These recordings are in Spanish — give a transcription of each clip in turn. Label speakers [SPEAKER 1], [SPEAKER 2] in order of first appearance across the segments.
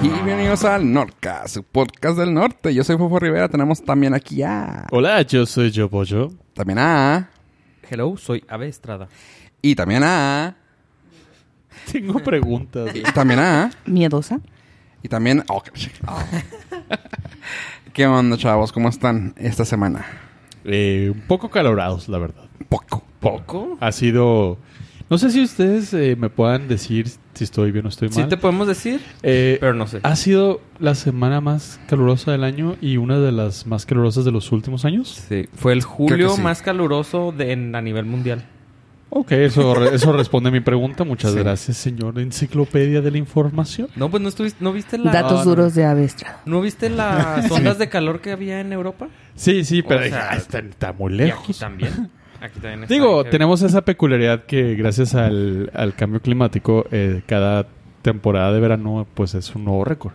[SPEAKER 1] bienvenidos al Norca, su podcast del norte. Yo soy Fofo Rivera, tenemos también aquí a...
[SPEAKER 2] Hola, yo soy Yo Pollo.
[SPEAKER 1] También a...
[SPEAKER 3] Hello, soy Ave Estrada.
[SPEAKER 1] Y también a...
[SPEAKER 2] Tengo preguntas.
[SPEAKER 1] Y también a...
[SPEAKER 4] Miedosa.
[SPEAKER 1] Y también... oh, qué- oh. ¿Qué onda, chavos? ¿Cómo están esta semana?
[SPEAKER 2] Eh, un poco calorados, la verdad.
[SPEAKER 1] Poco.
[SPEAKER 3] ¿Poco?
[SPEAKER 2] Ha sido... No sé si ustedes eh, me puedan decir si estoy bien o estoy mal.
[SPEAKER 3] Sí te podemos decir,
[SPEAKER 2] Eh,
[SPEAKER 3] pero no sé.
[SPEAKER 2] Ha sido la semana más calurosa del año y una de las más calurosas de los últimos años.
[SPEAKER 3] Sí, fue el julio
[SPEAKER 1] sí.
[SPEAKER 3] más caluroso de, en- a nivel mundial.
[SPEAKER 2] Ok, eso, re- eso responde a mi pregunta. Muchas
[SPEAKER 1] Sí.
[SPEAKER 2] gracias, señor Enciclopedia de la Información.
[SPEAKER 3] No, pues no estuviste, no viste la...
[SPEAKER 4] Datos
[SPEAKER 2] no.
[SPEAKER 4] duros de Ave Estrada.
[SPEAKER 3] ¿No viste las ondas de calor que había en Europa?
[SPEAKER 2] Sí, sí, pero
[SPEAKER 3] O sea,
[SPEAKER 2] ah, está, está muy
[SPEAKER 3] Y
[SPEAKER 2] lejos.
[SPEAKER 3] aquí también. Aquí también está
[SPEAKER 2] Digo,
[SPEAKER 3] bien.
[SPEAKER 2] tenemos esa peculiaridad que gracias al, al cambio climático, eh, cada temporada de verano, pues es un nuevo récord.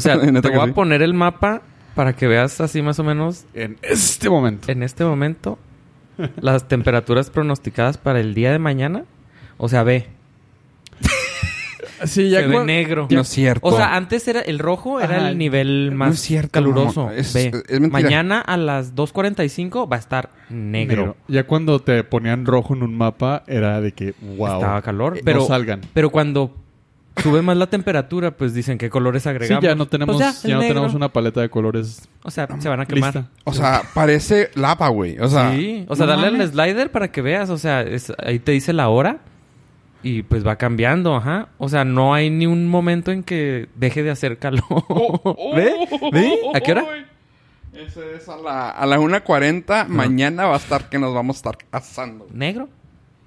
[SPEAKER 3] sea,
[SPEAKER 1] Neta
[SPEAKER 3] te
[SPEAKER 1] que
[SPEAKER 3] voy
[SPEAKER 1] sí.
[SPEAKER 3] a poner el mapa para que veas así más o menos
[SPEAKER 2] En este momento.
[SPEAKER 3] en este momento las temperaturas pronosticadas para el día de mañana. O sea, ve.
[SPEAKER 2] Sí,
[SPEAKER 3] Se
[SPEAKER 2] ya
[SPEAKER 3] ve
[SPEAKER 2] cua-
[SPEAKER 3] negro.
[SPEAKER 1] No es cierto.
[SPEAKER 3] O sea, antes era el rojo era
[SPEAKER 2] Ajá.
[SPEAKER 3] el nivel
[SPEAKER 1] No
[SPEAKER 3] más
[SPEAKER 1] es cierto,
[SPEAKER 3] caluroso.
[SPEAKER 1] mamón. Es-
[SPEAKER 3] Ve.
[SPEAKER 1] es mentira.
[SPEAKER 3] Mañana a las 2.45 va a estar negro.
[SPEAKER 2] negro. Ya cuando te ponían rojo en un mapa, era de que, wow.
[SPEAKER 3] Estaba calor.
[SPEAKER 2] Eh,
[SPEAKER 3] Pero,
[SPEAKER 2] no salgan.
[SPEAKER 3] pero cuando sube más la temperatura, pues dicen qué colores
[SPEAKER 2] Sí,
[SPEAKER 3] agregamos.
[SPEAKER 2] ya no tenemos,
[SPEAKER 3] Pues
[SPEAKER 2] ya,
[SPEAKER 3] el
[SPEAKER 2] no
[SPEAKER 3] negro.
[SPEAKER 2] tenemos una paleta de colores
[SPEAKER 3] O sea, se van a quemar.
[SPEAKER 2] lista.
[SPEAKER 1] O sea, parece lapa, güey. O sea...
[SPEAKER 3] sí. O sea,
[SPEAKER 2] no
[SPEAKER 3] dale al
[SPEAKER 2] mames.
[SPEAKER 3] slider para que veas. O sea, es- ahí te dice la hora. Y pues va cambiando, ajá. O sea, no hay ni un momento en que deje de hacer calor.
[SPEAKER 1] Oh,
[SPEAKER 3] ¿Ve? ¿Ve? ¿A qué hora?
[SPEAKER 1] Ese es a la, a la 1.40. Mañana va a estar que nos vamos a estar asando.
[SPEAKER 3] Negro.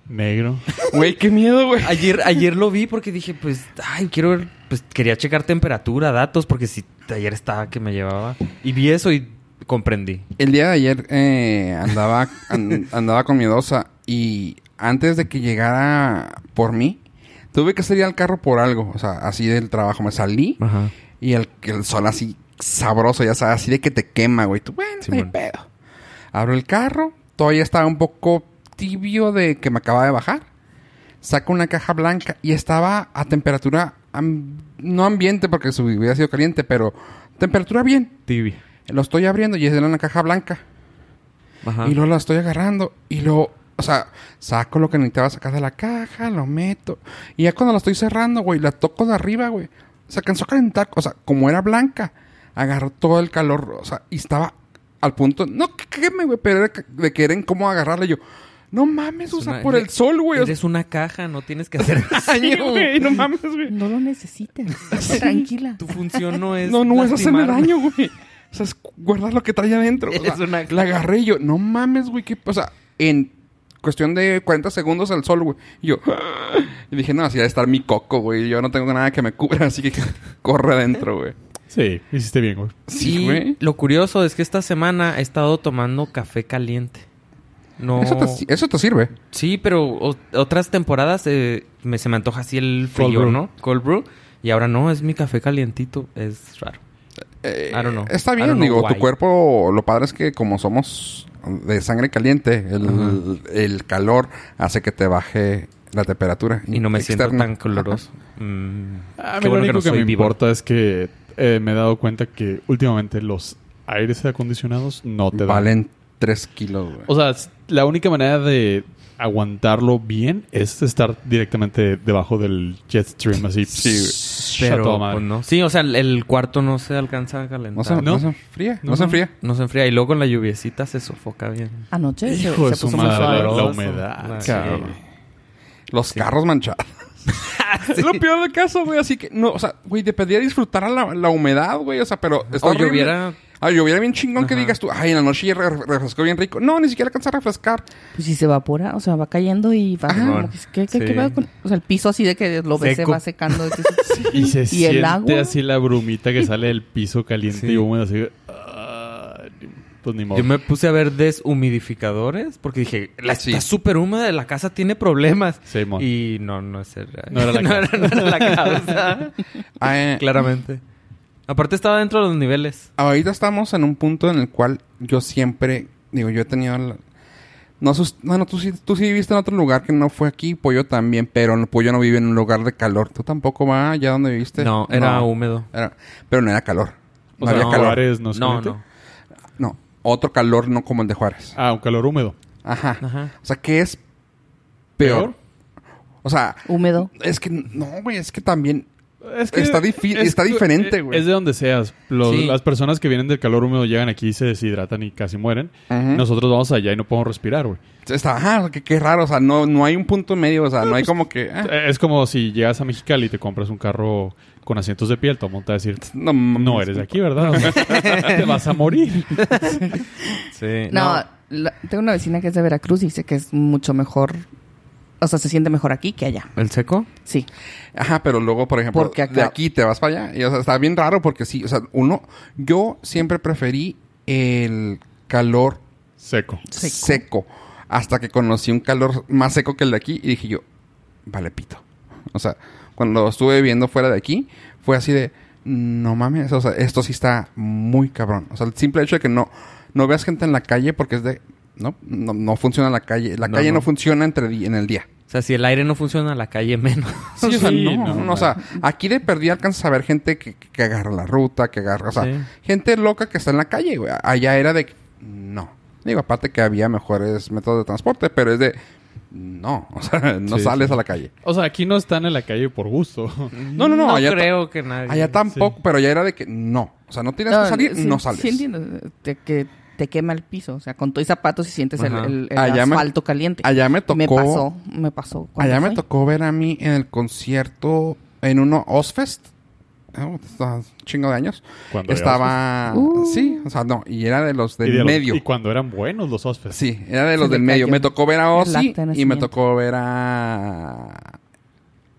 [SPEAKER 2] Negro.
[SPEAKER 1] Güey, qué miedo, güey.
[SPEAKER 3] Ayer, ayer lo vi porque dije, pues, ay, quiero ver, pues quería checar temperatura, datos, porque si ayer estaba que me llevaba. Y vi eso y comprendí.
[SPEAKER 1] El día de ayer eh, andaba, an- andaba con mi dosa y antes de que llegara por mí, tuve que salir al carro por algo. O sea, así del trabajo. Me salí
[SPEAKER 3] Ajá.
[SPEAKER 1] y el, el sol así sabroso, ya sabes, así de que te quema, güey. Tú, bueno, no hay
[SPEAKER 3] Simón.
[SPEAKER 1] pedo. Abro el carro, todavía estaba un poco tibio de que me acaba de bajar. Saco una caja blanca y estaba a temperatura, am- no ambiente porque su hubiera sido caliente, pero temperatura bien.
[SPEAKER 3] Tibia.
[SPEAKER 1] Lo estoy abriendo y es de una caja blanca.
[SPEAKER 3] Ajá.
[SPEAKER 1] Y luego la estoy agarrando y luego, o sea, saco lo que necesitaba sacar de la caja, lo meto. Y ya cuando la estoy cerrando, güey, la toco de arriba, güey. Se alcanzó a calentar, o sea, como era blanca, agarró todo el calor, o sea, y estaba al punto, no que queme, güey, pero era que- de que era incómodo agarrarla. Y yo, no mames, o
[SPEAKER 3] Es
[SPEAKER 1] sea,
[SPEAKER 3] una-
[SPEAKER 1] por el sol, güey. o sea,
[SPEAKER 3] Eres una caja, no tienes que hacer
[SPEAKER 1] sí,
[SPEAKER 3] daño.
[SPEAKER 1] güey, no mames, güey.
[SPEAKER 4] No lo necesitas. Tranquila.
[SPEAKER 3] Tu función no es.
[SPEAKER 1] No, no es hacerme
[SPEAKER 3] lastimarme.
[SPEAKER 1] daño, güey. O sea, es guardar lo que trae adentro. O sea,
[SPEAKER 3] Eres una-
[SPEAKER 1] La agarré y yo, no mames, güey. qué- O sea, en cuestión de 40 segundos al sol, güey. Y yo, y dije, no, así debe estar mi coco, güey. Yo no tengo nada que me cubra, así que corre adentro, güey.
[SPEAKER 2] Sí, hiciste bien, güey.
[SPEAKER 1] Sí,
[SPEAKER 3] Y
[SPEAKER 1] güey.
[SPEAKER 3] lo curioso es que esta semana he estado tomando café caliente. No.
[SPEAKER 1] Eso, te, eso te sirve.
[SPEAKER 3] Sí, pero o- otras temporadas eh, me, se me antoja así el frío,
[SPEAKER 2] brew.
[SPEAKER 3] ¿no? Cold brew. Y ahora no, es mi café calientito. Es raro.
[SPEAKER 1] Eh,
[SPEAKER 3] I don't know.
[SPEAKER 1] Está
[SPEAKER 3] I
[SPEAKER 1] bien,
[SPEAKER 3] don't know
[SPEAKER 1] digo,
[SPEAKER 3] why.
[SPEAKER 1] tu cuerpo, lo padre es que como somos de sangre caliente, el, el calor hace que te baje la temperatura.
[SPEAKER 3] Y no me siento
[SPEAKER 1] externa.
[SPEAKER 3] tan coloroso. Mm.
[SPEAKER 2] A
[SPEAKER 3] Qué
[SPEAKER 2] mí
[SPEAKER 3] bueno
[SPEAKER 2] lo único que,
[SPEAKER 3] no soy
[SPEAKER 2] Ah, me
[SPEAKER 3] vivo.
[SPEAKER 2] importa es que eh, me he dado cuenta que últimamente los aires acondicionados no te dan.
[SPEAKER 1] Valen 3 kilos, güey.
[SPEAKER 2] O sea, s- la única manera de aguantarlo bien es estar directamente debajo del jet stream así.
[SPEAKER 1] Sí, güey.
[SPEAKER 2] Shh, a
[SPEAKER 3] Pero
[SPEAKER 2] toda madre.
[SPEAKER 3] pues, no. Sí, o sea, el, el cuarto no se alcanza a
[SPEAKER 1] No
[SPEAKER 3] calentar.
[SPEAKER 1] se, no.
[SPEAKER 2] No.
[SPEAKER 1] se enfría, no,
[SPEAKER 2] No,
[SPEAKER 1] se
[SPEAKER 2] no.
[SPEAKER 1] enfría.
[SPEAKER 3] No se enfría y luego con la lluviecita se sofoca bien.
[SPEAKER 4] Anoche se,
[SPEAKER 2] Hijo de
[SPEAKER 4] se
[SPEAKER 2] su
[SPEAKER 4] puso muy
[SPEAKER 2] madre,
[SPEAKER 4] suave.
[SPEAKER 2] la,
[SPEAKER 3] sabroso.
[SPEAKER 2] humedad.
[SPEAKER 3] Sí.
[SPEAKER 2] cabrón.
[SPEAKER 1] Los carros manchados. Es lo peor del caso, güey. Así que, no, o sea, güey, te pedía disfrutar a la, la humedad, güey. O sea, pero está
[SPEAKER 3] O
[SPEAKER 1] horrible.
[SPEAKER 3] lloviera-
[SPEAKER 1] Ah, lloviera bien chingón que
[SPEAKER 3] Ajá.
[SPEAKER 1] digas tú, ay, en la noche ya re- refrescó bien rico. No, ni siquiera alcanza a refrescar.
[SPEAKER 4] Pues si se evapora, o sea, va cayendo y
[SPEAKER 2] Ah,
[SPEAKER 4] va.
[SPEAKER 1] Ajá.
[SPEAKER 4] como que- ¿qué, qué,
[SPEAKER 3] Sí.
[SPEAKER 4] qué va con- O sea, el piso así de que lo ves se
[SPEAKER 3] Seco.
[SPEAKER 4] va secando. de que se-
[SPEAKER 2] Y se
[SPEAKER 4] ¿Y el
[SPEAKER 2] siente
[SPEAKER 4] agua?
[SPEAKER 2] así la brumita que sale del piso caliente
[SPEAKER 3] Sí.
[SPEAKER 2] y húmedo así. ah, pues ni modo.
[SPEAKER 3] Yo me puse a ver deshumidificadores porque dije, la
[SPEAKER 1] Sí.
[SPEAKER 3] está súper húmeda, la casa tiene problemas.
[SPEAKER 2] Sí, mon.
[SPEAKER 3] Y no, no es era-
[SPEAKER 2] No era la casa.
[SPEAKER 3] no era la casa.
[SPEAKER 1] Ah, eh,
[SPEAKER 3] Claramente. Aparte estaba dentro de los niveles.
[SPEAKER 1] Ahorita estamos en un punto en el cual yo siempre, digo, yo he tenido la- No, sus- bueno, tú sí, tú sí viviste en otro lugar que no fue aquí, Pollo también, pero no- Pollo no vive en un lugar de calor. Tú tampoco va allá donde viviste.
[SPEAKER 3] No, era húmedo.
[SPEAKER 1] era- pero no era calor. No
[SPEAKER 2] O sea,
[SPEAKER 1] había
[SPEAKER 2] no,
[SPEAKER 1] calor.
[SPEAKER 2] Juárez no se
[SPEAKER 3] No,
[SPEAKER 2] mete.
[SPEAKER 3] no.
[SPEAKER 1] No, otro calor no como el de Juárez.
[SPEAKER 2] Ah, un calor húmedo.
[SPEAKER 1] Ajá.
[SPEAKER 3] Ajá.
[SPEAKER 1] O sea, ¿qué es peor? O sea,
[SPEAKER 4] Húmedo.
[SPEAKER 1] es que no, güey, es que también
[SPEAKER 2] Es
[SPEAKER 1] Está difi- está
[SPEAKER 2] que-
[SPEAKER 1] diferente, güey.
[SPEAKER 2] Es de donde seas. Los-
[SPEAKER 3] Sí.
[SPEAKER 2] Las personas que vienen del calor húmedo llegan aquí y se deshidratan y casi mueren.
[SPEAKER 1] Ajá.
[SPEAKER 2] Nosotros vamos allá y no podemos respirar, güey.
[SPEAKER 1] está, ajá, o sea, que qué raro, o sea, no, no hay un punto medio, o sea, no hay como que, ah,
[SPEAKER 2] Eh, Es como si llegas a Mexicali y te compras un carro con asientos de piel. Todo el mundo te va a decir,
[SPEAKER 1] no, mames.
[SPEAKER 2] no eres de aquí, ¿verdad? O sea, te vas a morir.
[SPEAKER 3] Sí.
[SPEAKER 4] No, la- tengo una vecina que es de Veracruz y dice que es mucho mejor. O sea, se siente mejor aquí que allá.
[SPEAKER 3] ¿El seco?
[SPEAKER 4] Sí.
[SPEAKER 1] Ajá, pero luego, por ejemplo,
[SPEAKER 4] Porque acá-
[SPEAKER 1] de aquí te vas para allá. Y, o sea, está bien raro porque sí, o sea, uno, yo siempre preferí el calor
[SPEAKER 2] Seco.
[SPEAKER 4] Seco.
[SPEAKER 1] seco. hasta que conocí un calor más seco que el de aquí y dije yo, vale pito. O sea, cuando estuve viviendo fuera de aquí, fue así de, no mames, o sea, esto sí está muy cabrón. O sea, el simple hecho de que no, no veas gente en la calle porque es de, no, no, no funciona la calle, la
[SPEAKER 3] No,
[SPEAKER 1] calle no,
[SPEAKER 3] no.
[SPEAKER 1] funciona entre di- en el día.
[SPEAKER 3] O sea, si el aire no funciona, la calle menos.
[SPEAKER 1] Sí, o sea,
[SPEAKER 2] Sí,
[SPEAKER 1] no,
[SPEAKER 2] no,
[SPEAKER 1] no, o sea, aquí de perdida alcanzas a ver gente que, que agarra la ruta, que agarra, o sea,
[SPEAKER 3] Sí.
[SPEAKER 1] gente loca que está en la calle, güey. Allá era de, que, no. Digo, aparte que había mejores métodos de transporte, pero es de, no, o sea, no
[SPEAKER 2] Sí,
[SPEAKER 1] sales
[SPEAKER 2] sí.
[SPEAKER 1] a la calle.
[SPEAKER 2] O sea, aquí no están en la calle por gusto.
[SPEAKER 1] No, no, no, allá, ta-
[SPEAKER 3] creo que nadie.
[SPEAKER 1] allá tampoco, pero ya era de que no. O sea, no tienes que salir,
[SPEAKER 4] sí,
[SPEAKER 1] no sales.
[SPEAKER 4] Sí, entiendo. Te, que te quema el piso. O sea, con todo y zapatos y sientes el,
[SPEAKER 3] Ajá.
[SPEAKER 4] el- el
[SPEAKER 1] Allá me-
[SPEAKER 4] asfalto caliente.
[SPEAKER 1] allá me tocó.
[SPEAKER 4] Me pasó. Me pasó. cuando
[SPEAKER 1] Allá me
[SPEAKER 4] fui.
[SPEAKER 1] tocó ver a mí en el concierto, en uno Ozfest. Oh, está un chingo de años.
[SPEAKER 2] Cuando había
[SPEAKER 1] Estaba.
[SPEAKER 4] Ozfest. Uh.
[SPEAKER 1] Sí, o sea, no. Y era de los del
[SPEAKER 2] y de los-
[SPEAKER 1] medio.
[SPEAKER 2] y cuando eran buenos los hospes.
[SPEAKER 1] Sí, era de los
[SPEAKER 4] Se
[SPEAKER 1] del
[SPEAKER 4] le
[SPEAKER 1] medio.
[SPEAKER 4] cayó
[SPEAKER 1] Me tocó ver a
[SPEAKER 4] el
[SPEAKER 1] Ozzy
[SPEAKER 4] acta de
[SPEAKER 1] y me
[SPEAKER 4] nacimiento.
[SPEAKER 1] tocó ver a.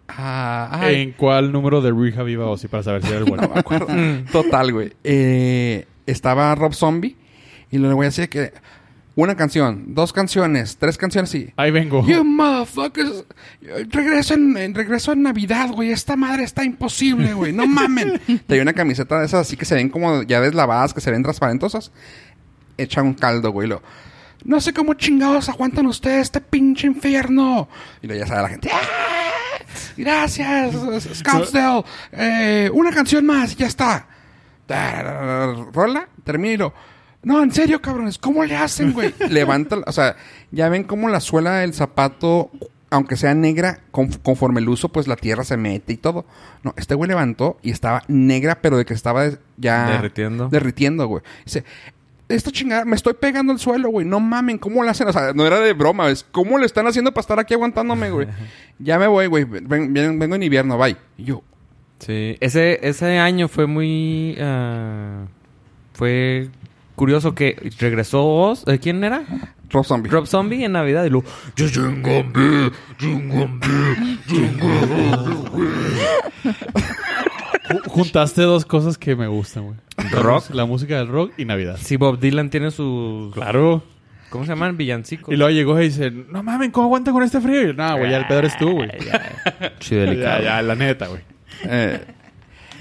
[SPEAKER 1] a- ay,
[SPEAKER 2] ¿En cuál número de rehab iba Ozzy para saber si era el bueno?
[SPEAKER 1] no me acuerdo.
[SPEAKER 2] Mm.
[SPEAKER 1] Total, güey. Eh, estaba Rob Zombie y le voy a decir que una canción, dos canciones, tres canciones y.
[SPEAKER 2] Ahí vengo.
[SPEAKER 1] You motherfuckers. Regreso en, en- regreso en Navidad, güey. Esta madre está imposible, güey. No mamen. Tenía una camiseta de esas así que se ven como ya deslavadas, que se ven transparentosas. Echa un caldo, güey. Lo, no sé cómo chingados aguantan ustedes este pinche infierno. Y luego ya sabe la gente. "¡Ah! Gracias, Scottsdale. Eh, una canción más y ya está. Rola, termina y lo. No, en serio, cabrones, ¿cómo le hacen, güey? Levanta, o sea, ya ven cómo la suela del zapato, aunque sea negra, con- conforme el uso, pues la tierra se mete y todo. No, este güey levantó y estaba negra, pero de que estaba des- ya.
[SPEAKER 3] Derritiendo.
[SPEAKER 1] Derritiendo, güey. Dice, esta chingada, me estoy pegando al suelo, güey. No mamen, ¿cómo lo hacen? O sea, no era de broma, ¿ves? ¿Cómo le están haciendo para estar aquí aguantándome, güey? ya me voy, güey. Ven- ven- vengo en invierno, bye. Y yo,
[SPEAKER 3] Sí. Ese, ese año fue muy. ah, fue curioso que regresó Oz. eh, ¿Quién era?
[SPEAKER 1] Rob Zombie.
[SPEAKER 3] Rob Zombie en Navidad. Y luego. "Yo tengo hambre, tengo hambre".
[SPEAKER 2] Ju- Juntaste dos cosas que me gustan, güey. La
[SPEAKER 3] Rock.
[SPEAKER 2] mus- La música del rock y Navidad.
[SPEAKER 3] Sí, Bob Dylan tiene sus.
[SPEAKER 2] Claro.
[SPEAKER 3] ¿Cómo se llaman? Villancicos.
[SPEAKER 2] Y luego llegó y dice, no mames, ¿cómo aguanta con este frío? Y yo, no, güey, ya el pedo eres tú, güey. Ya, ya, la neta, güey.
[SPEAKER 1] Eh,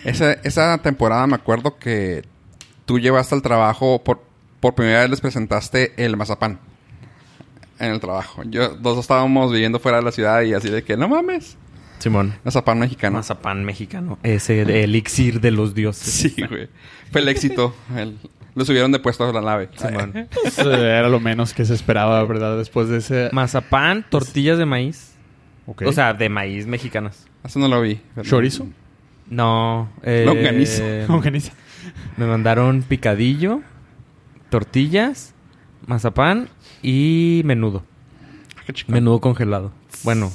[SPEAKER 1] esa, esa temporada me acuerdo que tú llevaste al trabajo, por, por primera vez les presentaste el mazapán en el trabajo. Yo, dos estábamos viviendo fuera de la ciudad y así de que, no mames,
[SPEAKER 3] Simón.
[SPEAKER 1] mazapán mexicano.
[SPEAKER 3] Mazapán mexicano. Ese de elixir de los dioses.
[SPEAKER 1] Sí, güey. Fue el éxito. El- lo subieron de puesto a la nave.
[SPEAKER 3] Simón.
[SPEAKER 2] Eso era lo menos que se esperaba, ¿verdad? Después de ese...
[SPEAKER 3] Mazapán, tortillas de maíz.
[SPEAKER 2] Ok.
[SPEAKER 3] O sea, de maíz mexicanas.
[SPEAKER 1] Eso no lo vi.
[SPEAKER 2] ¿Chorizo?
[SPEAKER 3] No. eh,
[SPEAKER 1] Longaniza.
[SPEAKER 2] Longaniza.
[SPEAKER 3] Me mandaron picadillo, tortillas, mazapán y menudo.
[SPEAKER 1] Qué chico.
[SPEAKER 3] Menudo congelado. Bueno,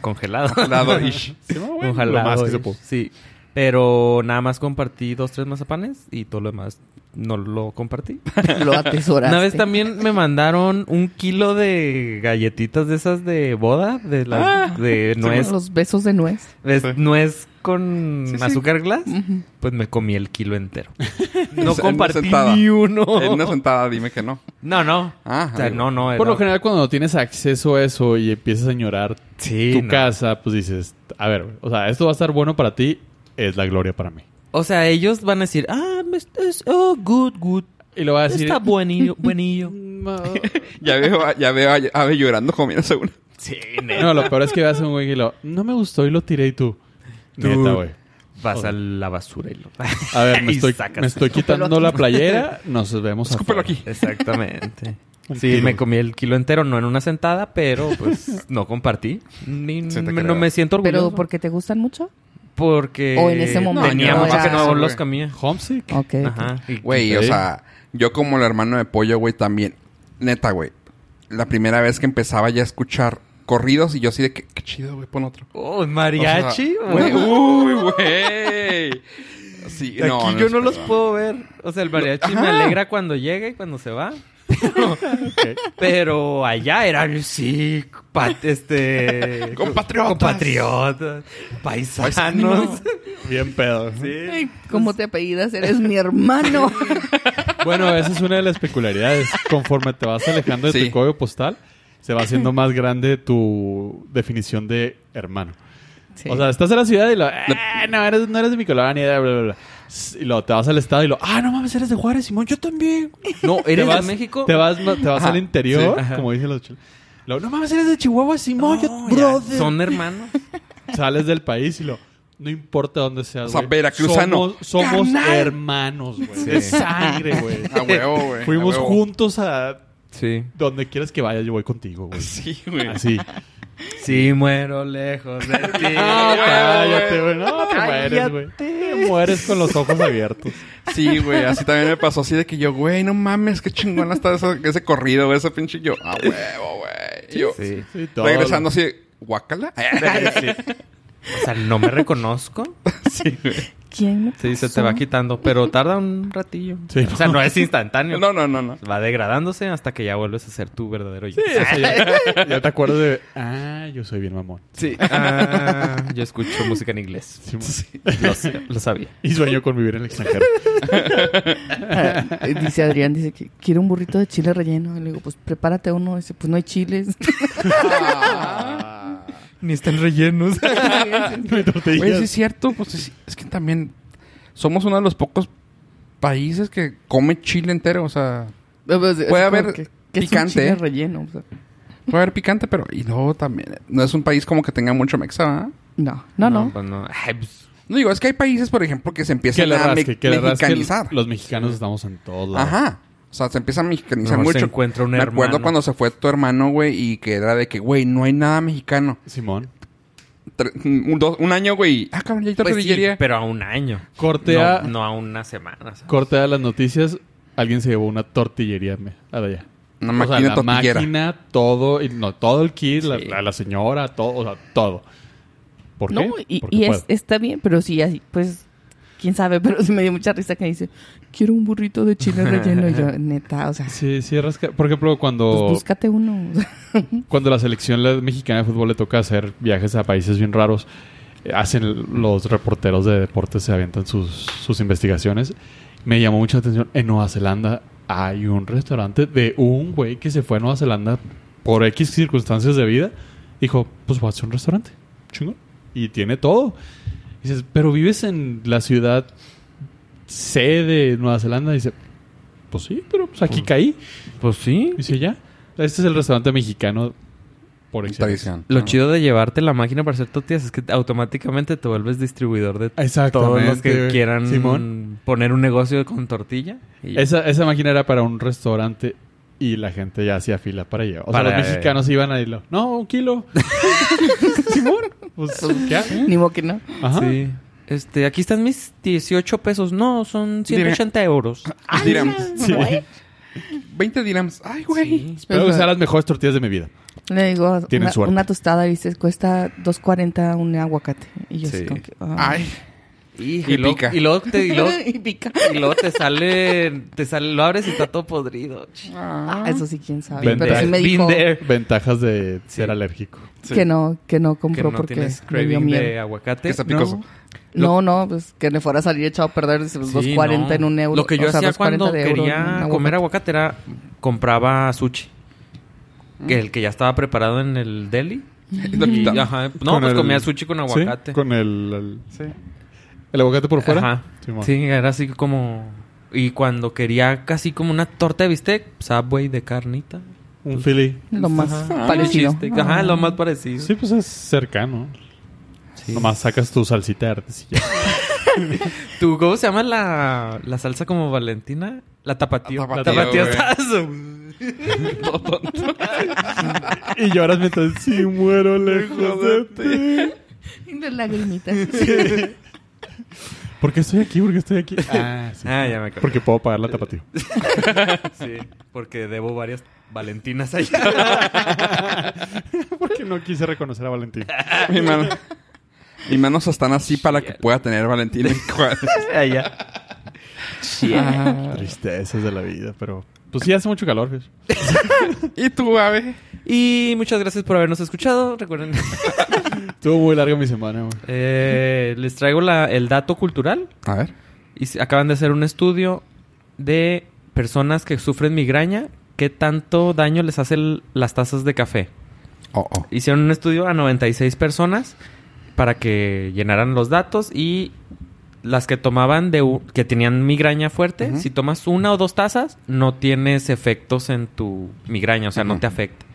[SPEAKER 3] congelado.
[SPEAKER 1] Lado ish.
[SPEAKER 2] Sí, no, güey,
[SPEAKER 3] Ojalá.
[SPEAKER 2] lo más que
[SPEAKER 3] güey.
[SPEAKER 2] se pudo.
[SPEAKER 3] Sí. Pero nada más compartí dos, tres mazapanes y todo lo demás no lo compartí.
[SPEAKER 4] Lo atesoraste.
[SPEAKER 3] Una vez también me mandaron un kilo de galletitas de esas de boda, de,
[SPEAKER 1] Ah.
[SPEAKER 3] la, de nuez.
[SPEAKER 4] Los besos de nuez.
[SPEAKER 3] Es nuez con
[SPEAKER 1] Sí, sí.
[SPEAKER 3] azúcar glass.
[SPEAKER 4] Ujú.
[SPEAKER 3] Pues me comí el kilo entero. No
[SPEAKER 1] En una
[SPEAKER 3] compartí
[SPEAKER 1] sentada.
[SPEAKER 3] ni uno.
[SPEAKER 1] En una sentada, dime que no.
[SPEAKER 3] No, no.
[SPEAKER 1] Ah,
[SPEAKER 3] O sea,
[SPEAKER 1] amigo.
[SPEAKER 3] no, no.
[SPEAKER 2] Por
[SPEAKER 3] era-
[SPEAKER 2] lo general, cuando tienes acceso a eso y empiezas a añorar
[SPEAKER 3] Sí,
[SPEAKER 2] tu
[SPEAKER 3] no.
[SPEAKER 2] casa, pues dices, a ver, güey, o sea, esto va a estar bueno para ti, es la gloria para mí.
[SPEAKER 3] O sea, ellos van a decir, ah, me- es- oh, good, good.
[SPEAKER 2] Y lo va a decir,
[SPEAKER 3] Está buenillo, buenillo.
[SPEAKER 2] "Mm, quemado.
[SPEAKER 1] Ya veo, a- ya veo a Ave llorando comiéndose una.
[SPEAKER 3] Sí,
[SPEAKER 2] No, lo peor es que vas a un güey y lo... No me gustó y lo tiré y tú... Neta, güey.
[SPEAKER 3] Vas a la basura y lo...
[SPEAKER 2] A ver, me
[SPEAKER 3] Y
[SPEAKER 2] estoy,
[SPEAKER 3] sacas.
[SPEAKER 2] me estoy quitando la playera. Nos vemos
[SPEAKER 1] Escúpelo
[SPEAKER 2] afuera.
[SPEAKER 1] aquí.
[SPEAKER 3] Exactamente.
[SPEAKER 2] Un
[SPEAKER 3] Sí,
[SPEAKER 2] kilo.
[SPEAKER 3] me comí el kilo entero, no en una sentada, pero pues no compartí. Ni,
[SPEAKER 1] Sí te
[SPEAKER 3] me-
[SPEAKER 1] creo.
[SPEAKER 3] no me siento orgulloso.
[SPEAKER 4] ¿Pero porque te gustan mucho?
[SPEAKER 3] porque
[SPEAKER 4] O en ese momento
[SPEAKER 3] tenía
[SPEAKER 1] no
[SPEAKER 3] mucho
[SPEAKER 1] era-
[SPEAKER 3] que no
[SPEAKER 1] güey.
[SPEAKER 3] los comía.
[SPEAKER 2] Homesick.
[SPEAKER 4] Ok.
[SPEAKER 3] Ajá. Y-
[SPEAKER 1] Güey, o sea, yo como el hermano de pollo, güey, también. Neta, güey. La primera vez que empezaba ya a escuchar corridos y yo así de que, qué chido, güey, pon otro.
[SPEAKER 3] Oh,
[SPEAKER 1] O sea,
[SPEAKER 3] mariachi.
[SPEAKER 1] güey.
[SPEAKER 3] güey.
[SPEAKER 1] Uy, güey. Sí,
[SPEAKER 3] Aquí yo no los
[SPEAKER 1] esperaba.
[SPEAKER 3] puedo ver. O sea, el mariachi
[SPEAKER 1] Ajá.
[SPEAKER 3] me alegra cuando llega y cuando se va. Pero allá eran, sí, pat- este...
[SPEAKER 1] Compatriotas.
[SPEAKER 3] Compatriotas. Paisanos.
[SPEAKER 1] Paisanos.
[SPEAKER 2] Bien pedo.
[SPEAKER 3] Sí.
[SPEAKER 4] ¿Cómo te apellidas? Eres mi hermano.
[SPEAKER 2] Bueno, esa es una de las peculiaridades. Conforme te vas alejando de
[SPEAKER 1] Sí.
[SPEAKER 2] tu código postal, se va haciendo más grande tu definición de hermano.
[SPEAKER 4] Sí.
[SPEAKER 2] O sea, estás en la ciudad y lo... "Ah, no, eres, no eres de mi color, ni idea, bla, bla, bla. S- Y luego te vas al estado y lo... Ah, no mames, eres de Juárez, Simón, yo también.
[SPEAKER 3] No,
[SPEAKER 2] Te
[SPEAKER 3] eres de
[SPEAKER 2] vas-
[SPEAKER 3] México.
[SPEAKER 2] Te vas, ma- te vas
[SPEAKER 1] Ajá,
[SPEAKER 2] al interior,
[SPEAKER 3] sí, ajá.
[SPEAKER 2] como dicen los chilenos. Luego, No mames, eres de Chihuahua, Simón, yo,
[SPEAKER 3] No, ya,
[SPEAKER 2] brother.
[SPEAKER 3] Son hermanos.
[SPEAKER 2] Sales del país y lo... No importa dónde seas,
[SPEAKER 1] O sea,
[SPEAKER 2] güey.
[SPEAKER 1] veracruzano.
[SPEAKER 2] Somos, somos
[SPEAKER 1] ¡Carnal!
[SPEAKER 2] hermanos, güey. De sangre, güey.
[SPEAKER 1] A huevo, güey. a
[SPEAKER 2] Fuimos
[SPEAKER 1] huevo.
[SPEAKER 2] juntos a
[SPEAKER 3] Sí.
[SPEAKER 2] donde quieras que vayas, yo voy contigo, güey.
[SPEAKER 1] Sí, güey.
[SPEAKER 2] Así.
[SPEAKER 3] Sí, muero lejos de ti.
[SPEAKER 2] No,
[SPEAKER 1] güey.
[SPEAKER 2] Ah, cállate, güey. No, te mueres, güey. Te mueres con los ojos abiertos.
[SPEAKER 1] Sí, güey. Así también me pasó así de que yo, güey, no mames, qué chingón está ese, ese corrido, güey, ese pinche yo. A huevo, güey. Yo
[SPEAKER 3] Sí.
[SPEAKER 2] Sí, todo.
[SPEAKER 1] regresando así, guácala.
[SPEAKER 3] O sea, no me reconozco.
[SPEAKER 1] Sí, güey.
[SPEAKER 4] ¿Quién me
[SPEAKER 3] Sí, se te
[SPEAKER 4] pasó?
[SPEAKER 3] va quitando, pero tarda un ratillo.
[SPEAKER 2] Sí.
[SPEAKER 3] O sea, no es instantáneo.
[SPEAKER 1] No, no, no, no.
[SPEAKER 3] Va degradándose hasta que ya vuelves a ser tu verdadero yo.
[SPEAKER 2] Sí, o sea, ya, ya te acuerdas de... Ah, yo soy bien mamón.
[SPEAKER 3] Sí. Ah, yo escucho música en inglés.
[SPEAKER 2] Sí,
[SPEAKER 3] Lo, sé, lo sabía.
[SPEAKER 2] Y sueño con vivir en el extranjero.
[SPEAKER 4] Ah, dice Adrián, dice que quiere un burrito de chile relleno. Y le digo, pues prepárate uno. Dice, pues no hay chiles.
[SPEAKER 1] Ah.
[SPEAKER 3] Ni están rellenos.
[SPEAKER 2] No hay tortillas.
[SPEAKER 1] Güey, sí es cierto. Pues es, es que también somos uno de los pocos países que come chile entero. O sea,
[SPEAKER 4] Puede
[SPEAKER 1] haber picante,
[SPEAKER 4] Es un chile
[SPEAKER 1] ¿eh?
[SPEAKER 4] relleno. O sea,
[SPEAKER 1] puede haber picante, pero... Y luego también... No es un país como que tenga mucho mexa, ¿verdad?
[SPEAKER 4] no, no, no.
[SPEAKER 3] pues no. Ay, pues,
[SPEAKER 1] No digo, es que hay países, por ejemplo, que se
[SPEAKER 2] Que
[SPEAKER 1] empiezan
[SPEAKER 2] le
[SPEAKER 1] a me-
[SPEAKER 2] rasque, que le rasque.
[SPEAKER 1] mexicanizar.
[SPEAKER 2] Los mexicanos estamos en todos lados.
[SPEAKER 1] Ajá. O sea, se empieza a mexicanizar
[SPEAKER 3] no se
[SPEAKER 1] mucho.
[SPEAKER 3] encuentra un
[SPEAKER 1] Me
[SPEAKER 3] hermano.
[SPEAKER 1] acuerdo cuando se fue tu hermano, güey, y que era de que, güey, no hay nada mexicano.
[SPEAKER 2] Simón.
[SPEAKER 1] Tre- un, dos- un año, güey, ah, cabrón, ya hay
[SPEAKER 3] Pues sí,
[SPEAKER 1] tortillería.
[SPEAKER 3] pero a un año.
[SPEAKER 2] Corte a-
[SPEAKER 3] No, no a una semana. ¿sabes?
[SPEAKER 2] Corte a las noticias. Alguien se llevó una tortillería me- a allá.
[SPEAKER 1] Una
[SPEAKER 2] O sea,
[SPEAKER 1] máquina
[SPEAKER 2] la
[SPEAKER 1] tortillera.
[SPEAKER 2] máquina, todo, y no, todo el kit, la,
[SPEAKER 3] Sí.
[SPEAKER 2] la- la señora, todo, o sea, todo. ¿Por qué?
[SPEAKER 4] No, y,
[SPEAKER 2] Porque
[SPEAKER 4] y es-
[SPEAKER 2] puedo.
[SPEAKER 4] está bien, pero sí, así, pues, quién sabe, pero sí me dio mucha risa que dice, quiero un burrito de chile relleno. Y yo, neta, o sea,
[SPEAKER 2] Sí, sí, rasca- Por ejemplo,
[SPEAKER 4] pues
[SPEAKER 2] cuando,
[SPEAKER 4] búscate uno.
[SPEAKER 2] cuando la selección la- mexicana de fútbol le toca hacer viajes a países bien raros, eh, hacen el- los reporteros de deportes, se avientan sus, sus investigaciones. Me llamó mucho la atención, en Nueva Zelanda hay un restaurante de un güey que se fue a Nueva Zelanda por X circunstancias de vida. Dijo, pues voy a hacer un restaurante. Chingón. Y tiene todo. Y dices, pero vives en la ciudad C de Nueva Zelanda. Y dice, pues sí, pero pues aquí caí.
[SPEAKER 3] Pues sí.
[SPEAKER 2] Dice ya. Este es el restaurante mexicano por excelencia.
[SPEAKER 1] Tradición.
[SPEAKER 3] Lo
[SPEAKER 1] Ah.
[SPEAKER 3] chido de llevarte la máquina para hacer tortillas es que automáticamente te vuelves distribuidor de
[SPEAKER 2] Exactamente.
[SPEAKER 3] todos los que quieran
[SPEAKER 2] Simón.
[SPEAKER 3] poner un negocio con tortilla. y ya.
[SPEAKER 2] Esa, esa máquina era para un restaurante y la gente ya hacía fila para allá. O
[SPEAKER 3] Para-
[SPEAKER 2] sea, los mexicanos iban a irlo. No, un kilo. Simón. Pues, ¿qué hago?
[SPEAKER 4] Ni modo que no.
[SPEAKER 2] Ajá.
[SPEAKER 3] Sí. Este, aquí están mis 18 pesos. No, son 180 euros.
[SPEAKER 1] Ah, Dirhams.
[SPEAKER 2] Sí.
[SPEAKER 3] ¿eh?
[SPEAKER 2] Espero
[SPEAKER 1] 20 dirhams. Ay, güey.
[SPEAKER 2] que sean las mejores tortillas de mi vida.
[SPEAKER 4] Le digo,
[SPEAKER 2] Tienen
[SPEAKER 4] una,
[SPEAKER 2] suerte.
[SPEAKER 4] una tostada, dice, cuesta 2.40 un aguacate. Y yo,
[SPEAKER 3] Sí.
[SPEAKER 4] así como que, ah.
[SPEAKER 1] Ay.
[SPEAKER 3] Hijo,
[SPEAKER 1] Y
[SPEAKER 3] luego-
[SPEAKER 1] pica.
[SPEAKER 3] Y luego, te, y luego-
[SPEAKER 4] y pica.
[SPEAKER 3] y luego te sale, te sale, lo abres y está todo podrido.
[SPEAKER 4] Ah, eso sí, quién sabe.
[SPEAKER 2] Been
[SPEAKER 4] Pero sí
[SPEAKER 2] there.
[SPEAKER 4] me
[SPEAKER 3] Been
[SPEAKER 4] dijo
[SPEAKER 3] there.
[SPEAKER 2] Ventajas de
[SPEAKER 3] Sí.
[SPEAKER 2] ser alérgico.
[SPEAKER 4] que no, que no
[SPEAKER 3] Que
[SPEAKER 4] compró
[SPEAKER 3] no
[SPEAKER 4] porque
[SPEAKER 3] tienes
[SPEAKER 4] me dio
[SPEAKER 3] craving de
[SPEAKER 4] miedo.
[SPEAKER 1] Que
[SPEAKER 3] aguacate.
[SPEAKER 1] está picoso.
[SPEAKER 4] No, no, pues que le fuera a salir echado a perder dice, pues,
[SPEAKER 3] Sí,
[SPEAKER 4] 2.40
[SPEAKER 3] no.
[SPEAKER 4] en un euro.
[SPEAKER 3] Lo que yo
[SPEAKER 4] o sea,
[SPEAKER 3] hacía
[SPEAKER 4] 2.40
[SPEAKER 3] cuando
[SPEAKER 4] de euro en un
[SPEAKER 3] quería
[SPEAKER 4] aguacate.
[SPEAKER 3] comer aguacate era compraba sushi.
[SPEAKER 4] Mm.
[SPEAKER 3] Que el que ya estaba preparado en el deli.
[SPEAKER 1] Lo
[SPEAKER 3] Y,
[SPEAKER 1] quitamos.
[SPEAKER 3] ajá, no,
[SPEAKER 2] Con
[SPEAKER 3] pues
[SPEAKER 2] el-
[SPEAKER 3] comía sushi con aguacate.
[SPEAKER 2] Sí, Con el, el, el aguacate por fuera.
[SPEAKER 3] Ajá.
[SPEAKER 2] Simón.
[SPEAKER 3] Sí, era así como Y cuando quería casi como una torta de bistec, Subway de carnita.
[SPEAKER 2] Un Philly.
[SPEAKER 4] Lo más Ah,
[SPEAKER 3] Ajá.
[SPEAKER 4] parecido.
[SPEAKER 3] Cheesesteak. Ajá, lo más parecido.
[SPEAKER 2] Sí, pues es cercano. Nomás sacas tu salsita de artesilla.
[SPEAKER 3] ¿Tú cómo se llama la, la salsa como Valentina? La tapatío.
[SPEAKER 1] La
[SPEAKER 3] La
[SPEAKER 1] tapatío,
[SPEAKER 3] tapatío
[SPEAKER 1] güey.
[SPEAKER 3] está
[SPEAKER 2] y lloras mientras si muero lejos de ti.
[SPEAKER 4] Y de lagrimitas.
[SPEAKER 2] ¿Por qué estoy aquí? ¿Por qué estoy aquí? Ah, sí.
[SPEAKER 3] Ah, ya me acuerdo.
[SPEAKER 2] Porque puedo pagar la tapatío.
[SPEAKER 3] Sí, porque debo varias Valentinas allá.
[SPEAKER 2] Porque no quise reconocer a Valentín.
[SPEAKER 1] Mi mano- Mis manos están así para que pueda tener Valentín en cuadro.
[SPEAKER 3] allá.
[SPEAKER 1] Ah.
[SPEAKER 2] Tristezas de la vida, pero... Pues sí, hace mucho calor. fíjate.
[SPEAKER 1] ¿Y tú, Ave?
[SPEAKER 3] Y muchas gracias por habernos escuchado. Recuerden,
[SPEAKER 2] Estuvo muy larga mi semana, güey.
[SPEAKER 3] eh, les traigo la- el dato cultural.
[SPEAKER 1] A ver.
[SPEAKER 3] Y se- acaban de hacer un estudio de personas que sufren migraña. ¿Qué tanto daño les hacen las tazas de café?
[SPEAKER 1] Oh, oh.
[SPEAKER 3] Hicieron un estudio a 96 personas para que llenaran los datos y las que tomaban de u- que tenían migraña fuerte,
[SPEAKER 1] Ujú.
[SPEAKER 3] si tomas una o dos tazas, no tienes efectos en tu migraña, o sea, no
[SPEAKER 1] Ujú.
[SPEAKER 3] te afecta.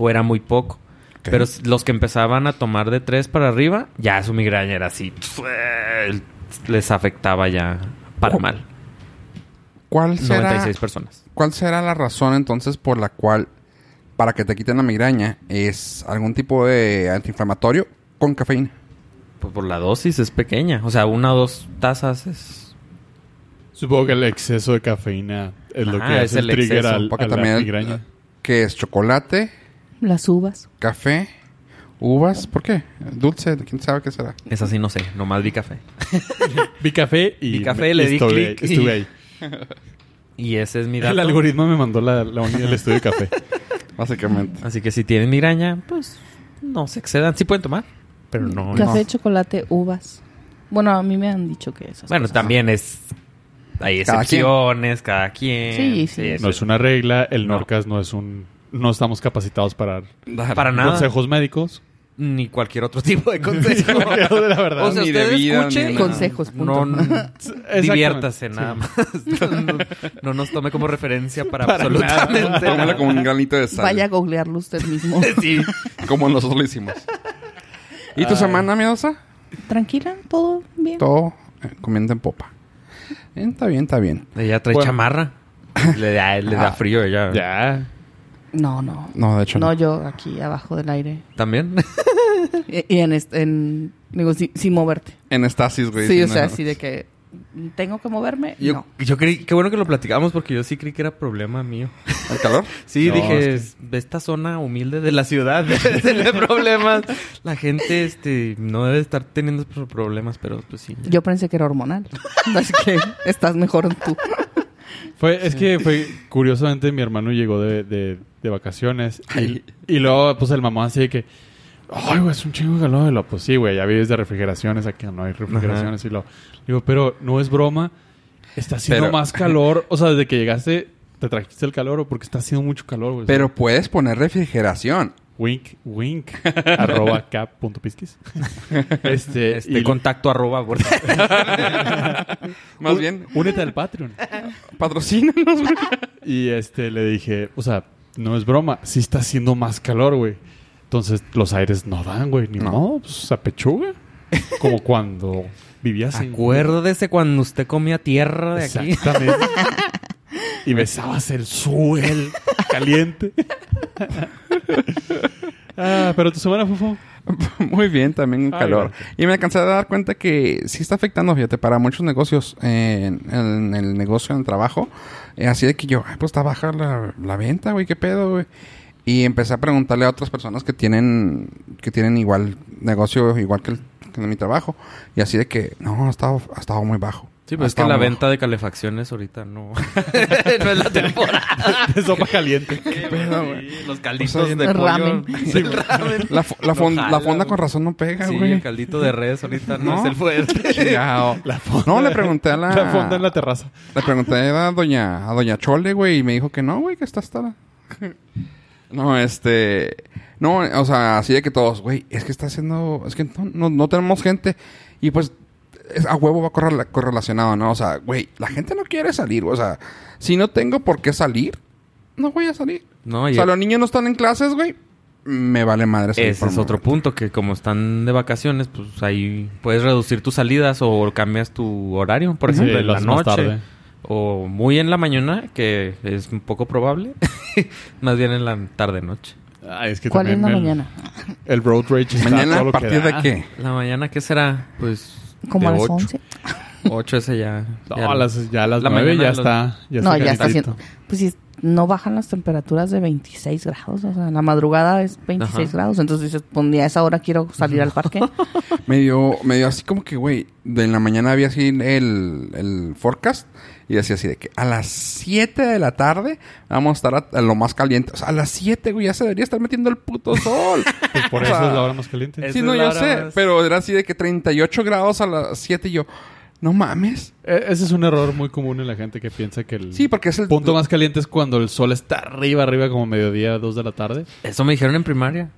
[SPEAKER 3] O era muy poco.
[SPEAKER 1] Ok.
[SPEAKER 3] Pero s- los que empezaban a tomar de tres para arriba, ya su migraña era así. Les afectaba ya para
[SPEAKER 1] Oh,
[SPEAKER 3] mal.
[SPEAKER 1] ¿Cuál será,
[SPEAKER 3] 96 personas.
[SPEAKER 1] ¿Cuál será la razón entonces por la cual para que te quiten la migraña es algún tipo de antiinflamatorio con cafeína?
[SPEAKER 3] Pues por la dosis es pequeña. O sea, una o dos tazas es...
[SPEAKER 2] Supongo que el exceso de cafeína es lo
[SPEAKER 3] Ajá,
[SPEAKER 2] que hace
[SPEAKER 3] es
[SPEAKER 2] el,
[SPEAKER 3] el
[SPEAKER 2] trigger
[SPEAKER 3] exceso,
[SPEAKER 2] al,
[SPEAKER 1] Porque
[SPEAKER 2] a la
[SPEAKER 1] también
[SPEAKER 2] migraña.
[SPEAKER 1] que es chocolate,
[SPEAKER 4] Las uvas.
[SPEAKER 1] café, uvas, ¿por qué? Dulce, quién sabe qué será.
[SPEAKER 3] Esa sí no sé, nomás vi café.
[SPEAKER 2] Vi café y...
[SPEAKER 3] Vi café, le di
[SPEAKER 2] estuve
[SPEAKER 3] clic
[SPEAKER 2] ahí,
[SPEAKER 3] y-
[SPEAKER 2] Estuve ahí.
[SPEAKER 3] Y ese es mi dato.
[SPEAKER 2] El algoritmo me mandó la, la, el estudio de café.
[SPEAKER 1] Básicamente.
[SPEAKER 3] Así que si tienen migraña, pues no se excedan. Sí pueden tomar, pero no. no.
[SPEAKER 4] Café, chocolate, uvas. Bueno, a mí me han dicho que esas.
[SPEAKER 3] Bueno, también es. Hay
[SPEAKER 1] Cada quien.
[SPEAKER 3] excepciones, cada quien.
[SPEAKER 4] Sí, sí.
[SPEAKER 3] eso
[SPEAKER 2] No es una regla, el
[SPEAKER 3] No.
[SPEAKER 2] Norcas no es un... No estamos capacitados para
[SPEAKER 3] Para nada.
[SPEAKER 2] consejos médicos.
[SPEAKER 3] Ni cualquier otro tipo de consejo.
[SPEAKER 2] la verdad.
[SPEAKER 3] o sea,
[SPEAKER 1] Ni de
[SPEAKER 3] ustedes
[SPEAKER 1] vida, ni
[SPEAKER 3] escuchen.
[SPEAKER 1] nada.
[SPEAKER 4] Consejos,
[SPEAKER 3] No,
[SPEAKER 4] punto.
[SPEAKER 3] no-
[SPEAKER 2] Exactamente.
[SPEAKER 3] diviértase
[SPEAKER 2] Sí.
[SPEAKER 3] nada más. No, no nos tome como referencia para,
[SPEAKER 2] Para
[SPEAKER 3] absolutamente
[SPEAKER 1] Tómala como un granito de sal.
[SPEAKER 4] Vaya a googlearlo usted mismo.
[SPEAKER 3] Sí.
[SPEAKER 1] Como nosotros lo hicimos. Ah. ¿Y tu semana, miedosa?
[SPEAKER 4] Tranquila, todo bien.
[SPEAKER 1] Todo eh, comiendo en popa. Eh, Está bien, está bien.
[SPEAKER 3] Ella trae
[SPEAKER 2] Bueno.
[SPEAKER 3] chamarra. Le da, le da frío ella.
[SPEAKER 2] Ya.
[SPEAKER 4] No, no.
[SPEAKER 1] No, de hecho
[SPEAKER 4] No,
[SPEAKER 1] no.
[SPEAKER 4] yo aquí abajo del aire.
[SPEAKER 3] También.
[SPEAKER 4] Y y en, este- en digo, sin, sin moverte.
[SPEAKER 1] En estasis, güey.
[SPEAKER 4] Sí, o
[SPEAKER 1] no,
[SPEAKER 4] sea,
[SPEAKER 1] no.
[SPEAKER 4] así de que tengo que moverme.
[SPEAKER 3] Yo,
[SPEAKER 4] no.
[SPEAKER 3] yo creí, qué bueno que lo platicamos porque yo sí creí que era problema mío.
[SPEAKER 1] ¿El calor?
[SPEAKER 3] Sí,
[SPEAKER 2] No,
[SPEAKER 3] dije, de esta zona humilde de la ciudad debe tener problemas. La gente este, no debe estar teniendo esos problemas, pero pues sí.
[SPEAKER 4] Yo pensé que era hormonal. Así que estás mejor tú.
[SPEAKER 2] Fue, es que fue, curiosamente, mi hermano llegó de, de, de vacaciones y, y luego, pues, el mamá así de que, ay, güey, es un chingo de calor. Y lo, pues, sí, güey, ya vives de refrigeraciones, aquí no hay refrigeraciones. Y lo, digo, pero no es broma, está haciendo
[SPEAKER 1] Pero-
[SPEAKER 2] más calor. O sea, desde que llegaste, te trajiste el calor o porque está haciendo mucho calor, güey.
[SPEAKER 1] Pero puedes poner refrigeración.
[SPEAKER 2] Wink, wink, arroba cap punto pisquis. Este,
[SPEAKER 3] Este
[SPEAKER 2] y-
[SPEAKER 3] contacto arroba, por favor.
[SPEAKER 1] Más
[SPEAKER 2] un-
[SPEAKER 1] bien,
[SPEAKER 2] Únete al Patreon.
[SPEAKER 1] patrocínanos. güey.
[SPEAKER 2] Y este le dije, o sea, no es broma, sí está haciendo más calor, güey. Entonces los aires no dan, güey, ni
[SPEAKER 1] No.
[SPEAKER 2] no, pues a pechuga. Como cuando vivías en
[SPEAKER 3] Acuérdese cuando usted comía tierra de aquí.
[SPEAKER 2] Exactamente. y besabas el suel caliente. ah, pero tu semana, Fufo.
[SPEAKER 1] Muy bien, también un
[SPEAKER 2] Ay,
[SPEAKER 1] calor.
[SPEAKER 2] gracias.
[SPEAKER 1] Y me alcancé a dar cuenta que sí está afectando, fíjate, para muchos negocios eh, en, en el negocio, en el trabajo. Eh, así de que yo, ay, pues está baja la, la venta, güey, qué pedo, güey. Y empecé a preguntarle a otras personas que tienen, que tienen igual negocio, igual que, el, que en mi trabajo. Y así de que, no, ha estado, ha estado muy bajo.
[SPEAKER 3] Sí,
[SPEAKER 1] Ha
[SPEAKER 3] pues es que
[SPEAKER 1] estado
[SPEAKER 3] la
[SPEAKER 1] muy
[SPEAKER 3] venta de calefacciones ahorita no. no es la temporada.
[SPEAKER 2] De sopa caliente.
[SPEAKER 1] bajo. Qué pedo, güey.
[SPEAKER 3] Sí, los calditos
[SPEAKER 1] O sea,
[SPEAKER 3] de
[SPEAKER 4] el
[SPEAKER 3] pollo.
[SPEAKER 4] ramen.
[SPEAKER 3] Sí, el ramen.
[SPEAKER 1] La, fo- la,
[SPEAKER 3] No
[SPEAKER 1] fon-
[SPEAKER 3] jala,
[SPEAKER 1] la fonda
[SPEAKER 3] güey.
[SPEAKER 1] con razón no pega,
[SPEAKER 3] Sí,
[SPEAKER 1] güey.
[SPEAKER 3] el caldito de res ahorita no,
[SPEAKER 1] No.
[SPEAKER 3] es el fuerte.
[SPEAKER 1] Chingado.
[SPEAKER 2] La fonda-
[SPEAKER 1] No, le pregunté a la...
[SPEAKER 2] La fonda en la terraza.
[SPEAKER 1] Le pregunté a doña, a doña Chole, güey, y me dijo que no, güey, que está hasta la... No, este... No, o sea, así de que todos, güey, es que está haciendo... Es que no, no, no tenemos gente. Y pues es- a huevo va correla- correlacionado, ¿no? O sea, güey, la gente no quiere salir, güey. o sea, si no tengo por qué salir, no voy a salir.
[SPEAKER 3] No,
[SPEAKER 1] o
[SPEAKER 3] y
[SPEAKER 1] sea, los niños no están en clases, güey, me vale madre salir
[SPEAKER 3] ese
[SPEAKER 1] por
[SPEAKER 3] es
[SPEAKER 1] un
[SPEAKER 3] otro
[SPEAKER 1] momento.
[SPEAKER 3] punto, que como están de vacaciones, pues ahí puedes reducir tus salidas o cambias tu horario, por
[SPEAKER 2] Sí,
[SPEAKER 3] ejemplo, en
[SPEAKER 2] lo
[SPEAKER 3] la
[SPEAKER 2] haces más
[SPEAKER 3] noche.
[SPEAKER 2] tarde.
[SPEAKER 3] O muy en la mañana, que es un poco probable. Más bien en la tarde-noche.
[SPEAKER 2] Ay, Ah, es que
[SPEAKER 4] ¿Cuál es
[SPEAKER 2] también
[SPEAKER 4] la
[SPEAKER 2] el-
[SPEAKER 4] mañana?
[SPEAKER 2] El road rage está todo
[SPEAKER 1] Mañana,
[SPEAKER 2] lo
[SPEAKER 1] ¿a
[SPEAKER 2] que
[SPEAKER 1] partir
[SPEAKER 2] da.
[SPEAKER 1] de qué?
[SPEAKER 3] ¿La mañana qué será? Pues.
[SPEAKER 4] Como a
[SPEAKER 3] de
[SPEAKER 4] las
[SPEAKER 3] ocho.
[SPEAKER 4] 11.
[SPEAKER 3] Ocho ese ya.
[SPEAKER 2] No,
[SPEAKER 3] ya-
[SPEAKER 2] a las, ya a las
[SPEAKER 3] La
[SPEAKER 2] nueve
[SPEAKER 3] mañana
[SPEAKER 2] ya
[SPEAKER 3] de los-
[SPEAKER 2] está. Ya
[SPEAKER 4] no,
[SPEAKER 2] está
[SPEAKER 4] ya está
[SPEAKER 2] calentito.
[SPEAKER 4] haciendo. Pues si no bajan las temperaturas de 26 grados, o sea, la madrugada es 26
[SPEAKER 3] Ajá.
[SPEAKER 4] grados, entonces dices, pues ni a esa hora quiero salir al parque.
[SPEAKER 1] Medio, medio así como que, güey, de en la mañana había así el, el forecast y decía así de que a las 7 de la tarde vamos a estar a, a lo más caliente. O sea, a las 7, güey, ya se debería estar metiendo el puto sol.
[SPEAKER 2] Pues por
[SPEAKER 1] O
[SPEAKER 2] eso
[SPEAKER 1] sea,
[SPEAKER 2] es la hora más caliente.
[SPEAKER 3] es-
[SPEAKER 1] sí,
[SPEAKER 3] Esa
[SPEAKER 1] no,
[SPEAKER 3] la
[SPEAKER 1] yo
[SPEAKER 3] hora
[SPEAKER 1] sé,
[SPEAKER 3] más-
[SPEAKER 1] pero era así de que 38 grados a las 7 y yo, no mames.
[SPEAKER 2] E- ese es un error muy común en la gente que piensa que el
[SPEAKER 1] Sí, porque es el
[SPEAKER 2] punto más caliente es cuando el sol está arriba, arriba, como mediodía, dos de la tarde.
[SPEAKER 3] Eso me dijeron en primaria.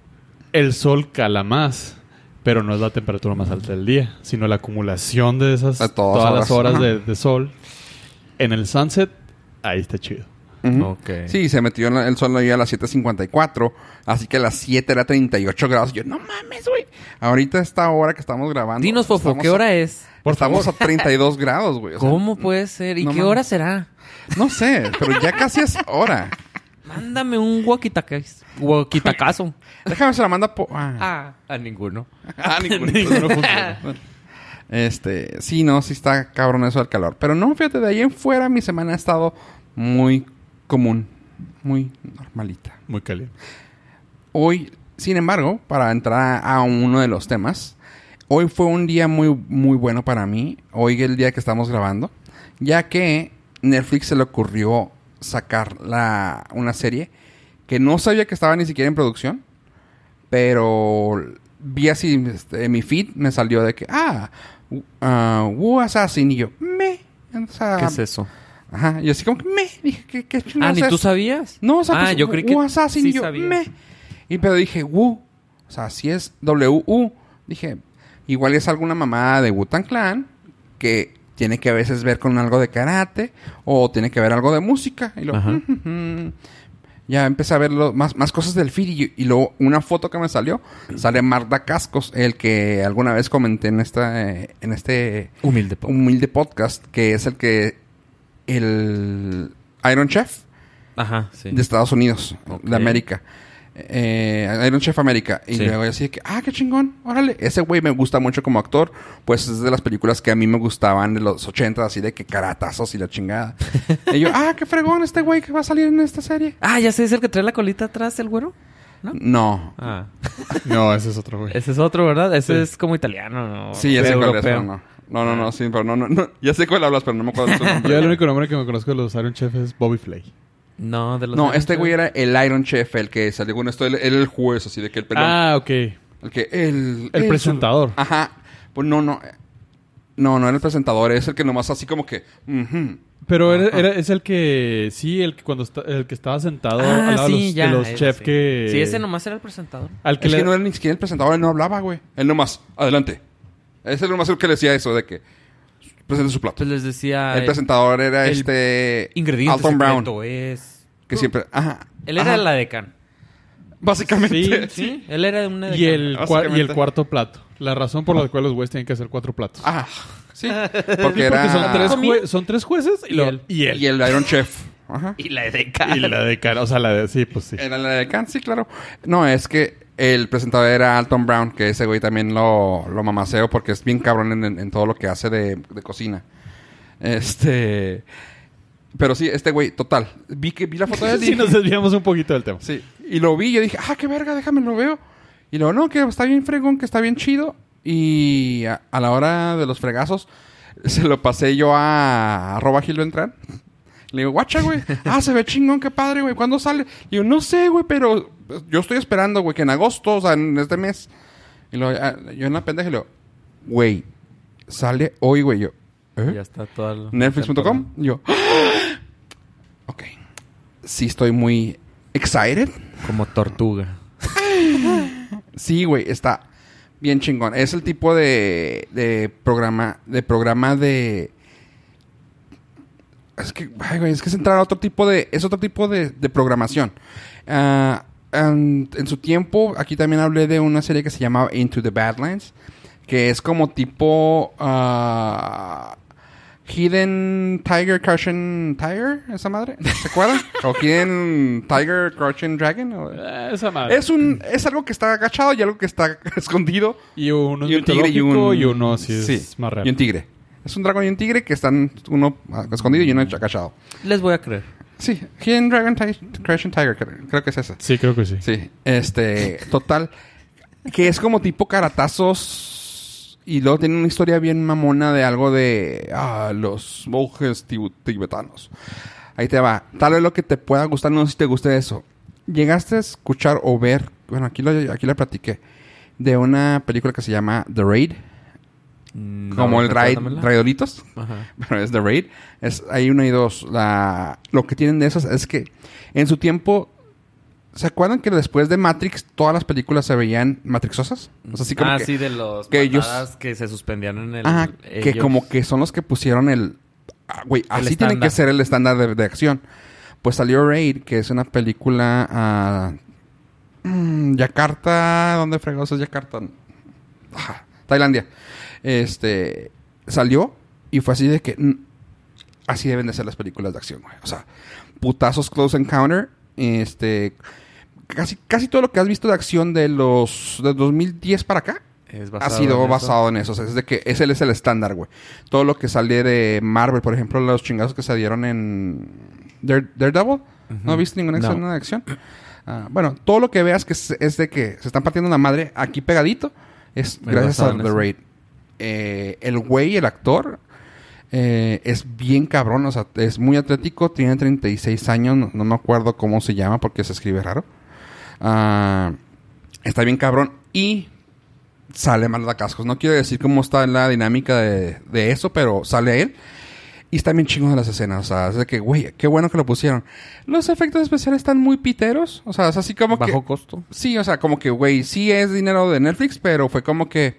[SPEAKER 2] El sol cala más, pero no es la temperatura más alta del día, sino la acumulación de esas
[SPEAKER 1] De todas
[SPEAKER 2] todas, las
[SPEAKER 1] horas.
[SPEAKER 2] horas de, de sol. En el sunset, ahí está chido.
[SPEAKER 1] Ujú.
[SPEAKER 3] Ok.
[SPEAKER 1] Sí, se metió en la- el sol ahí a las 7.54, así que a las 7 era 38 grados. Yo, no mames, güey. Ahorita esta hora que estamos grabando.
[SPEAKER 3] Dinos, Fofo,
[SPEAKER 1] estamos
[SPEAKER 3] ¿qué
[SPEAKER 1] a-
[SPEAKER 3] hora es?
[SPEAKER 1] estamos a 32 grados, güey. o sea,
[SPEAKER 3] ¿Cómo puede ser? ¿Y
[SPEAKER 1] no
[SPEAKER 3] qué
[SPEAKER 1] mames.
[SPEAKER 3] hora será?
[SPEAKER 1] No sé, pero ya casi es hora.
[SPEAKER 3] Mándame un huaquitacas- huaquitacazo.
[SPEAKER 1] Déjame se la manda po- ah.
[SPEAKER 3] ah, a ninguno.
[SPEAKER 1] Ah, ningún- Este, sí, no, sí está cabrón eso del calor. Pero no, fíjate, de ahí en fuera mi semana ha estado muy común, muy normalita.
[SPEAKER 2] Muy caliente.
[SPEAKER 1] Hoy, sin embargo, para entrar a uno de los temas, hoy fue un día muy, muy bueno para mí. Hoy el día que estamos grabando, ya que Netflix se le ocurrió sacar la, una serie que no sabía que estaba ni siquiera en producción, pero vi así este, mi feed, me salió de que, ah, uh, Wu Assassin, y yo, me. O sea,
[SPEAKER 3] ¿Qué es eso?
[SPEAKER 1] Ajá, y así como que me. Dije, ¿qué, qué
[SPEAKER 3] ah,
[SPEAKER 1] chingados
[SPEAKER 3] ¿ni
[SPEAKER 1] es
[SPEAKER 3] tú
[SPEAKER 1] esto?"
[SPEAKER 3] sabías?
[SPEAKER 1] No, o sea,
[SPEAKER 3] ah,
[SPEAKER 1] pues,
[SPEAKER 3] yo creí que
[SPEAKER 1] Wu Assassin,
[SPEAKER 3] sí
[SPEAKER 1] yo,
[SPEAKER 3] sabía.
[SPEAKER 1] me. Y pero dije, Wu. O sea, si es W-U. Dije, igual es alguna mamada de Wu-Tang Clan que tiene que a veces ver con algo de karate o tiene que ver algo de música. Y lo,
[SPEAKER 3] Ajá.
[SPEAKER 1] ya empecé a ver lo- más, más cosas del feed y, y luego una foto que me salió sale Marta Cascos, el que alguna vez comenté en, esta, eh, en este
[SPEAKER 3] Humilde. pues. po-
[SPEAKER 1] humilde podcast, que es el que el Iron Chef
[SPEAKER 3] Ajá, sí.
[SPEAKER 1] de Estados Unidos,
[SPEAKER 3] Ok.
[SPEAKER 1] de América. Eh, Iron Chef América. Y
[SPEAKER 3] Sí.
[SPEAKER 1] luego así de que, ah, qué chingón, órale. Ese güey me gusta mucho como actor, pues es de las películas que a mí me gustaban de los 80, así de que caratazos y la chingada. y yo, ah, qué fregón este güey que va a salir en esta serie.
[SPEAKER 3] Ah, ya sé, es el que trae la colita atrás, el güero. ¿No?
[SPEAKER 1] No.
[SPEAKER 3] Ah, pues,
[SPEAKER 2] No, ese es otro, güey.
[SPEAKER 3] ese es otro, ¿verdad? Ese
[SPEAKER 2] Sí.
[SPEAKER 3] es como italiano, ¿no?
[SPEAKER 1] Sí, ya sé cuál es,
[SPEAKER 3] Europeo.
[SPEAKER 1] pero no. No, no, no, sí, pero no, no, no. Ya sé cuál hablas, pero no me acuerdo de su nombre.
[SPEAKER 2] Yo el único nombre que me conozco de los Iron Chef es Bobby Flay.
[SPEAKER 3] No, de los
[SPEAKER 1] No,
[SPEAKER 3] Avengers.
[SPEAKER 1] este güey era el Iron Chef, el que salió con esto, él él el juez, así de que el pelón.
[SPEAKER 2] Ah, ok.
[SPEAKER 1] El que el...
[SPEAKER 2] El presentador.
[SPEAKER 1] Ajá. Pues no, no. No, no era el presentador. Es el que nomás así como que... ujú.
[SPEAKER 2] Pero era, era- es el que, sí, el que cuando está- el que estaba sentado
[SPEAKER 3] Ah,
[SPEAKER 2] al lado de
[SPEAKER 3] sí,
[SPEAKER 2] los-
[SPEAKER 3] ya.
[SPEAKER 2] de los
[SPEAKER 3] ese
[SPEAKER 2] chefs
[SPEAKER 3] sí.
[SPEAKER 2] que...
[SPEAKER 3] Sí, ese nomás era el presentador.
[SPEAKER 2] Al que
[SPEAKER 1] Es
[SPEAKER 2] le-
[SPEAKER 1] que no era ni siquiera el presentador. Él no hablaba, güey. Él nomás. Adelante. Ese era nomás el que le decía eso de que... Presente su plato.
[SPEAKER 3] Pues les decía...
[SPEAKER 1] El presentador era
[SPEAKER 3] el
[SPEAKER 1] este...
[SPEAKER 3] Ingrediente
[SPEAKER 1] Alton Brown.
[SPEAKER 3] secreto es...
[SPEAKER 1] Que siempre... Ajá.
[SPEAKER 3] Él era
[SPEAKER 1] Ajá.
[SPEAKER 3] la decana.
[SPEAKER 1] Básicamente.
[SPEAKER 3] Sí, él era de una
[SPEAKER 2] y,
[SPEAKER 3] decana.
[SPEAKER 2] el cua- y el cuarto plato. La razón por la cual los güeyes tienen que hacer cuatro platos.
[SPEAKER 1] Ajá. Sí.
[SPEAKER 2] Sí,
[SPEAKER 1] Porque
[SPEAKER 2] porque
[SPEAKER 1] Ah, era...
[SPEAKER 2] son, tres jue- son tres jueces y,
[SPEAKER 3] Y
[SPEAKER 2] lo-
[SPEAKER 3] él.
[SPEAKER 2] y él.
[SPEAKER 1] Y el Iron Chef. Ajá.
[SPEAKER 3] Y la decana.
[SPEAKER 2] Y la de cara. O sea, la de... Sí, pues sí.
[SPEAKER 1] Era la de Khan, sí, claro. No, es que el presentador era Alton Brown, que ese güey también lo, lo mamaceo porque es bien cabrón en, en- en todo lo que hace de, de cocina. Este. Pero sí, este güey, total. Vi que vi la foto de él. y
[SPEAKER 2] Sí, nos
[SPEAKER 1] dije-
[SPEAKER 2] desviamos un poquito del tema.
[SPEAKER 1] sí, y lo vi, yo dije, ah, qué verga, déjame lo veo. Y luego, no, que está bien fregón, que está bien chido. Y a, a la hora de los fregazos, se lo pasé yo a arroba Gildo Entran. Le digo, guacha, güey. Ah, se ve chingón, qué padre, güey. ¿Cuándo sale? Y yo, no sé, güey, pero pues, yo estoy esperando, güey, que en agosto, o sea, en este mes. Y luego, ah, yo en la pendeja le digo, güey, sale hoy, güey. Yo, ¿eh?
[SPEAKER 3] Ya está toda la...
[SPEAKER 1] Netflix.com. Y Yo, ¡ah! ok. Sí, estoy muy excited.
[SPEAKER 3] Como tortuga.
[SPEAKER 1] Sí, güey, está Bien chingón. Es el tipo de, de programa, de programa de... Es que, ay, güey, es que es entrar a otro tipo de... Es otro tipo de, de programación. Ah, en- en su tiempo, aquí también hablé de una serie que se llamaba Into the Badlands, que es como tipo... ah, Hidden Tiger Crushing Tiger, esa madre, ¿se acuerdan? o Hidden Tiger Crushing Dragon. o-
[SPEAKER 3] Ah,
[SPEAKER 2] Eh, Esa madre.
[SPEAKER 1] Es un es algo que está agachado y algo que está escondido.
[SPEAKER 2] Y uno es
[SPEAKER 1] y un tigre y
[SPEAKER 2] mitológico
[SPEAKER 1] un
[SPEAKER 2] y uno sí es más real.
[SPEAKER 1] Y un tigre. Es un dragón y un tigre que están uno ah, escondido y uno agachado.
[SPEAKER 3] Les voy a creer.
[SPEAKER 1] Sí, Hidden Dragon Ti- Crushing Tiger, creo, creo que es esa.
[SPEAKER 2] Sí, creo que sí.
[SPEAKER 1] Sí, este, total. Que es como tipo caratazos. Y luego tiene una historia bien mamona de algo de ah, los monjes tibu- tibetanos. Ahí te va. Tal vez lo que te pueda gustar, no sé si te guste eso. Llegaste a escuchar o ver, bueno, aquí lo aquí la platiqué, de una película que se llama The Raid,
[SPEAKER 3] Mm,
[SPEAKER 1] como el Raid,
[SPEAKER 3] Recuérdamela.
[SPEAKER 1] Raidolitos
[SPEAKER 3] Ajá.
[SPEAKER 1] pero es The Raid. Es, hay una y dos. La, lo que tienen de esas es que en su tiempo. ¿Se acuerdan que después de Matrix todas las películas se veían matrixosas? O sea, así como
[SPEAKER 3] ah,
[SPEAKER 1] que,
[SPEAKER 3] sí, de los
[SPEAKER 1] que
[SPEAKER 3] que
[SPEAKER 1] ellos-
[SPEAKER 3] que se suspendían en el...
[SPEAKER 1] Ajá, que
[SPEAKER 3] ellos.
[SPEAKER 1] como que son los que pusieron el... ah, Güey, así tiene
[SPEAKER 3] estándar.
[SPEAKER 1] que ser el estándar de, de acción. Pues salió Raid, que es una película... ah, mm, Yakarta... ¿Dónde fregados es Yakarta? Ajá, Tailandia. Este... Salió y fue así de que... mm, así deben de ser las películas de acción, güey. O sea, putazos Close Encounter. Este... Casi, casi todo lo que has visto de acción de los... De 2010 para acá
[SPEAKER 3] Es
[SPEAKER 1] ha
[SPEAKER 3] basado en
[SPEAKER 1] sido
[SPEAKER 3] eso.
[SPEAKER 1] basado en eso. O sea, es de que ese es el estándar, güey. Todo lo que sale de Marvel, por ejemplo, los chingazos que se dieron en Dare- Daredevil. ¿No viste ninguna
[SPEAKER 3] No.
[SPEAKER 1] escena de acción? Ah, bueno, todo lo que veas que es, es de que se están partiendo la madre aquí pegadito es
[SPEAKER 3] Me
[SPEAKER 1] gracias
[SPEAKER 3] basado
[SPEAKER 1] a
[SPEAKER 3] en
[SPEAKER 1] The
[SPEAKER 3] eso.
[SPEAKER 1] Raid. Eh, el güey, el actor, eh, es bien cabrón. O sea, es muy atlético. Tiene 36 años. No, no me acuerdo cómo se llama porque se escribe raro. Ah, está bien cabrón. Y sale mal de cascos. No quiero decir cómo está la dinámica de, de eso, pero sale él. Y está bien chingón de las escenas. O sea, es de que, güey, qué bueno que lo pusieron. Los efectos especiales están muy piteros. O sea, es así como que.
[SPEAKER 3] Bajo costo.
[SPEAKER 1] Sí, o sea, como que, güey, sí es dinero de Netflix, pero fue como que...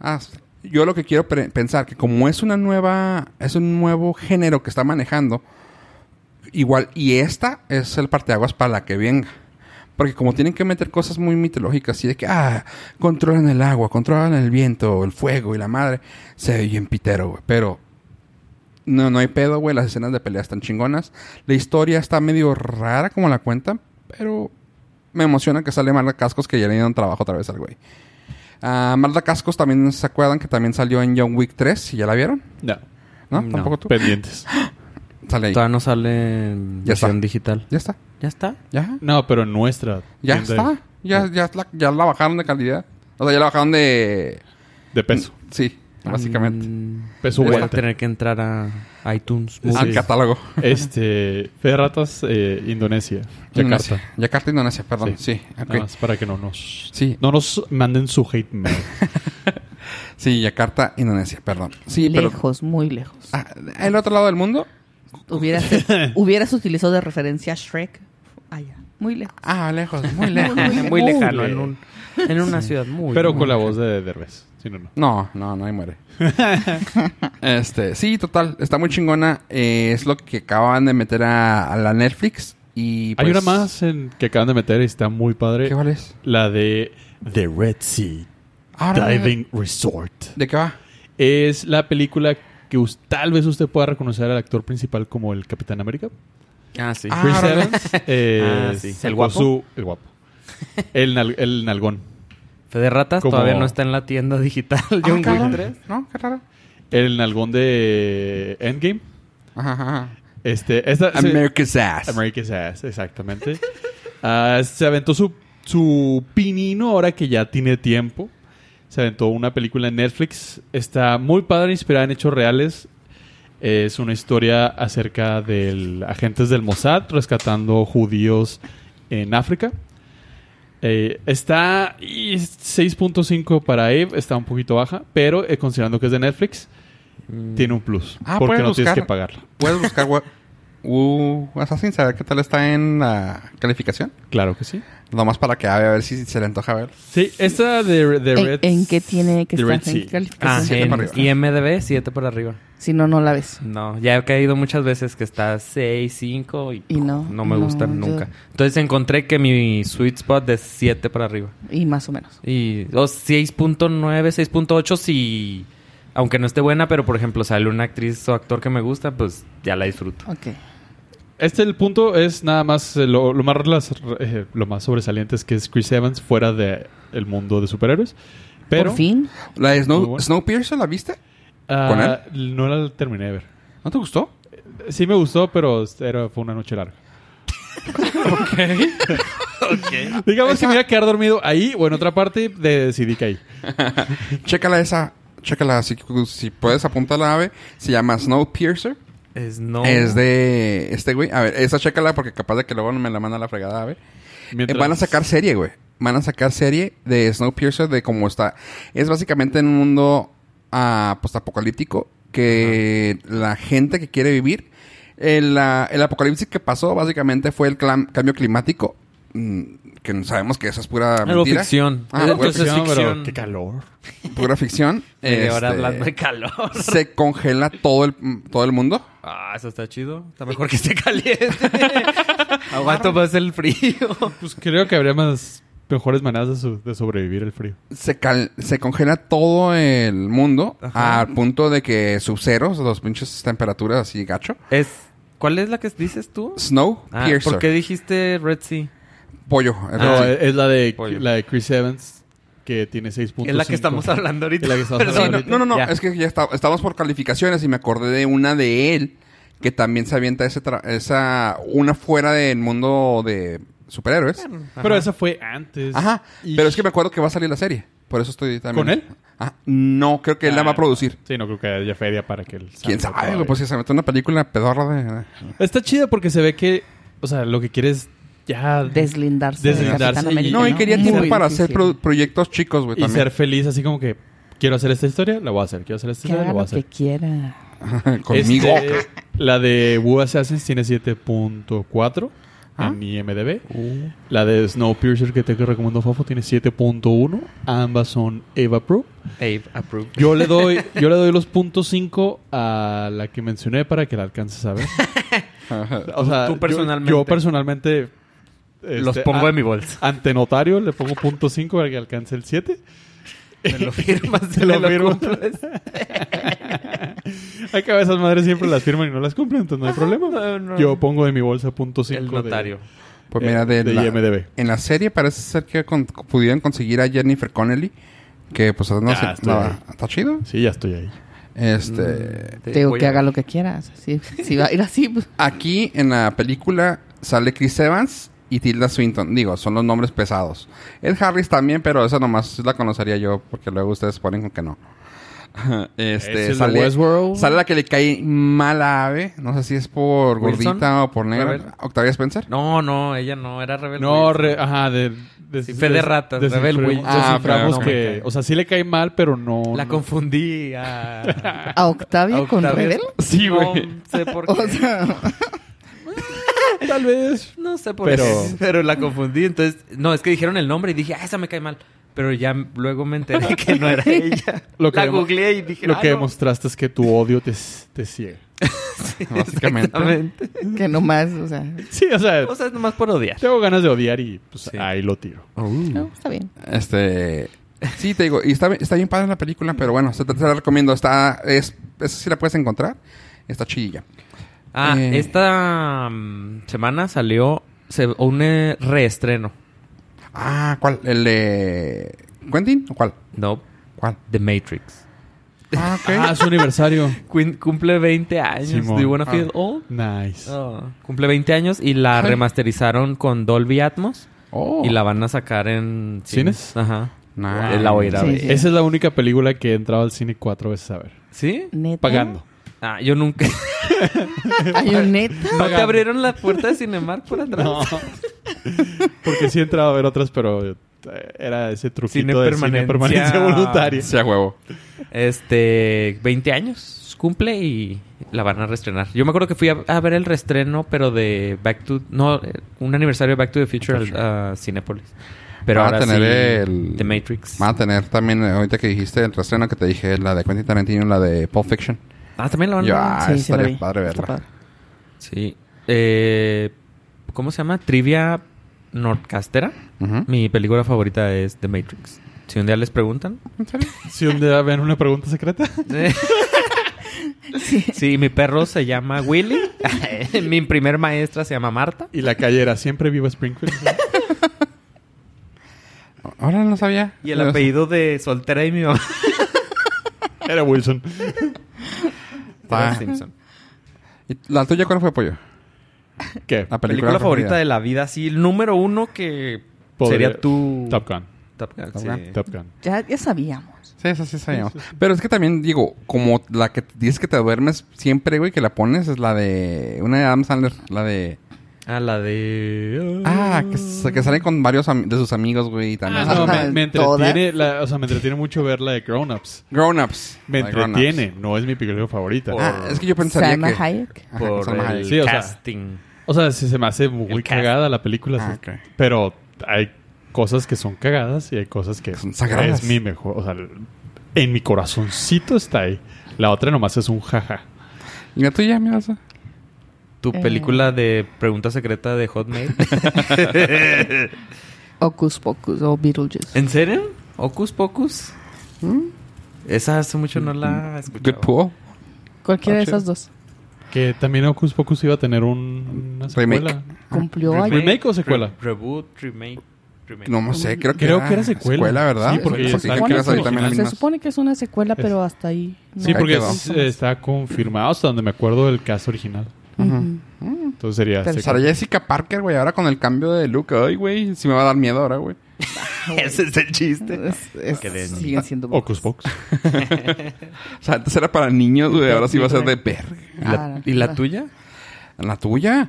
[SPEAKER 1] ah, yo lo que quiero pre- pensar, que como es una nueva... Es un nuevo género que está manejando, igual... Y esta es el parteaguas para la que venga. Porque como tienen que meter cosas muy mitológicas, así de que, ah, controlan el agua, controlan el viento, el fuego y la madre, se ve bien pitero, güey. Pero no, no hay pedo, güey. Las escenas de pelea están chingonas. La historia está medio rara como la cuentan, pero me emociona que sale Marla Cascos que ya le dieron trabajo otra vez al güey. Ah, Marla Cascos también se acuerdan que también salió en John Wick 3, si ya la vieron,
[SPEAKER 2] No.
[SPEAKER 1] ¿no?
[SPEAKER 3] No.
[SPEAKER 1] Tampoco tú.
[SPEAKER 2] Pendientes.
[SPEAKER 1] Sale ahí.
[SPEAKER 3] Todavía no sale en
[SPEAKER 1] Ya está.
[SPEAKER 3] versión digital.
[SPEAKER 1] Ya está.
[SPEAKER 3] ¿Ya está?
[SPEAKER 1] Ya.
[SPEAKER 2] No, pero en nuestra.
[SPEAKER 1] Ya
[SPEAKER 2] tienda
[SPEAKER 1] está. Ya, ya, la, ya la bajaron de calidad. O sea, ya la bajaron de.
[SPEAKER 2] De peso.
[SPEAKER 1] Sí, básicamente.
[SPEAKER 3] Mm,
[SPEAKER 2] Peso
[SPEAKER 3] voy a
[SPEAKER 2] vuelta.
[SPEAKER 3] tener que entrar a iTunes.
[SPEAKER 2] Sí.
[SPEAKER 1] Al
[SPEAKER 3] Movies.
[SPEAKER 1] catálogo.
[SPEAKER 2] Este. Fe de ratas, eh, Indonesia. Yakarta.
[SPEAKER 1] Indonesia. Yakarta, Indonesia, perdón. Sí, ok.
[SPEAKER 2] Nada más para que no nos.
[SPEAKER 1] Sí.
[SPEAKER 2] No nos manden su hate mail.
[SPEAKER 1] Sí, Yakarta, Indonesia, perdón. Sí, pero.
[SPEAKER 4] Lejos, muy lejos.
[SPEAKER 1] Ah, el otro lado del mundo.
[SPEAKER 4] Hubieras, hubieras utilizado de referencia a Shrek. Allá, muy lejos.
[SPEAKER 1] Ah, lejos, muy
[SPEAKER 4] lejos.
[SPEAKER 3] Muy,
[SPEAKER 4] Muy
[SPEAKER 3] lejano,
[SPEAKER 2] lejos.
[SPEAKER 3] en, un, en una ciudad muy...
[SPEAKER 2] pero
[SPEAKER 3] muy
[SPEAKER 2] con la
[SPEAKER 3] lejana.
[SPEAKER 2] voz de Derbez. Si no, no.
[SPEAKER 1] No, no, no, ahí muere. este, sí, total, está muy chingona. eh, es lo que acaban de meter a, a la Netflix. Y
[SPEAKER 2] Hay
[SPEAKER 1] pues-
[SPEAKER 2] una más en- que acaban de meter y está muy padre.
[SPEAKER 1] ¿Qué cuál es?
[SPEAKER 2] La de The Red Sea
[SPEAKER 1] Ahora,
[SPEAKER 2] Diving Resort.
[SPEAKER 1] ¿De qué va?
[SPEAKER 2] Es la película que us- tal vez usted pueda reconocer al actor principal como el Capitán América.
[SPEAKER 3] Ah, sí.
[SPEAKER 1] Ah,
[SPEAKER 2] Chris
[SPEAKER 1] órale.
[SPEAKER 2] Evans. eh,
[SPEAKER 3] Ah, sí.
[SPEAKER 2] sacó
[SPEAKER 3] ¿El guapo?
[SPEAKER 2] su- el guapo. El, nal- el nalgón.
[SPEAKER 3] Fede Ratas
[SPEAKER 2] Como-
[SPEAKER 3] todavía no está en la tienda digital.
[SPEAKER 1] Ah,
[SPEAKER 3] John
[SPEAKER 1] cabrón,
[SPEAKER 3] Wick 3.
[SPEAKER 1] ¿No? Qué raro.
[SPEAKER 2] El nalgón de Endgame.
[SPEAKER 1] Ajá, ajá.
[SPEAKER 2] Este, esta, se-
[SPEAKER 1] America's Ass.
[SPEAKER 2] America's Ass, exactamente. Ah, se aventó su, su pinino ahora que ya tiene tiempo. Se aventó una película en Netflix. Está muy padre, inspirada en hechos reales. Es una historia acerca de agentes del Mossad rescatando judíos en África. Eh, está y es 6.5 para Eve, está un poquito baja, pero eh, considerando que es de Netflix, tiene un plus.
[SPEAKER 1] Ah,
[SPEAKER 2] porque
[SPEAKER 1] puedes
[SPEAKER 2] no tienes
[SPEAKER 1] buscar. Uh,
[SPEAKER 2] que pagarla.
[SPEAKER 1] Puedes buscar, güey. U Assassin, saber qué tal está en la calificación.
[SPEAKER 2] Claro que sí.
[SPEAKER 1] Nomás para que a ver, a ver si se le antoja ver.
[SPEAKER 2] Sí, esta de, de
[SPEAKER 4] ¿En,
[SPEAKER 2] Red...
[SPEAKER 4] en qué tiene que
[SPEAKER 2] The
[SPEAKER 4] estar?
[SPEAKER 2] Red Sea.
[SPEAKER 4] ¿En qué calificación?
[SPEAKER 3] Ah,
[SPEAKER 1] siete
[SPEAKER 3] en
[SPEAKER 1] para arriba.
[SPEAKER 3] IMDB 7 para arriba.
[SPEAKER 4] Si no, no la ves.
[SPEAKER 3] No, ya he caído muchas veces que está 6, 5 y,
[SPEAKER 4] Y no,
[SPEAKER 3] no me
[SPEAKER 4] no,
[SPEAKER 3] gustan
[SPEAKER 4] yo-
[SPEAKER 3] nunca. Entonces encontré que mi sweet spot es 7 para arriba.
[SPEAKER 4] Y más o menos.
[SPEAKER 3] Y o 6.9, 6.8 si... Aunque no esté buena, pero por ejemplo sale una actriz o actor que me gusta, pues ya la disfruto.
[SPEAKER 4] Ok.
[SPEAKER 2] Este el punto es nada más eh, lo, lo más las- eh, lo más sobresaliente es que es Chris Evans fuera de el mundo de superhéroes, pero
[SPEAKER 4] Por fin.
[SPEAKER 1] La de Snow,
[SPEAKER 2] Muy bueno.
[SPEAKER 1] Snowpiercer, ¿la viste?
[SPEAKER 2] ah, no la terminé de ver.
[SPEAKER 1] ¿No te gustó?
[SPEAKER 2] Sí me gustó, pero era- fue una noche larga. ok. Digamos que me iba a quedar dormido ahí o en otra parte de decidí que ahí.
[SPEAKER 1] Eh, Chécala esa. Chécala si, si puedes apuntar la ave. Se llama Snowpiercer.
[SPEAKER 3] Es no...
[SPEAKER 1] Es de este güey. A ver, esa chécala porque capaz de que luego me la manda a la fregada ave. Eh,
[SPEAKER 2] Mientras-
[SPEAKER 1] Van a sacar serie, güey. Van a sacar serie de Snowpiercer de cómo está. Es básicamente en un mundo ah, postapocalíptico que la gente que quiere vivir. El, ah, el apocalipsis que pasó básicamente fue el clam- cambio climático. mm, que sabemos que eso es pura
[SPEAKER 3] Algo
[SPEAKER 1] mentira.
[SPEAKER 3] ficción.
[SPEAKER 1] Ah,
[SPEAKER 3] Entonces
[SPEAKER 1] pura
[SPEAKER 3] es ficción.
[SPEAKER 2] pero qué calor.
[SPEAKER 1] Pura ficción.
[SPEAKER 3] Y ahora
[SPEAKER 1] Este,
[SPEAKER 3] hablando de calor.
[SPEAKER 1] se congela todo el, todo el mundo.
[SPEAKER 3] Ah, eso está chido. Está mejor que esté caliente. Aguanto más el frío.
[SPEAKER 2] Pues creo que habría más mejores maneras de, su- de sobrevivir el frío.
[SPEAKER 1] se, cal- se congela todo el mundo
[SPEAKER 3] Ajá.
[SPEAKER 1] al punto de que sub-ceros, los pinches temperaturas así gacho.
[SPEAKER 3] Es, ¿Cuál es la que dices tú?
[SPEAKER 1] Snow
[SPEAKER 3] Ah,
[SPEAKER 1] Piercer.
[SPEAKER 3] ¿Por qué dijiste Red Sea?
[SPEAKER 1] Pollo. es
[SPEAKER 2] No,
[SPEAKER 1] decir,
[SPEAKER 2] es, es la de
[SPEAKER 3] Pollo.
[SPEAKER 2] la de Chris Evans que tiene 6.5.
[SPEAKER 3] Es la que estamos hablando ahorita.
[SPEAKER 2] Es la que estamos
[SPEAKER 1] Sí,
[SPEAKER 2] hablando
[SPEAKER 1] no,
[SPEAKER 2] ahorita.
[SPEAKER 1] no, no, no,
[SPEAKER 3] Ya.
[SPEAKER 1] es que ya está- estamos por calificaciones y me acordé de una de él que también se avienta ese tra- esa una fuera del mundo de
[SPEAKER 3] Ah,
[SPEAKER 1] superhéroes.
[SPEAKER 2] Pero esa fue antes.
[SPEAKER 1] Ajá,
[SPEAKER 2] pues, Y-
[SPEAKER 1] pero es que me acuerdo que va a salir la serie, por eso estoy también.
[SPEAKER 2] ¿Con él?
[SPEAKER 1] Ah, no, creo que él la va a
[SPEAKER 2] Ah,
[SPEAKER 1] producir.
[SPEAKER 2] Sí, no creo que haya feria para que él salga
[SPEAKER 1] ¿Quién sabe?
[SPEAKER 2] todavía.
[SPEAKER 1] güey? Pues si se mete una película pedorra de...
[SPEAKER 2] Está chida porque se ve que, o sea, lo que quiere es ya
[SPEAKER 4] Deslindarse. de
[SPEAKER 2] Deslindarse
[SPEAKER 4] Capitán
[SPEAKER 2] y-
[SPEAKER 4] América,
[SPEAKER 1] No, y
[SPEAKER 2] ¿no?
[SPEAKER 1] quería
[SPEAKER 4] Muy
[SPEAKER 1] tiempo para hacer
[SPEAKER 4] difícil.
[SPEAKER 1] pro- proyectos chicos, güey,
[SPEAKER 2] y
[SPEAKER 1] también.
[SPEAKER 2] ser feliz, así como que quiero hacer esta historia, la voy a hacer, quiero hacer esta
[SPEAKER 4] Que
[SPEAKER 2] historia, la
[SPEAKER 4] haga
[SPEAKER 2] voy a
[SPEAKER 4] lo que
[SPEAKER 2] hacer.
[SPEAKER 4] quiera.
[SPEAKER 1] Conmigo.
[SPEAKER 2] Este, la de Wu Assassins tiene 7.4
[SPEAKER 1] Ah.
[SPEAKER 2] en IMDb. La de Snowpiercer que te recomiendo Fofo tiene 7.1. Ambas son Eva Pro.
[SPEAKER 3] Abe, approve.
[SPEAKER 2] Yo le doy, yo le doy los puntos 5 a la que mencioné para que la alcances a ver. O sea,
[SPEAKER 3] Tú
[SPEAKER 2] yo-
[SPEAKER 3] personalmente.
[SPEAKER 2] Yo, personalmente.
[SPEAKER 3] Los
[SPEAKER 2] este,
[SPEAKER 3] pongo
[SPEAKER 2] a-
[SPEAKER 3] en mi bolsa.
[SPEAKER 2] Ante notario le pongo punto 5 para que alcance el 7.
[SPEAKER 3] Te lo firmas,
[SPEAKER 2] Te
[SPEAKER 3] te
[SPEAKER 2] lo
[SPEAKER 3] lo,
[SPEAKER 2] firmo.
[SPEAKER 3] cumples.
[SPEAKER 2] Hay que a esas madres siempre las firman y no las cumplen, entonces no hay problema.
[SPEAKER 3] no, no.
[SPEAKER 2] Yo pongo de mi bolsa punto 5.
[SPEAKER 3] El notario.
[SPEAKER 1] Pues mira, de,
[SPEAKER 2] eh, de
[SPEAKER 1] la,
[SPEAKER 2] IMDb.
[SPEAKER 1] En la serie parece ser que con- pudieron conseguir a Jennifer Connelly, que pues no
[SPEAKER 2] Ya,
[SPEAKER 1] sé,
[SPEAKER 2] estoy
[SPEAKER 1] la-
[SPEAKER 2] ahí.
[SPEAKER 1] está chido.
[SPEAKER 2] Sí, ya estoy ahí. Mm.
[SPEAKER 1] Este,
[SPEAKER 4] Te digo
[SPEAKER 3] voy
[SPEAKER 4] que
[SPEAKER 3] a-
[SPEAKER 4] haga lo que quieras. Si, si va a ir así, pues,
[SPEAKER 1] aquí en la película sale Chris Evans y Tilda Swinton, digo, son los nombres pesados. Ed Harris también, pero esa nomás la conocería yo porque luego ustedes ponen con que no.
[SPEAKER 2] ¿Es el
[SPEAKER 1] Este,
[SPEAKER 2] de
[SPEAKER 1] sale,
[SPEAKER 2] Westworld?
[SPEAKER 1] sale la que le cae mala ave. No sé si es por
[SPEAKER 3] Wilson?
[SPEAKER 1] gordita o por
[SPEAKER 3] Rebel.
[SPEAKER 1] negra. Octavia Spencer.
[SPEAKER 3] No, no, ella no, era rebelde.
[SPEAKER 2] No, re- ah, ajá, de. de
[SPEAKER 3] Sí, fe de ratas, Rebel
[SPEAKER 2] desinflu-
[SPEAKER 3] Wilson.
[SPEAKER 1] Ah,
[SPEAKER 2] desinflamos
[SPEAKER 1] pero no
[SPEAKER 2] que.
[SPEAKER 3] me cae.
[SPEAKER 2] o sea, sí le cae mal, pero no.
[SPEAKER 3] La
[SPEAKER 2] no-
[SPEAKER 3] confundí a...
[SPEAKER 4] a Octavia,
[SPEAKER 3] a
[SPEAKER 4] con
[SPEAKER 3] Octavia.
[SPEAKER 4] Rebel.
[SPEAKER 2] Sí,
[SPEAKER 3] No
[SPEAKER 2] güey.
[SPEAKER 3] sé por qué.
[SPEAKER 4] O sea,
[SPEAKER 2] Tal vez.
[SPEAKER 3] No sé por
[SPEAKER 2] Pero-
[SPEAKER 3] qué. Pero la confundí. Entonces, no, es que dijeron el nombre y dije, ah, esa me cae mal. Pero ya m- luego me enteré que no era ella.
[SPEAKER 2] Lo que
[SPEAKER 3] la
[SPEAKER 2] vemos-
[SPEAKER 3] googleé y dije,
[SPEAKER 2] Lo
[SPEAKER 3] "Ah,
[SPEAKER 2] que
[SPEAKER 3] no".
[SPEAKER 2] demostraste es que tu odio te, te ciega.
[SPEAKER 1] Básicamente.
[SPEAKER 3] Exactamente.
[SPEAKER 4] que nomás, o sea.
[SPEAKER 2] Sí, o sea,
[SPEAKER 3] O sea, es nomás por odiar.
[SPEAKER 2] tengo ganas de odiar y pues
[SPEAKER 3] Sí.
[SPEAKER 2] ahí lo tiro.
[SPEAKER 1] Oh.
[SPEAKER 4] No, está bien.
[SPEAKER 1] Este. Sí, te digo, y está, bien- está bien padre la película, pero bueno, se te, se la recomiendo. Está, es, esa sí la puedes encontrar. Está chidilla.
[SPEAKER 3] Ah,
[SPEAKER 1] Eh.
[SPEAKER 3] esta mm, semana salió se- un eh, reestreno.
[SPEAKER 1] Ah, ¿cuál? ¿El de Quentin o cuál?
[SPEAKER 3] No,
[SPEAKER 1] ¿Cuál?
[SPEAKER 3] The Matrix.
[SPEAKER 1] Ah, ok.
[SPEAKER 2] Ah, su aniversario.
[SPEAKER 3] Quin- cumple 20 años.
[SPEAKER 2] Simón.
[SPEAKER 3] Do you wanna
[SPEAKER 1] Ah.
[SPEAKER 3] feel old?
[SPEAKER 2] Nice.
[SPEAKER 3] Oh, Cumple 20 años y la
[SPEAKER 1] Ay.
[SPEAKER 3] remasterizaron con Dolby Atmos
[SPEAKER 1] Oh.
[SPEAKER 3] y la van a sacar en
[SPEAKER 2] ¿Cines?
[SPEAKER 3] Ajá.
[SPEAKER 1] Nice.
[SPEAKER 3] La voy a ir a
[SPEAKER 4] Sí,
[SPEAKER 3] ver.
[SPEAKER 4] sí.
[SPEAKER 2] Esa es la única película que he entrado al cine cuatro veces a ver.
[SPEAKER 3] ¿Sí?
[SPEAKER 4] Neta.
[SPEAKER 2] Pagando.
[SPEAKER 3] Ah, yo nunca.
[SPEAKER 4] Hay un neta.
[SPEAKER 3] ¿No te abrieron la puerta de Cinemark por atrás?
[SPEAKER 2] No. Porque sí he entrado a ver otras, pero eh, era ese truquito
[SPEAKER 3] Cine
[SPEAKER 2] de
[SPEAKER 3] permanencia.
[SPEAKER 2] cine permanencia voluntaria.
[SPEAKER 1] Sí, a huevo.
[SPEAKER 3] Este, 20 años. cumple y la van a restrenar. Yo me acuerdo que fui a, a ver el restreno, pero de Back to... No, eh, un aniversario de Back to the Future al- a Cinépolis. Pero
[SPEAKER 1] Van a
[SPEAKER 3] ahora
[SPEAKER 1] Ah, tener
[SPEAKER 3] sí,
[SPEAKER 1] el-
[SPEAKER 3] The Matrix.
[SPEAKER 1] Van a tener también, eh, ahorita que dijiste el restreno que te dije, la de Quentin Tarantino, la de Pulp Fiction.
[SPEAKER 3] Ah, también la van
[SPEAKER 1] Yo,
[SPEAKER 3] a...
[SPEAKER 1] ah,
[SPEAKER 4] sí, sí la
[SPEAKER 1] estaría
[SPEAKER 4] vi.
[SPEAKER 1] padre
[SPEAKER 4] Está
[SPEAKER 1] verla.
[SPEAKER 4] padre.
[SPEAKER 3] Sí. Eh, ¿Cómo se llama? Trivia Nordcastera.
[SPEAKER 1] Ujú.
[SPEAKER 3] Mi película favorita es The Matrix. Si un día les preguntan.
[SPEAKER 2] Si un día ven una pregunta secreta.
[SPEAKER 4] Sí.
[SPEAKER 3] Sí, mi perro se llama Willy. mi primer maestra se llama Marta.
[SPEAKER 2] Y la calle era siempre viva Springfield.
[SPEAKER 1] Ahora no sabía.
[SPEAKER 3] Y el apellido de soltera de mi mamá.
[SPEAKER 2] Era Wilson.
[SPEAKER 1] Ah.
[SPEAKER 3] Era Simpson.
[SPEAKER 1] ¿Y ¿La tuya cuál fue, Pollo?
[SPEAKER 2] ¿Qué?
[SPEAKER 1] La
[SPEAKER 3] Película, favorita de la vida, sí. El número uno que
[SPEAKER 2] Podría-
[SPEAKER 3] sería tu...
[SPEAKER 2] Top Gun.
[SPEAKER 3] Top Gun,
[SPEAKER 1] Top
[SPEAKER 3] sí.
[SPEAKER 1] Gun.
[SPEAKER 2] Top Gun.
[SPEAKER 4] Ya, ya sabíamos.
[SPEAKER 1] Sí, eso sí sabíamos. Pero es que también, digo, como la que dices que te duermes siempre, güey, que la pones, es la de... Una de Adam Sandler, la de...
[SPEAKER 3] Ah, la de... uh,
[SPEAKER 1] Ah, que, sa- que sale con varios am- de sus amigos, güey, y también.
[SPEAKER 2] Ah, no, me, me
[SPEAKER 4] Todas.
[SPEAKER 2] entretiene, la- o sea, me entretiene mucho ver la de Grown Ups.
[SPEAKER 1] Grown-ups.
[SPEAKER 2] Me
[SPEAKER 1] La de Grown Ups.
[SPEAKER 2] entretiene, no es mi película favorita.
[SPEAKER 1] Ah, es que yo pensaría
[SPEAKER 4] Salma
[SPEAKER 1] que...
[SPEAKER 4] Hayek.
[SPEAKER 1] Ajá,
[SPEAKER 3] Por
[SPEAKER 1] Salma
[SPEAKER 3] el
[SPEAKER 1] Hayek.
[SPEAKER 2] Sí, o sea-
[SPEAKER 3] casting.
[SPEAKER 2] O sea, sí se me hace muy
[SPEAKER 3] El cast.
[SPEAKER 2] cagada la película.
[SPEAKER 1] Ah,
[SPEAKER 2] sí.
[SPEAKER 1] ok.
[SPEAKER 2] Pero hay cosas que son cagadas y hay cosas que
[SPEAKER 1] Son sagradas.
[SPEAKER 2] Es mi mejor. O sea, en mi corazoncito está ahí. La otra nomás es un jaja.
[SPEAKER 1] ¿Y la tuya, mi raza?
[SPEAKER 3] Tu
[SPEAKER 4] Eh.
[SPEAKER 3] película de pregunta secreta de Hotmail.
[SPEAKER 4] Ocus Pocus o Beetlejuice.
[SPEAKER 3] ¿En serio? ¿Ocus Pocus? Esa hace mucho no la escuché.
[SPEAKER 1] Good Pool.
[SPEAKER 4] Cualquiera de
[SPEAKER 1] Ah, chido.
[SPEAKER 4] esas dos.
[SPEAKER 2] Que también Ocus Pocus iba a tener un, una
[SPEAKER 1] Remake.
[SPEAKER 2] secuela.
[SPEAKER 4] Cumplió ayer.
[SPEAKER 2] ¿Remake o secuela?
[SPEAKER 3] reboot, remake. remake.
[SPEAKER 1] No, no sé, creo que,
[SPEAKER 2] Creo que era secuela.
[SPEAKER 1] ¿verdad?
[SPEAKER 2] Sí, porque
[SPEAKER 1] Porque dije
[SPEAKER 2] se
[SPEAKER 1] que
[SPEAKER 2] supone
[SPEAKER 1] iba a salir
[SPEAKER 2] que-
[SPEAKER 1] también
[SPEAKER 2] se
[SPEAKER 1] alguien
[SPEAKER 4] Se
[SPEAKER 1] más.
[SPEAKER 4] supone que es una secuela, pero hasta ahí. ¿no?
[SPEAKER 2] Sí,
[SPEAKER 1] Ahí
[SPEAKER 2] porque
[SPEAKER 1] quedó.
[SPEAKER 2] es- está confirmado hasta donde me acuerdo del caso original.
[SPEAKER 4] Ujú.
[SPEAKER 2] Entonces sería.
[SPEAKER 4] Pero-
[SPEAKER 1] Sara
[SPEAKER 2] secuela.
[SPEAKER 1] Jessica Parker, güey, ahora con el cambio de look. Ay, güey, sí me va a dar miedo ahora, güey.
[SPEAKER 3] Ese es el chiste.
[SPEAKER 4] Es- es-
[SPEAKER 3] Que de-
[SPEAKER 4] siguen siendo
[SPEAKER 2] Ocus Pocus.
[SPEAKER 1] O sea, antes era para niños, güey, ahora sí va a ser de verga.
[SPEAKER 3] ¿Y
[SPEAKER 4] Ah,
[SPEAKER 3] la, y la tuya?
[SPEAKER 1] ¿La tuya?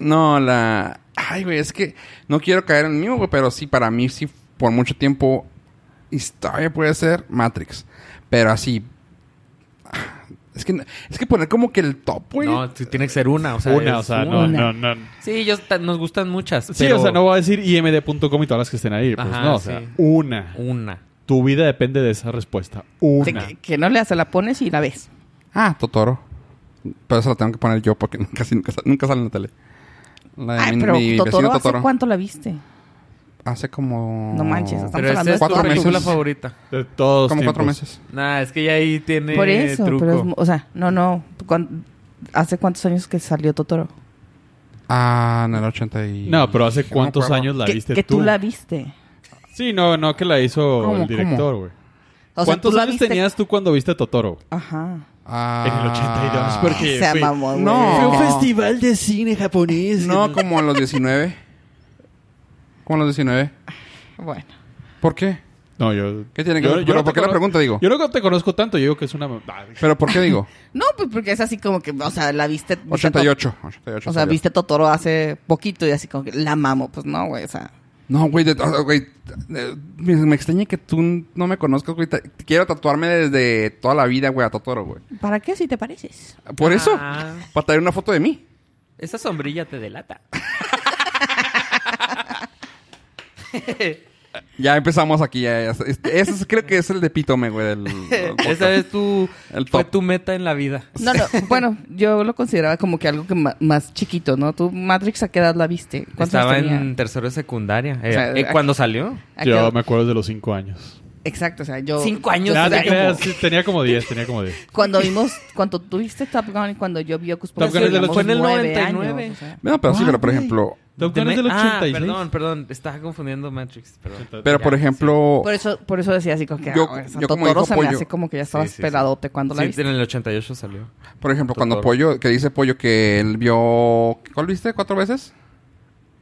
[SPEAKER 1] No, la... Ay, güey, es que no quiero caer en el mismo, güey, pero sí, para mí sí, por mucho tiempo, historia puede ser Matrix. Pero así... ah, Es que, es que poner como que el top, güey.
[SPEAKER 3] No, t- tiene que ser una. O sea,
[SPEAKER 2] una,
[SPEAKER 3] es
[SPEAKER 2] o sea, no,
[SPEAKER 4] una.
[SPEAKER 2] no, no.
[SPEAKER 3] Sí, yo ta- nos gustan muchas.
[SPEAKER 2] Sí,
[SPEAKER 3] pero
[SPEAKER 2] o sea, no voy a decir imd.com y todas las que estén ahí. Pues
[SPEAKER 3] Ajá,
[SPEAKER 2] no, o
[SPEAKER 3] sí.
[SPEAKER 2] sea, una.
[SPEAKER 3] Una.
[SPEAKER 2] Tu vida depende de esa respuesta. Una.
[SPEAKER 4] Que, que no le haces, la pones y la ves.
[SPEAKER 1] Ah, Totoro. Pero eso la tengo que poner yo porque casi nunca, sa- nunca sale en la tele. La de
[SPEAKER 4] Ay,
[SPEAKER 1] mi,
[SPEAKER 4] pero
[SPEAKER 1] mi
[SPEAKER 4] Totoro,
[SPEAKER 1] vecino
[SPEAKER 4] ¿hace
[SPEAKER 1] Totoro.
[SPEAKER 4] cuánto la viste?
[SPEAKER 1] Hace como...
[SPEAKER 4] No manches, estamos
[SPEAKER 3] Pero esa
[SPEAKER 4] hablando
[SPEAKER 3] es
[SPEAKER 4] de
[SPEAKER 3] tu
[SPEAKER 1] cuatro
[SPEAKER 4] Totoro.
[SPEAKER 1] meses.
[SPEAKER 3] película favorita.
[SPEAKER 2] De todos
[SPEAKER 1] Como cuatro
[SPEAKER 2] tiempos.
[SPEAKER 1] meses.
[SPEAKER 3] Nah, es que ya ahí tiene
[SPEAKER 4] Por eso,
[SPEAKER 3] truco.
[SPEAKER 4] pero es mu- o sea, no, no. ¿Cuán- ¿Hace cuántos años que salió Totoro?
[SPEAKER 1] Ah, en el 80 y...
[SPEAKER 2] No, pero ¿hace
[SPEAKER 1] me
[SPEAKER 2] cuántos
[SPEAKER 1] acuerdo.
[SPEAKER 2] años la
[SPEAKER 4] que,
[SPEAKER 2] viste
[SPEAKER 4] que
[SPEAKER 2] tú?
[SPEAKER 4] tú la viste.
[SPEAKER 2] Sí, no, no, que la hizo
[SPEAKER 1] ¿Cómo,
[SPEAKER 2] el director,
[SPEAKER 1] cómo?
[SPEAKER 2] güey.
[SPEAKER 4] O sea,
[SPEAKER 2] ¿Cuántos
[SPEAKER 4] tú la
[SPEAKER 2] años
[SPEAKER 4] viste-
[SPEAKER 2] tenías tú cuando viste a Totoro?
[SPEAKER 4] Ajá.
[SPEAKER 1] Ah.
[SPEAKER 2] En el 82, porque
[SPEAKER 4] Se
[SPEAKER 2] fui-
[SPEAKER 4] mamó, güey.
[SPEAKER 1] No. Fue un
[SPEAKER 2] festival de cine japonés.
[SPEAKER 1] No, como a los 19. Como a los 19.
[SPEAKER 4] Bueno.
[SPEAKER 1] ¿Por qué?
[SPEAKER 2] No, yo...
[SPEAKER 1] ¿Qué tiene que ver? Pero,
[SPEAKER 2] no
[SPEAKER 1] ¿por
[SPEAKER 2] te
[SPEAKER 1] qué la
[SPEAKER 2] cono-
[SPEAKER 1] pregunta, digo?
[SPEAKER 2] Yo no te conozco tanto, yo digo que es una... Ah,
[SPEAKER 1] ¿Pero por qué digo?
[SPEAKER 4] No, pues porque es así como que, o sea, la viste. viste
[SPEAKER 1] 88. 88
[SPEAKER 4] to- O sea,
[SPEAKER 1] salió.
[SPEAKER 4] viste Totoro hace poquito y así como que la mamo. Pues no, güey, o sea.
[SPEAKER 1] No, güey. de- o sea, güey, eh, Me, me extraña que tú no me conozcas, güey. Ta- Quiero tatuarme desde toda la vida, güey, a Totoro, güey.
[SPEAKER 4] ¿Para qué si te pareces?
[SPEAKER 1] Por eso.
[SPEAKER 3] Ah.
[SPEAKER 1] Para traer una foto de mí.
[SPEAKER 3] Esa sombrilla te delata.
[SPEAKER 1] Ya empezamos aquí. Ya, ya. Este- ese es- creo que es el de Pitome, güey. Del, del podcast.
[SPEAKER 3] Esa es tu...
[SPEAKER 1] El
[SPEAKER 3] Fue
[SPEAKER 1] top.
[SPEAKER 3] tu meta en la vida.
[SPEAKER 4] No, no, bueno, yo lo consideraba como que algo que ma- más chiquito, ¿no? Tú, Matrix, ¿a qué edad la viste? ¿Cuántos
[SPEAKER 3] Estaba
[SPEAKER 4] años tenía?
[SPEAKER 3] en tercero de secundaria. Eh,
[SPEAKER 4] O sea,
[SPEAKER 3] eh,
[SPEAKER 4] aquí-
[SPEAKER 3] ¿Cuándo salió?
[SPEAKER 4] ¿A qué
[SPEAKER 2] yo
[SPEAKER 4] edad?
[SPEAKER 2] me acuerdo desde los 5 años.
[SPEAKER 4] Exacto, o sea, yo...
[SPEAKER 3] Cinco años,
[SPEAKER 4] yo
[SPEAKER 2] Ah,
[SPEAKER 4] era
[SPEAKER 2] te
[SPEAKER 3] sé
[SPEAKER 4] como-
[SPEAKER 2] creas, sí, tenía como 10, tenía como 10.
[SPEAKER 4] Cuando vimos, cuando tuviste Top Gun y cuando yo vi Ocus Pocus,
[SPEAKER 2] Top Gun es de los-
[SPEAKER 4] teníamos
[SPEAKER 2] fue
[SPEAKER 3] en el
[SPEAKER 4] nueve
[SPEAKER 3] 99.
[SPEAKER 4] años, o sea.
[SPEAKER 1] No, pero sí, pero por
[SPEAKER 2] Guau,
[SPEAKER 1] ejemplo.
[SPEAKER 2] Top
[SPEAKER 3] De
[SPEAKER 2] Gun es
[SPEAKER 3] Ma-
[SPEAKER 2] del
[SPEAKER 3] Ah,
[SPEAKER 2] 86.
[SPEAKER 3] perdón, perdón. Estaba confundiendo Matrix. Perdón.
[SPEAKER 1] Pero por
[SPEAKER 3] Ya,
[SPEAKER 1] ejemplo.
[SPEAKER 4] Por eso, por eso decía así como que...
[SPEAKER 1] Yo-
[SPEAKER 4] ah, o sea,
[SPEAKER 1] yo como
[SPEAKER 4] Totoro
[SPEAKER 1] dijo
[SPEAKER 4] se me
[SPEAKER 1] Pollo-
[SPEAKER 4] hace como que ya estabas
[SPEAKER 3] Sí, sí, sí.
[SPEAKER 4] peladote cuando la
[SPEAKER 3] Sí,
[SPEAKER 4] viste.
[SPEAKER 3] en el 88 salió.
[SPEAKER 1] Por ejemplo, cuando
[SPEAKER 3] Totoro.
[SPEAKER 1] Pollo, que dice Pollo que él vio... ¿Cuál viste? ¿Cuatro veces?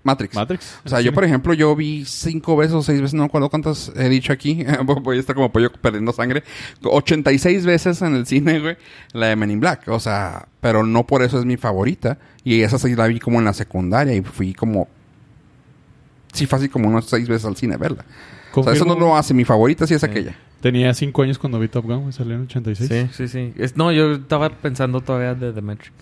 [SPEAKER 1] Matrix.
[SPEAKER 2] Matrix.
[SPEAKER 1] O sea, yo, por ejemplo, yo vi cinco veces o seis veces, no me acuerdo cuántas he dicho aquí. Voy a estar como pollo perdiendo sangre. 86 veces en el cine, güey, la de Men in Black. O sea, pero no por eso es mi favorita. Y esa sí la vi como en la secundaria y fui como...
[SPEAKER 2] Pues
[SPEAKER 1] Sí, fácil como unas seis veces al cine a verla. O sea, eso no lo hace mi favorita, sí es aquella.
[SPEAKER 2] Tenía 5 años cuando vi Top Gun, güey, salió en 86.
[SPEAKER 3] Sí, sí, sí. Es- no, yo estaba pensando todavía de The Matrix.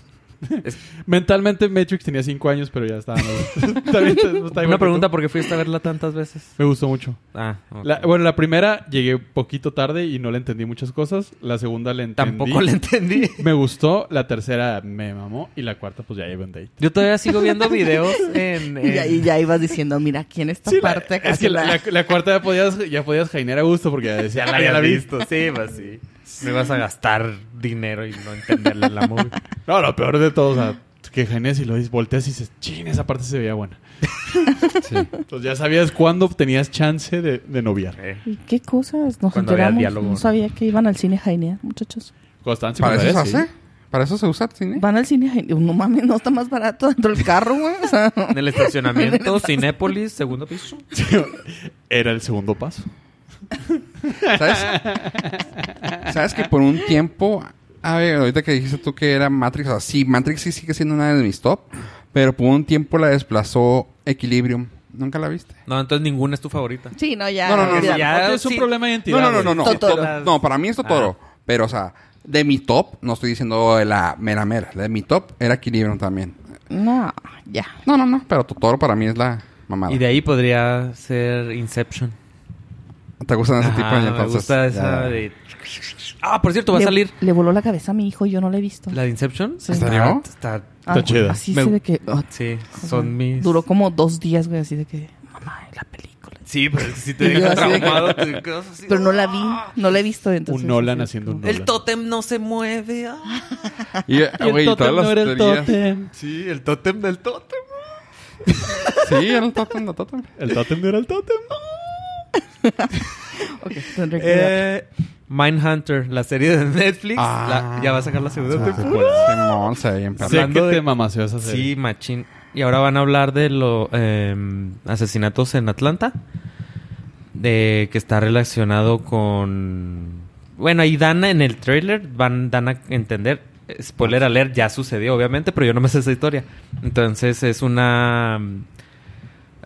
[SPEAKER 2] Mentalmente Matrix tenía 5 años, pero ya estaba. Está bien, está- está igual que
[SPEAKER 3] Una
[SPEAKER 2] tú.
[SPEAKER 3] pregunta, ¿por qué fuiste a verla tantas veces?
[SPEAKER 2] Me gustó mucho.
[SPEAKER 3] Ah, ok.
[SPEAKER 2] La- bueno, la primera llegué poquito tarde y no le entendí muchas cosas. La segunda le entendí.
[SPEAKER 3] Tampoco la entendí.
[SPEAKER 2] Me gustó. La tercera me mamó. Y la cuarta, pues ya llevé un date.
[SPEAKER 3] Yo todavía sigo viendo videos en...
[SPEAKER 4] Y ya, y
[SPEAKER 3] en-
[SPEAKER 4] ya ibas diciendo, mira, aquí en esta
[SPEAKER 2] Sí, la-
[SPEAKER 4] parte
[SPEAKER 2] es
[SPEAKER 4] casi
[SPEAKER 2] que la,
[SPEAKER 4] la-
[SPEAKER 2] la- la cuarta ya podías, ya podías jainear a gusto porque ya decía,
[SPEAKER 3] Ya la había visto, sí, pues sí. Me vas a gastar dinero y no entenderle la movie.
[SPEAKER 2] No, lo peor de todo, o sea, que jaineas y lo dices, volteas y dices, ching, esa parte se veía buena. Entonces ya sabías cuándo tenías chance de, de noviar.
[SPEAKER 3] Eh,
[SPEAKER 4] ¿Y ¿Qué cosas? Nos
[SPEAKER 3] Cuando había
[SPEAKER 4] enteramos.
[SPEAKER 3] diálogo,
[SPEAKER 4] no
[SPEAKER 3] ¿no?
[SPEAKER 4] sabía que iban al cine Jainea, muchachos.
[SPEAKER 2] Cuando estaban en
[SPEAKER 1] ¿Para eso se
[SPEAKER 2] secundaria,
[SPEAKER 1] hace? ¿Para eso se usa el cine?
[SPEAKER 4] Van al cine Jainea. No mames, no está más barato dentro del carro, güey. O sea,
[SPEAKER 3] En el estacionamiento, Cinépolis, segundo piso.
[SPEAKER 2] sí. Era el segundo paso.
[SPEAKER 1] ¿Sabes? ¿Sabes que por un tiempo... A ver, ahorita que dijiste tú que era Matrix, o sea, sí, Matrix sí sigue siendo una de mis top, pero por un tiempo la desplazó Equilibrium. ¿Nunca la viste?
[SPEAKER 3] No, entonces ninguna es tu favorita.
[SPEAKER 4] sí, no, ya.
[SPEAKER 1] No, no, no, no,
[SPEAKER 4] olvídalo.
[SPEAKER 3] ya.
[SPEAKER 2] Aparte es un
[SPEAKER 3] sí. Ah.
[SPEAKER 2] problema de identidad.
[SPEAKER 1] No, no, no, no, no.
[SPEAKER 4] Totoro.
[SPEAKER 1] Tot- No, para mí es Totoro. Pero, o sea, de mi top, no estoy diciendo de la mera mera. La de mi top era Equilibrium también.
[SPEAKER 4] No, ya.
[SPEAKER 1] No, no, no. Pero Totoro para mí es la mamada.
[SPEAKER 3] Y de ahí podría ser Inception.
[SPEAKER 1] ¿Te gustan ese tipo
[SPEAKER 3] Ajá,
[SPEAKER 1] de
[SPEAKER 3] me
[SPEAKER 1] entonces?
[SPEAKER 3] gusta esa
[SPEAKER 1] Ya.
[SPEAKER 3] de... Ah, por cierto, va a
[SPEAKER 4] Le-
[SPEAKER 3] salir.
[SPEAKER 4] Le voló la cabeza a mi hijo y yo no la he visto.
[SPEAKER 3] ¿La de Inception?
[SPEAKER 4] Sí.
[SPEAKER 1] ¿En serio?
[SPEAKER 3] Ah, Está...
[SPEAKER 4] Ah, güey,
[SPEAKER 2] chida.
[SPEAKER 4] Así
[SPEAKER 3] Me-
[SPEAKER 4] sé de que. ah,
[SPEAKER 3] Sí, son mis...
[SPEAKER 4] Duró como dos días, güey, así de que. Mamá, la película.
[SPEAKER 3] Sí, pero si te
[SPEAKER 4] Y yo
[SPEAKER 3] dejas
[SPEAKER 4] así de que-
[SPEAKER 3] traumado, te quedas así. ¡ah!
[SPEAKER 4] Pero no la vi, no la he visto entonces.
[SPEAKER 2] Un Nolan
[SPEAKER 4] así
[SPEAKER 2] haciendo un
[SPEAKER 4] como-
[SPEAKER 2] Nolan.
[SPEAKER 3] El tótem no se mueve. ah.
[SPEAKER 1] Y, güey, todas las teorías-
[SPEAKER 3] Sí, el tótem del tótem.
[SPEAKER 1] Sí, era el totem, el totem.
[SPEAKER 2] El tótem no era el tótem.
[SPEAKER 4] Ok, tendré que ver.
[SPEAKER 3] Eh, Mindhunter, la serie de Netflix.
[SPEAKER 1] Ah.
[SPEAKER 3] la- ya va a sacar la segunda
[SPEAKER 1] Ah,
[SPEAKER 3] temporada.
[SPEAKER 1] Simón, se ve bien perro.
[SPEAKER 2] Sé que
[SPEAKER 3] Hablando de-
[SPEAKER 2] te mamaseó esa serie.
[SPEAKER 3] Sí, machín. Y ahora van a hablar de los asesinatos en Atlanta. De que está relacionado con. Bueno, ahí dan en el trailer, van, dan a entender. Spoiler alert, ya sucedió, obviamente, pero yo no me sé esa historia. Entonces es una. mm,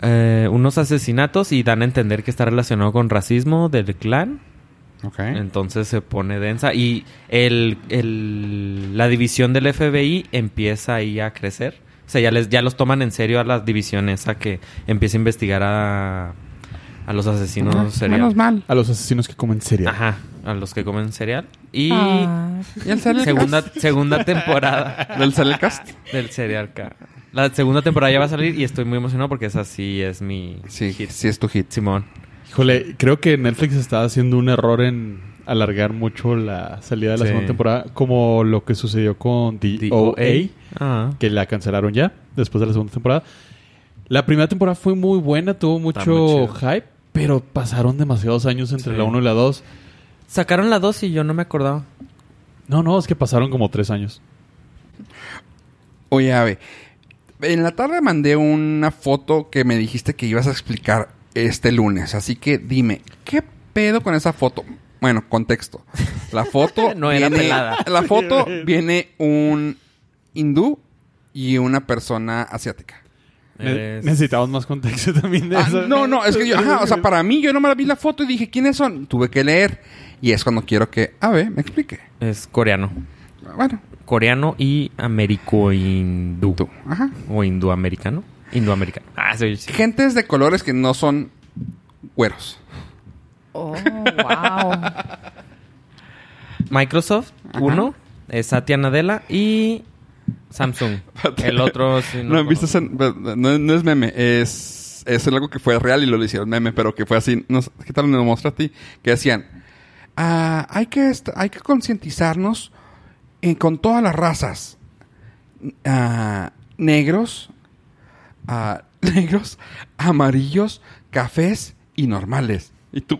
[SPEAKER 3] eh, unos asesinatos y dan a entender que está relacionado con racismo del clan.
[SPEAKER 1] Ok.
[SPEAKER 3] Entonces se pone densa y el, el- la división del FBI empieza ahí a crecer. O sea, ya, les, ya los toman en serio a las divisiones a que empieza a investigar a, a los asesinos
[SPEAKER 1] Ah,
[SPEAKER 3] seriales.
[SPEAKER 1] Menos mal.
[SPEAKER 2] A los asesinos que comen serial.
[SPEAKER 3] Ajá, a los que comen cereal. Y
[SPEAKER 4] Ah,
[SPEAKER 1] ¿Y el Celecast?
[SPEAKER 3] segunda, segunda temporada
[SPEAKER 1] ¿Del Celecast?
[SPEAKER 3] del serial. ca- La segunda temporada ya va a salir y estoy muy emocionado porque esa sí es mi
[SPEAKER 1] Sí,
[SPEAKER 3] hit.
[SPEAKER 1] sí es tu hit.
[SPEAKER 3] Simón.
[SPEAKER 2] Híjole, creo que Netflix está haciendo un error en alargar mucho la salida de la
[SPEAKER 3] Sí.
[SPEAKER 2] segunda temporada, como lo que sucedió con DOA,
[SPEAKER 3] Ah.
[SPEAKER 2] que la cancelaron ya después de la segunda temporada. La primera temporada fue muy buena, tuvo
[SPEAKER 3] muy
[SPEAKER 2] mucho hype, pero pasaron demasiados años entre
[SPEAKER 3] Sí.
[SPEAKER 2] la 1 y la 2.
[SPEAKER 3] Sacaron la dos y yo no me acordaba.
[SPEAKER 2] No, no, es que pasaron como tres años.
[SPEAKER 1] Oye, Ave, en la tarde mandé una foto que me dijiste que ibas a explicar este lunes. Así que dime, ¿qué pedo con esa foto? Bueno, contexto. La foto
[SPEAKER 3] No era
[SPEAKER 1] viene,
[SPEAKER 3] pelada.
[SPEAKER 1] La foto viene un hindú y una persona asiática.
[SPEAKER 2] Ne-
[SPEAKER 3] Eres-
[SPEAKER 2] Necesitamos más contexto también de
[SPEAKER 1] Ah,
[SPEAKER 2] eso.
[SPEAKER 1] no, no, es que yo, ajá, o sea, para mí yo no me la vi la foto y dije, ¿quiénes son? Tuve que leer y es cuando quiero que Ave me explique.
[SPEAKER 3] Es coreano.
[SPEAKER 1] Bueno,
[SPEAKER 3] coreano y américo-hindú.
[SPEAKER 1] tú, ajá.
[SPEAKER 3] O hinduamericano. Hinduamericano. Ah, sí, sí.
[SPEAKER 1] Gentes de colores que no son güeros.
[SPEAKER 4] oh, wow.
[SPEAKER 3] Microsoft, uno. Es Satya Nadella y Samsung. El otro, sí,
[SPEAKER 1] No,
[SPEAKER 3] lo
[SPEAKER 1] ¿viste
[SPEAKER 3] conozco.
[SPEAKER 1] ese- no, no es meme, es, es algo que fue real y lo hicieron meme, pero que fue así. No, sé, ¿Qué tal me lo muestra a ti? Que decían, "Ah, hay que, est- hay que concientizarnos eh, con todas las razas. Ah, negros, ah, negros, amarillos, cafés y normales. Y tú...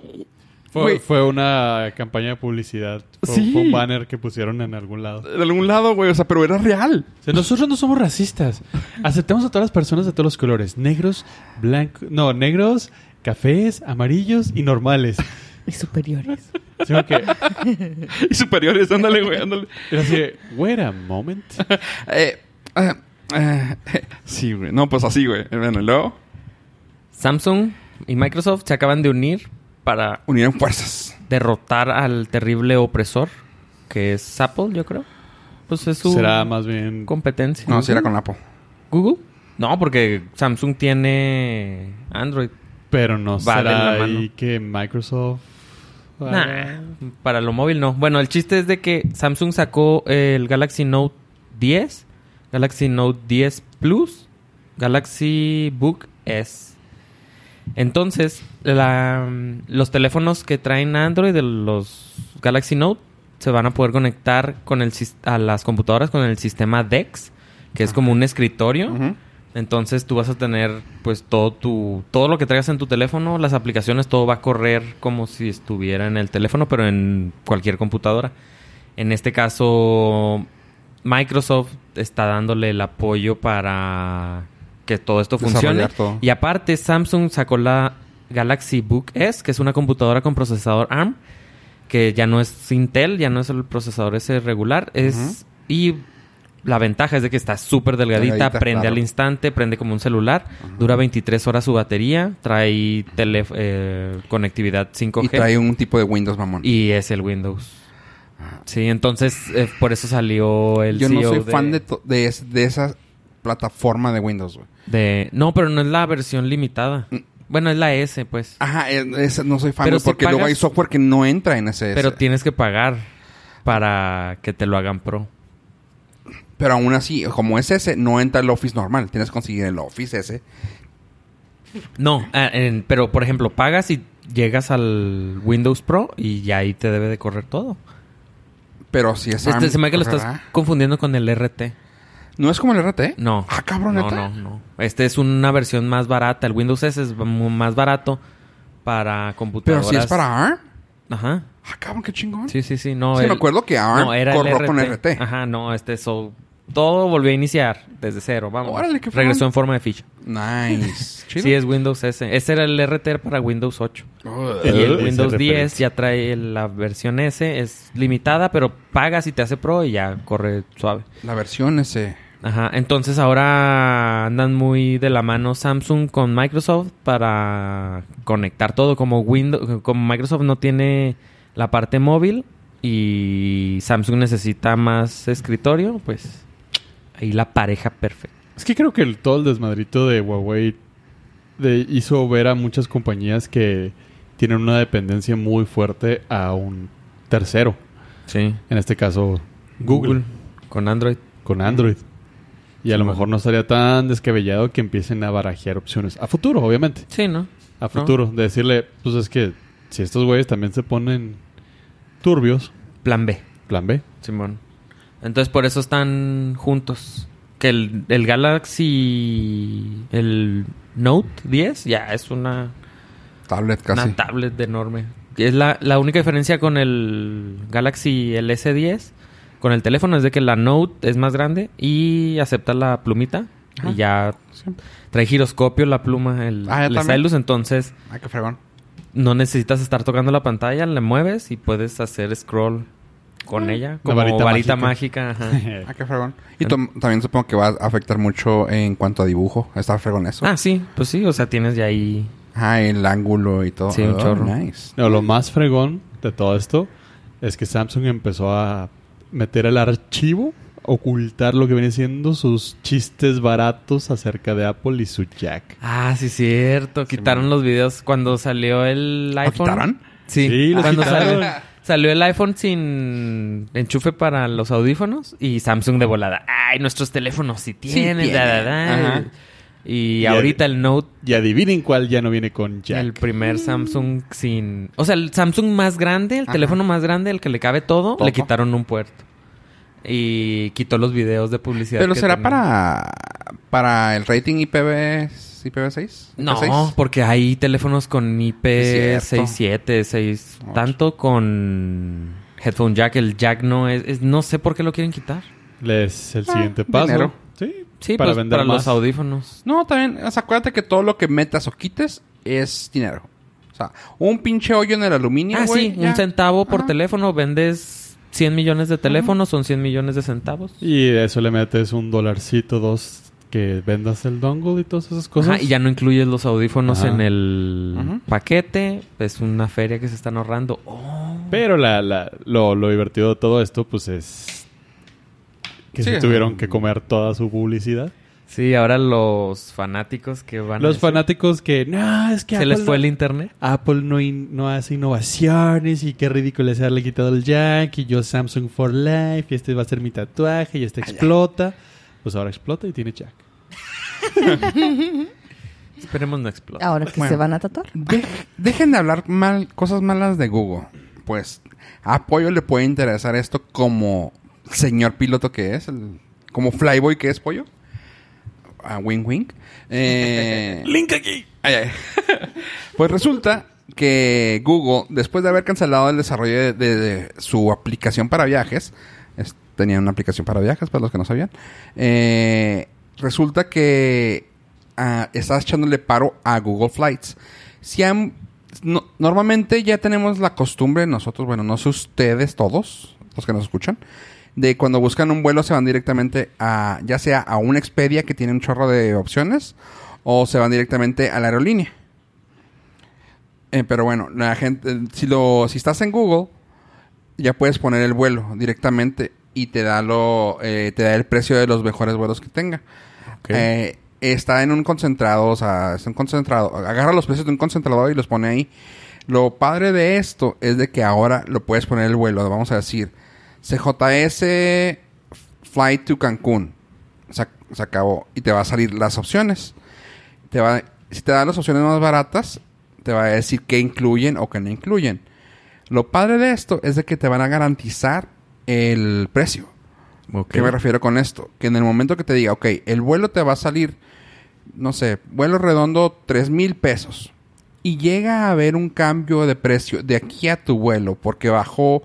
[SPEAKER 2] Fue,
[SPEAKER 1] güey,
[SPEAKER 2] fue una campaña de publicidad. Fue,
[SPEAKER 1] Sí.
[SPEAKER 2] fue un banner que pusieron en algún lado.
[SPEAKER 1] de algún lado, güey, o sea, pero era real.
[SPEAKER 2] O sea, nosotros no somos racistas. Aceptamos a todas las personas de todos los colores. Negros, blancos... No, negros, cafés, amarillos y normales.
[SPEAKER 4] Y superiores.
[SPEAKER 2] Así como que...
[SPEAKER 1] Y superiores, ándale, güey, ándale.
[SPEAKER 2] era así de, Wait a moment.
[SPEAKER 1] Eh, eh, eh, sí, güey. No, pues así, güey. Bueno, y luego
[SPEAKER 3] Samsung y Microsoft se acaban de unir para
[SPEAKER 1] unieron fuerzas.
[SPEAKER 3] derrotar al terrible opresor, que es Apple, yo creo. Pues es su
[SPEAKER 2] Será más bien...
[SPEAKER 3] competencia.
[SPEAKER 1] No, si era con Apple.
[SPEAKER 3] Google. No, porque Samsung tiene Android.
[SPEAKER 2] Pero no
[SPEAKER 3] Va de
[SPEAKER 2] será
[SPEAKER 3] la mano.
[SPEAKER 2] ahí que Microsoft...
[SPEAKER 3] Nah, para lo móvil no. Bueno, el chiste es de que Samsung sacó eh, el Galaxy Note 10, Galaxy Note 10 Plus, Galaxy Book S. Entonces, la- los teléfonos que traen Android de los Galaxy Note se van a poder conectar con el, sis- a las computadoras con el sistema DeX, que es como un escritorio.
[SPEAKER 1] Ujú.
[SPEAKER 3] Entonces tú vas a tener pues todo tu todo lo que traigas en tu teléfono, las aplicaciones, todo va a correr como si estuviera en el teléfono, pero en cualquier computadora. En este caso Microsoft está dándole el apoyo para que todo esto funcione.
[SPEAKER 1] Desarrollar todo.
[SPEAKER 3] Y aparte Samsung sacó la Galaxy Book S, que es una computadora con procesador ARM, que ya no es Intel, ya no es el procesador ese regular, es y la ventaja es de que está súper delgadita,
[SPEAKER 1] Delgadita,
[SPEAKER 3] prende
[SPEAKER 1] claro.
[SPEAKER 3] al instante, prende como un celular, dura 23 horas su batería, trae tele- eh, conectividad 5G
[SPEAKER 1] Y trae un tipo de Windows, mamón.
[SPEAKER 3] y es el Windows. Sí, entonces eh, por eso salió el E
[SPEAKER 1] Yo no
[SPEAKER 3] CEO
[SPEAKER 1] soy fan de, to- de, es- de esa plataforma de Windows, güey.
[SPEAKER 3] de- No, pero no es la versión limitada.
[SPEAKER 1] Mm.
[SPEAKER 3] Bueno, es la S, pues.
[SPEAKER 1] Ajá, es- es- no soy fan,
[SPEAKER 3] Pero
[SPEAKER 1] güey,
[SPEAKER 3] si
[SPEAKER 1] porque luego
[SPEAKER 3] pagas-
[SPEAKER 1] hay software que no entra en ese. E
[SPEAKER 3] pero
[SPEAKER 1] ese.
[SPEAKER 3] tienes que pagar para que te lo hagan pro.
[SPEAKER 1] Pero aún así, como es ese, no entra el Office normal. Tienes que conseguir el Office E ese.
[SPEAKER 3] No, ah, en- pero por ejemplo, pagas y llegas al Windows Pro y ya ahí te debe de correr todo.
[SPEAKER 1] Pero si es
[SPEAKER 3] Este,
[SPEAKER 1] ARM,
[SPEAKER 3] se me hace que lo estás
[SPEAKER 1] ¿verdad?
[SPEAKER 3] confundiendo con el RT.
[SPEAKER 1] ¿No es como el RT?
[SPEAKER 3] No.
[SPEAKER 1] Ah, cabrón,
[SPEAKER 3] No,
[SPEAKER 1] ¿neta?
[SPEAKER 3] no, no. Este es una versión más barata. El Windows S es mu- más barato para
[SPEAKER 1] Pero
[SPEAKER 3] computadoras.
[SPEAKER 1] si es para ARM.
[SPEAKER 3] Ajá.
[SPEAKER 1] Ah, cabrón, qué chingón.
[SPEAKER 3] Sí, sí, sí. No,
[SPEAKER 1] Sí, me
[SPEAKER 3] el-
[SPEAKER 1] acuerdo que ARM
[SPEAKER 3] no, era el
[SPEAKER 1] corrió con RT.
[SPEAKER 3] Ajá, no, este so- todo volvió a iniciar desde cero. Vamos.
[SPEAKER 1] Órale, qué
[SPEAKER 3] Regresó
[SPEAKER 1] fregón.
[SPEAKER 3] en forma de ficha.
[SPEAKER 1] Nice. Chido.
[SPEAKER 3] Sí, es Windows S. Ese era el RT para Windows 8.
[SPEAKER 1] Ugh.
[SPEAKER 3] Y el
[SPEAKER 2] Esa
[SPEAKER 3] Windows 10
[SPEAKER 2] referencia.
[SPEAKER 3] ya trae la versión S, es limitada, pero pagas y te hace pro y ya corre suave.
[SPEAKER 1] La versión eh, ese.
[SPEAKER 3] Ajá, entonces ahora andan muy de la mano Samsung con Microsoft para conectar todo como Windows, como Microsoft no tiene la parte móvil y Samsung necesita más escritorio, pues ahí la pareja perfecta.
[SPEAKER 2] Es que creo que el, todo el desmadrito de Huawei de- hizo ver a muchas compañías que tienen una dependencia muy fuerte a un tercero.
[SPEAKER 3] Sí.
[SPEAKER 2] En este caso, Google,
[SPEAKER 3] con Android.
[SPEAKER 2] con Android. Y a
[SPEAKER 3] Sí,
[SPEAKER 2] lo
[SPEAKER 3] bueno.
[SPEAKER 2] mejor no estaría tan descabellado que empiecen a barajear opciones. A futuro, obviamente.
[SPEAKER 3] Sí, ¿no?
[SPEAKER 2] A futuro. De decirle, pues es que si estos güeyes también se ponen turbios,
[SPEAKER 3] Plan B.
[SPEAKER 2] plan B.
[SPEAKER 3] Simón. Entonces por eso están juntos. Que el, el Galaxy, el Note 10 ya es una,
[SPEAKER 1] Tablet
[SPEAKER 3] una
[SPEAKER 1] casi.
[SPEAKER 3] tablet de enorme. Es la, la única diferencia con el Galaxy LS10, con el teléfono, es de que la Note es más grande y acepta la plumita.
[SPEAKER 1] Ajá.
[SPEAKER 3] Y ya trae giroscopio la pluma, el,
[SPEAKER 1] Ah, ya
[SPEAKER 3] el
[SPEAKER 1] también.
[SPEAKER 3] stylus, entonces
[SPEAKER 1] Ay, Ah, qué fregón.
[SPEAKER 3] no necesitas estar tocando la pantalla, le mueves y puedes hacer scroll con ella, como
[SPEAKER 2] varita
[SPEAKER 3] varita,
[SPEAKER 2] mágica.
[SPEAKER 3] mágica. ajá.
[SPEAKER 1] Ah, qué fregón. Y tom- también supongo que va a afectar mucho en cuanto a dibujo. Está fregón eso.
[SPEAKER 3] Ah, sí, pues sí, o sea, tienes ya ahí.
[SPEAKER 1] Ah, el ángulo y todo.
[SPEAKER 3] Sí, un
[SPEAKER 1] Oh,
[SPEAKER 3] chorro.
[SPEAKER 1] Nice.
[SPEAKER 2] No, lo más fregón de todo esto es que Samsung empezó a meter el archivo, ocultar lo que viene siendo sus chistes baratos acerca de Apple y su jack.
[SPEAKER 3] Ah, sí, cierto. Quitaron los videos cuando salió el iPhone.
[SPEAKER 1] quitaron?
[SPEAKER 3] Sí,
[SPEAKER 2] Sí, los
[SPEAKER 3] cuando
[SPEAKER 2] quitaron.
[SPEAKER 3] salió, salió el iPhone sin enchufe para los audífonos y Samsung de volada. Ay, nuestros teléfonos sí tienen.
[SPEAKER 1] tienen.
[SPEAKER 3] da, da, da.
[SPEAKER 1] Ajá.
[SPEAKER 3] Y,
[SPEAKER 2] Y
[SPEAKER 3] ahorita
[SPEAKER 2] el-
[SPEAKER 3] el Note,
[SPEAKER 2] Y adivinen cuál ya no viene con jack.
[SPEAKER 3] el primer Samsung sin. O sea, el Samsung más grande, el
[SPEAKER 1] Mm. Ajá.
[SPEAKER 3] teléfono más grande, el que le cabe todo,
[SPEAKER 1] Todo.
[SPEAKER 3] le quitaron un puerto. Y quitó los videos de publicidad.
[SPEAKER 1] Pero
[SPEAKER 3] que
[SPEAKER 1] será
[SPEAKER 3] tenía.
[SPEAKER 1] para para el rating IPv, IPv6?
[SPEAKER 3] No, pues-
[SPEAKER 1] IPv6?
[SPEAKER 3] porque hay teléfonos con IP
[SPEAKER 1] Es cierto.
[SPEAKER 3] 67, 6,
[SPEAKER 1] Ocho.
[SPEAKER 3] tanto con headphone jack, el jack no es, es- no sé por qué lo quieren quitar.
[SPEAKER 2] Es el siguiente paso.
[SPEAKER 1] dinero.
[SPEAKER 2] Sí,
[SPEAKER 3] Ah, Sí,
[SPEAKER 2] para
[SPEAKER 3] pues,
[SPEAKER 2] vender
[SPEAKER 3] para
[SPEAKER 2] más. Ah,
[SPEAKER 3] los audífonos.
[SPEAKER 1] No, también, o sea, acuérdate que todo lo que metas o quites es dinero. O sea, un pinche hoyo en el aluminio,
[SPEAKER 3] Ah,
[SPEAKER 1] güey,
[SPEAKER 3] sí,
[SPEAKER 1] ya.
[SPEAKER 3] un centavo por
[SPEAKER 1] Ajá.
[SPEAKER 3] teléfono, vendes 100 millones de teléfonos, son 100 millones de centavos.
[SPEAKER 2] Y de eso le metes un dolarcito, dos, que que vendas el dongle y todas esas cosas.
[SPEAKER 3] Ajá, y ya no incluyes los audífonos
[SPEAKER 2] Ajá.
[SPEAKER 3] en el
[SPEAKER 1] Ajá.
[SPEAKER 3] paquete. Es una feria que se están ahorrando. Oh.
[SPEAKER 2] Pero la, la- lo, lo divertido de todo esto, pues es que
[SPEAKER 1] Sí.
[SPEAKER 2] se tuvieron que comer toda su publicidad.
[SPEAKER 3] Sí, ahora los fanáticos que van a
[SPEAKER 2] Los
[SPEAKER 3] ese-
[SPEAKER 2] fanáticos que, no, es que
[SPEAKER 3] ¿Se les
[SPEAKER 2] Apple
[SPEAKER 3] fue
[SPEAKER 2] no-
[SPEAKER 3] el internet?
[SPEAKER 2] Apple no, in- no hace innovaciones y qué ridículo es haberle quitado el jack y yo Samsung for life y este va a ser mi tatuaje y
[SPEAKER 1] Ah,
[SPEAKER 2] este explota. Pues ahora explota y tiene jack.
[SPEAKER 3] Esperemos no explote.
[SPEAKER 4] Ahora que
[SPEAKER 1] Bueno.
[SPEAKER 4] se van a tatuar.
[SPEAKER 1] De- dejen de hablar mal, cosas malas de Google. Pues a Pollo le puede interesar esto como señor piloto que es, el- como flyboy que es Pollo. A Wing Wing. Link aquí. pues resulta que Google, después de haber cancelado el desarrollo de, de- de su aplicación para viajes, es- tenían una aplicación para viajes, para los que no sabían, eh, resulta que ah, está echándole paro a Google Flights. Si han- no- normalmente ya tenemos la costumbre nosotros, bueno, no sé ustedes todos, los que nos escuchan, de cuando buscan un vuelo se van directamente a, ya sea a un Expedia que tiene un chorro de opciones, o se van directamente a la aerolínea. Eh, pero bueno, la gente, eh, si lo, si estás en Google, ya puedes poner el vuelo directamente y te da lo, eh, te da el precio de los mejores vuelos que tenga. Eh, está en un concentrado, o sea, es un concentrado. Agarra los precios de un concentrador y los pone ahí. Lo padre de esto es de que ahora lo puedes poner el vuelo. Vamos a decir, CJS Flight to Cancún. Se, se acabó. Y te va a salir las opciones. Te va, si te dan las opciones más baratas, te va a decir qué incluyen o qué no incluyen. Lo padre de esto es de que te van a garantizar el precio. ¿Qué me refiero con esto? Que en el momento que te diga, ok, el vuelo te va a salir, no sé, vuelo redondo, 3 mil pesos. Y llega a haber un cambio de precio de aquí a tu vuelo, porque bajó,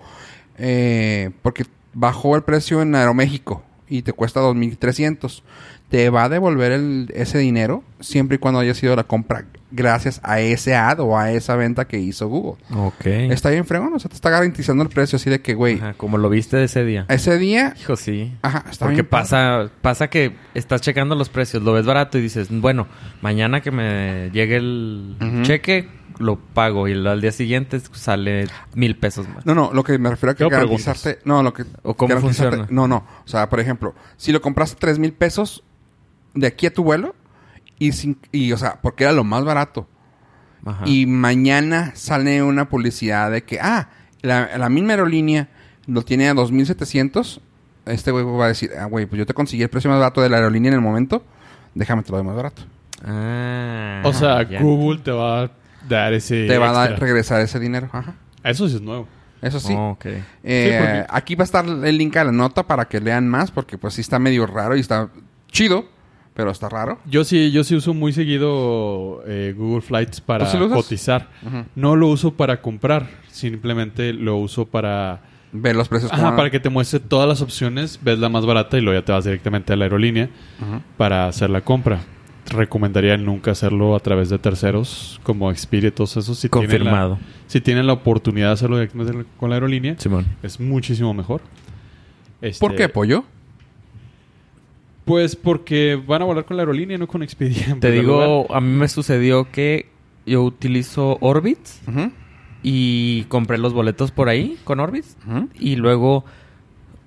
[SPEAKER 1] eh, porque bajó el precio en Aeroméxico y te cuesta 2.300. Te va a devolver el- ese dinero siempre y cuando haya sido la compra gracias a ese ad o a esa venta que hizo Google.
[SPEAKER 3] Ok.
[SPEAKER 1] Está bien fregón, o sea, te está garantizando el precio así de que, güey,
[SPEAKER 3] Ajá, como lo viste de ese día.
[SPEAKER 1] ese día...
[SPEAKER 3] Hijo, sí.
[SPEAKER 1] Ajá, está
[SPEAKER 3] Porque
[SPEAKER 1] bien padre.
[SPEAKER 3] pasa, pasa que estás checando los precios, lo ves barato y dices, bueno, mañana que me llegue el
[SPEAKER 1] Ujú.
[SPEAKER 3] cheque, lo pago y lo- al día siguiente sale mil pesos más.
[SPEAKER 1] No, no, lo que me refiero a que
[SPEAKER 2] Yo
[SPEAKER 1] garantizarte. No, lo que.
[SPEAKER 3] ¿O cómo
[SPEAKER 1] garantizarte-
[SPEAKER 3] funciona?
[SPEAKER 1] No, no. O sea, por ejemplo, si lo compraste tres mil pesos de aquí a tu vuelo, y, sin, y, o sea, porque era lo más barato.
[SPEAKER 3] Ajá.
[SPEAKER 1] Y mañana sale una publicidad de que, ah, la, la misma aerolínea lo tiene a 2.700. Este güey va a decir, ah, güey, pues yo te conseguí el precio más barato de la aerolínea en el momento. Déjame te lo doy más barato.
[SPEAKER 3] Ah,
[SPEAKER 2] o sea,
[SPEAKER 3] ya.
[SPEAKER 2] Google te va a dar ese.
[SPEAKER 1] te va a dar,
[SPEAKER 2] extra.
[SPEAKER 1] regresar ese dinero. Ajá.
[SPEAKER 2] Eso sí es nuevo.
[SPEAKER 1] Eso sí.
[SPEAKER 3] Oh, ok.
[SPEAKER 1] Eh,
[SPEAKER 2] Sí, porque-
[SPEAKER 1] Aquí va a estar el link a la nota para que lean más, porque pues sí está medio raro y está chido, pero está raro.
[SPEAKER 2] Yo sí, yo sí uso muy seguido eh, Google Flights para
[SPEAKER 1] ¿Tú sí lo usas?
[SPEAKER 2] cotizar. No lo uso para comprar, simplemente lo uso para
[SPEAKER 1] Ver los precios.
[SPEAKER 2] Ajá,
[SPEAKER 1] Pues como-
[SPEAKER 2] para que te muestre todas las opciones, ves la más barata y luego ya te vas directamente a la aerolínea para hacer la compra. Te recomendaría nunca hacerlo a través de terceros como Expedia y todos esos. Si tienen la-
[SPEAKER 3] Confirmado.
[SPEAKER 2] si tienen la oportunidad de hacerlo directamente con la aerolínea,
[SPEAKER 3] Simón.
[SPEAKER 2] es muchísimo mejor. Este,
[SPEAKER 1] ¿Por qué, pollo?
[SPEAKER 2] Pues porque van a volar con la aerolínea, no con Expedia. en
[SPEAKER 3] Te
[SPEAKER 2] primer lugar.
[SPEAKER 3] digo, a mí me sucedió que yo utilizo Orbitz
[SPEAKER 1] Ujú,
[SPEAKER 3] y compré los boletos por ahí con Orbitz
[SPEAKER 1] ujú.
[SPEAKER 3] y luego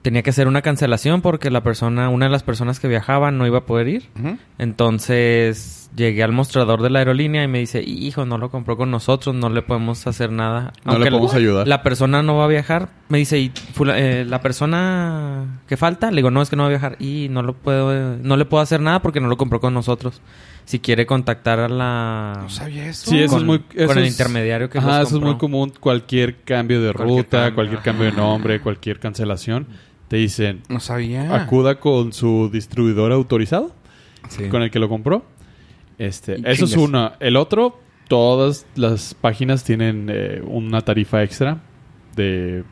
[SPEAKER 3] tenía que hacer una cancelación porque la persona, una de las personas que viajaba no iba a poder ir.
[SPEAKER 1] Ujú.
[SPEAKER 3] Entonces llegué al mostrador de la aerolínea y me dice, hijo, no lo compró con nosotros, no le podemos hacer nada.
[SPEAKER 2] No le podemos
[SPEAKER 3] la,
[SPEAKER 2] ayudar.
[SPEAKER 3] La persona no va a viajar. Me dice, ¿y fula- eh, la persona que falta? Le digo, no, es que no va a viajar. Y no lo puedo, no le puedo hacer nada porque no lo compró con nosotros. Si quiere contactar a la...
[SPEAKER 1] No sabía eso.
[SPEAKER 2] Sí, eso
[SPEAKER 3] con-
[SPEAKER 2] es muy...
[SPEAKER 3] con
[SPEAKER 2] eso
[SPEAKER 3] el
[SPEAKER 2] es-
[SPEAKER 3] intermediario que
[SPEAKER 2] Ajá,
[SPEAKER 3] los
[SPEAKER 2] eso es muy
[SPEAKER 3] compró.
[SPEAKER 2] común. Cualquier cambio de
[SPEAKER 3] Cualquier
[SPEAKER 2] ruta,
[SPEAKER 3] cambio.
[SPEAKER 2] cualquier cambio de nombre, cualquier cancelación, te dicen,
[SPEAKER 1] No sabía.
[SPEAKER 2] acuda con su distribuidor autorizado
[SPEAKER 1] Sí.
[SPEAKER 2] con el que lo compró. Este,
[SPEAKER 1] Y
[SPEAKER 2] eso es
[SPEAKER 1] chingas.
[SPEAKER 2] uno. El otro, todas las páginas tienen eh, una tarifa extra de...